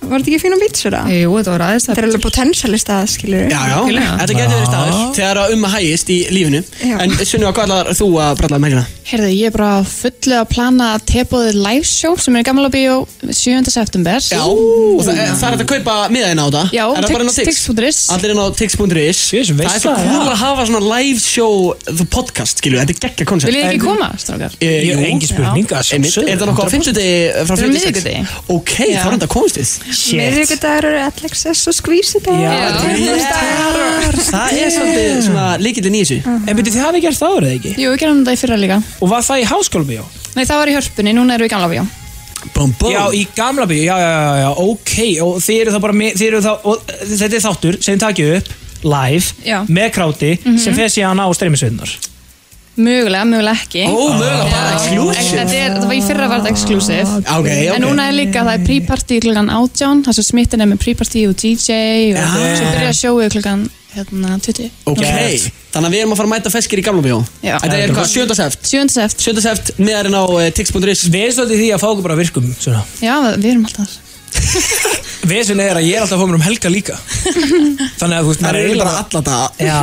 Speaker 4: og var þetta ekki fín á pítsur að?
Speaker 11: Jú, þetta var aðeins
Speaker 4: Þetta er alveg potensiali stað, skilur
Speaker 2: Já, já, þetta getur verið staður þegar að um að hægist í lífinu
Speaker 4: Já.
Speaker 2: En Sunniva, hvað ætlar þú að bralla um helgina?
Speaker 10: Herðu, ég er bara fullu að plana teboðið live show sem er í gamla bíó 7. september
Speaker 2: Já, og það, það er hægt að kaupa miðaðina á það
Speaker 10: Já,
Speaker 2: Er það bara inn á
Speaker 10: tix- tix.is.
Speaker 2: Allir inn á tix.is Það er svo
Speaker 10: veistla,
Speaker 2: cool
Speaker 10: já.
Speaker 2: að hafa svona live show the podcast, skilju, þetta er geggja koncept
Speaker 10: Viljið þið ekki koma, strákar?
Speaker 2: E,
Speaker 3: Ég- engin spurning, að
Speaker 2: Einmitt,
Speaker 3: sjálfsögðu,
Speaker 2: Er það nokkuð á
Speaker 3: 100%.
Speaker 2: 50 frá
Speaker 10: Þetta er
Speaker 2: 56?
Speaker 10: miðvikudegi.
Speaker 2: Ok, þá er þetta komist við
Speaker 4: Miðvíkudagur eru Alexis og Skvísi
Speaker 2: Já, Það er svolítið svona líkillin í þessu
Speaker 3: En byrju, þið hafið gert það árið ekki?
Speaker 10: Jú, við gerum þetta í fyrra líka
Speaker 3: Og var það í háskólum bíó?
Speaker 10: Nei, það var í hörpunni, núna erum við í gamla bíó
Speaker 2: Bum, bum.
Speaker 3: Já, í gamla bíó, já, já, já, já, ok Og þið eru þá bara, með- þið eru þá og, Þetta er þáttur sem þið takið upp live
Speaker 10: Já.
Speaker 3: með kráti
Speaker 10: Mhm.
Speaker 3: sem fer síðan á streymisveitunar
Speaker 10: Mögulega, mögulega ekki
Speaker 3: Ó, mögulega,
Speaker 10: Já.
Speaker 3: bara exclusive.
Speaker 10: En Þetta er, það var í fyrra var þetta exclusive
Speaker 2: Ok, ok.
Speaker 10: En núna er líka, það er pre-party klukkan 18 Það sem smittin er með pre-party og DJ Og
Speaker 2: Já.
Speaker 10: svo byrja sjóið klukkan hérna, 20
Speaker 2: Ok, þannig að við erum að fara að mæta feskir í gamla bjó
Speaker 10: Já.
Speaker 2: Þetta er hvað, sjöndaseft?
Speaker 10: Sjöndaseft
Speaker 2: Sjöndaseft, miðarinn á eh, tix.is
Speaker 3: Við erum svolítið því að fá okkur bara virkum svona.
Speaker 10: Já, við erum alltaf þar.
Speaker 3: Vesin er að ég er alltaf að fá mér um helga líka Þannig að þú veist
Speaker 2: Það
Speaker 3: maður
Speaker 2: er eiginlega bara alla daga.
Speaker 3: Já,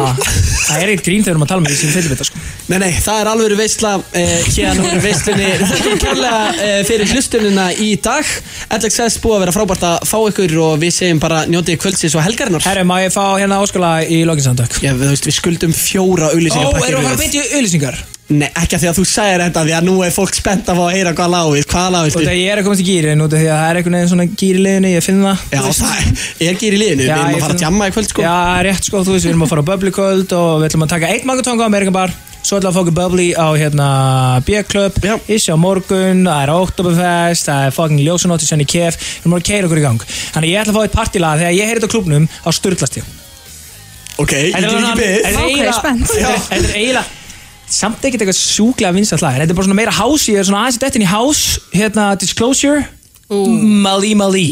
Speaker 3: það er eitt grín þegar maður tala með því sem fyrir þetta sko
Speaker 2: Nei, nei, það er alveg veistla eh, hérna úr veistlunni Þakkum kærlega eh, fyrir hlustunina í dag LXS búið að vera frábært að fá ykkur og við segjum bara njótið kvöldsins og helgarinnar
Speaker 3: Herre, má ég fá hérna áskala í lokinsamtök?
Speaker 2: Já, við, þú veist, við skuldum fjóra
Speaker 3: Ó,
Speaker 2: auglýsingar
Speaker 3: erum við að fara að beint í auðlýsingar?
Speaker 2: Nei, ekki af því að þú sagðir þetta því að nú er fólk spennt að fá að heyra hvað lágist Hvað
Speaker 3: Þú
Speaker 2: lágist
Speaker 3: veit að ég er að komast í gýrin út af því að það er einhvern veginn svona gýr í liðinu, ég finn það
Speaker 2: Já,
Speaker 3: Þú veist.
Speaker 2: það er ekki í liðinu, við
Speaker 3: Já,
Speaker 2: erum
Speaker 3: ég
Speaker 2: að fara að
Speaker 3: finn-
Speaker 2: jamma í kvöld sko
Speaker 3: Já, rétt sko, þú veist, við erum að fara á Bubbly kvöld og við ætlum að taka eitt mangatonga á Amerikan Bar Svo ætlum við að fá okkur Bubbly á hérna B-Club, Issi á morgun, það er Oktoberfest, það er fucking Ljósanótt í Sönni Kef Við erum að keira okkur í gang Þannig ég ætla að fá eitt partílag þegar ég heyri þetta á klubnum á Sturlast ég
Speaker 2: Ok, ég get ekki beðið.
Speaker 3: Þetta
Speaker 2: Vá, hvað
Speaker 3: er
Speaker 2: ég er
Speaker 3: eiginlega-
Speaker 2: spennt.
Speaker 3: þetta er- þetta er eiginlega Samt ekkert eitthvað sjúklega vinsað lag en Þetta er bara svona meira house, ég er svona aðeins dettin í house Hérna Disclosure Mali Mali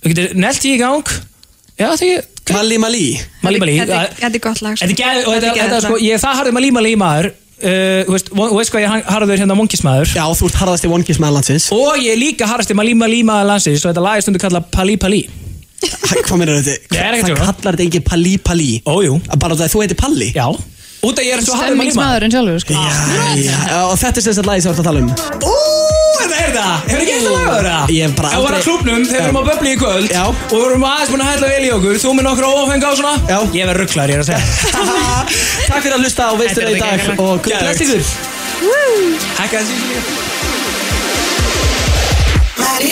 Speaker 3: Þú getur nelt því í gang Já, því
Speaker 2: Mali Mali
Speaker 3: Mali Mali
Speaker 4: Þetta
Speaker 3: það-
Speaker 4: er- þetta er gott lag
Speaker 3: Þetta er gæð og þetta, þetta er sko, ég er það harður Malí Malí maður Uh, þú veist, og veist hvað ég er harður hérna monkismæður
Speaker 2: Já, þú ert harðasti monkismæður landsins
Speaker 3: Og ég er líka harðasti Malí Malí maður landsins og þetta lag er stundu kallað Palí Palí
Speaker 2: Hæ, Hvað meina þetta?
Speaker 3: Nei, það er ekkert
Speaker 2: það
Speaker 3: svona.
Speaker 2: kallar þetta engin Palli Palli
Speaker 3: Ójú
Speaker 2: Bara það að þú heitir Palli
Speaker 3: Já Út að ég er svo harður Malí maður
Speaker 10: Stemmingsmaðurinn sjálfur sko.
Speaker 2: Ah. Já, og þetta er sem sagt lagi sem við ætlum að tala um
Speaker 3: Ú, þetta er það Hefur ekki eitthvað lagað það?
Speaker 2: Ég hef bara
Speaker 3: Ef við varum
Speaker 2: aldrei-
Speaker 3: að klúpnum, þegar við
Speaker 2: Já.
Speaker 3: erum á böbli í kvöld Já Og við erum aðeins búin að hætla vel í okkur Þú með nokkur óafengi á svona Já Ég verð rugglar, ég er að segja
Speaker 2: Takk fyrir að hlusta á veistluna í dag og guð bless ykkur
Speaker 3: Hækka þessi
Speaker 9: Maður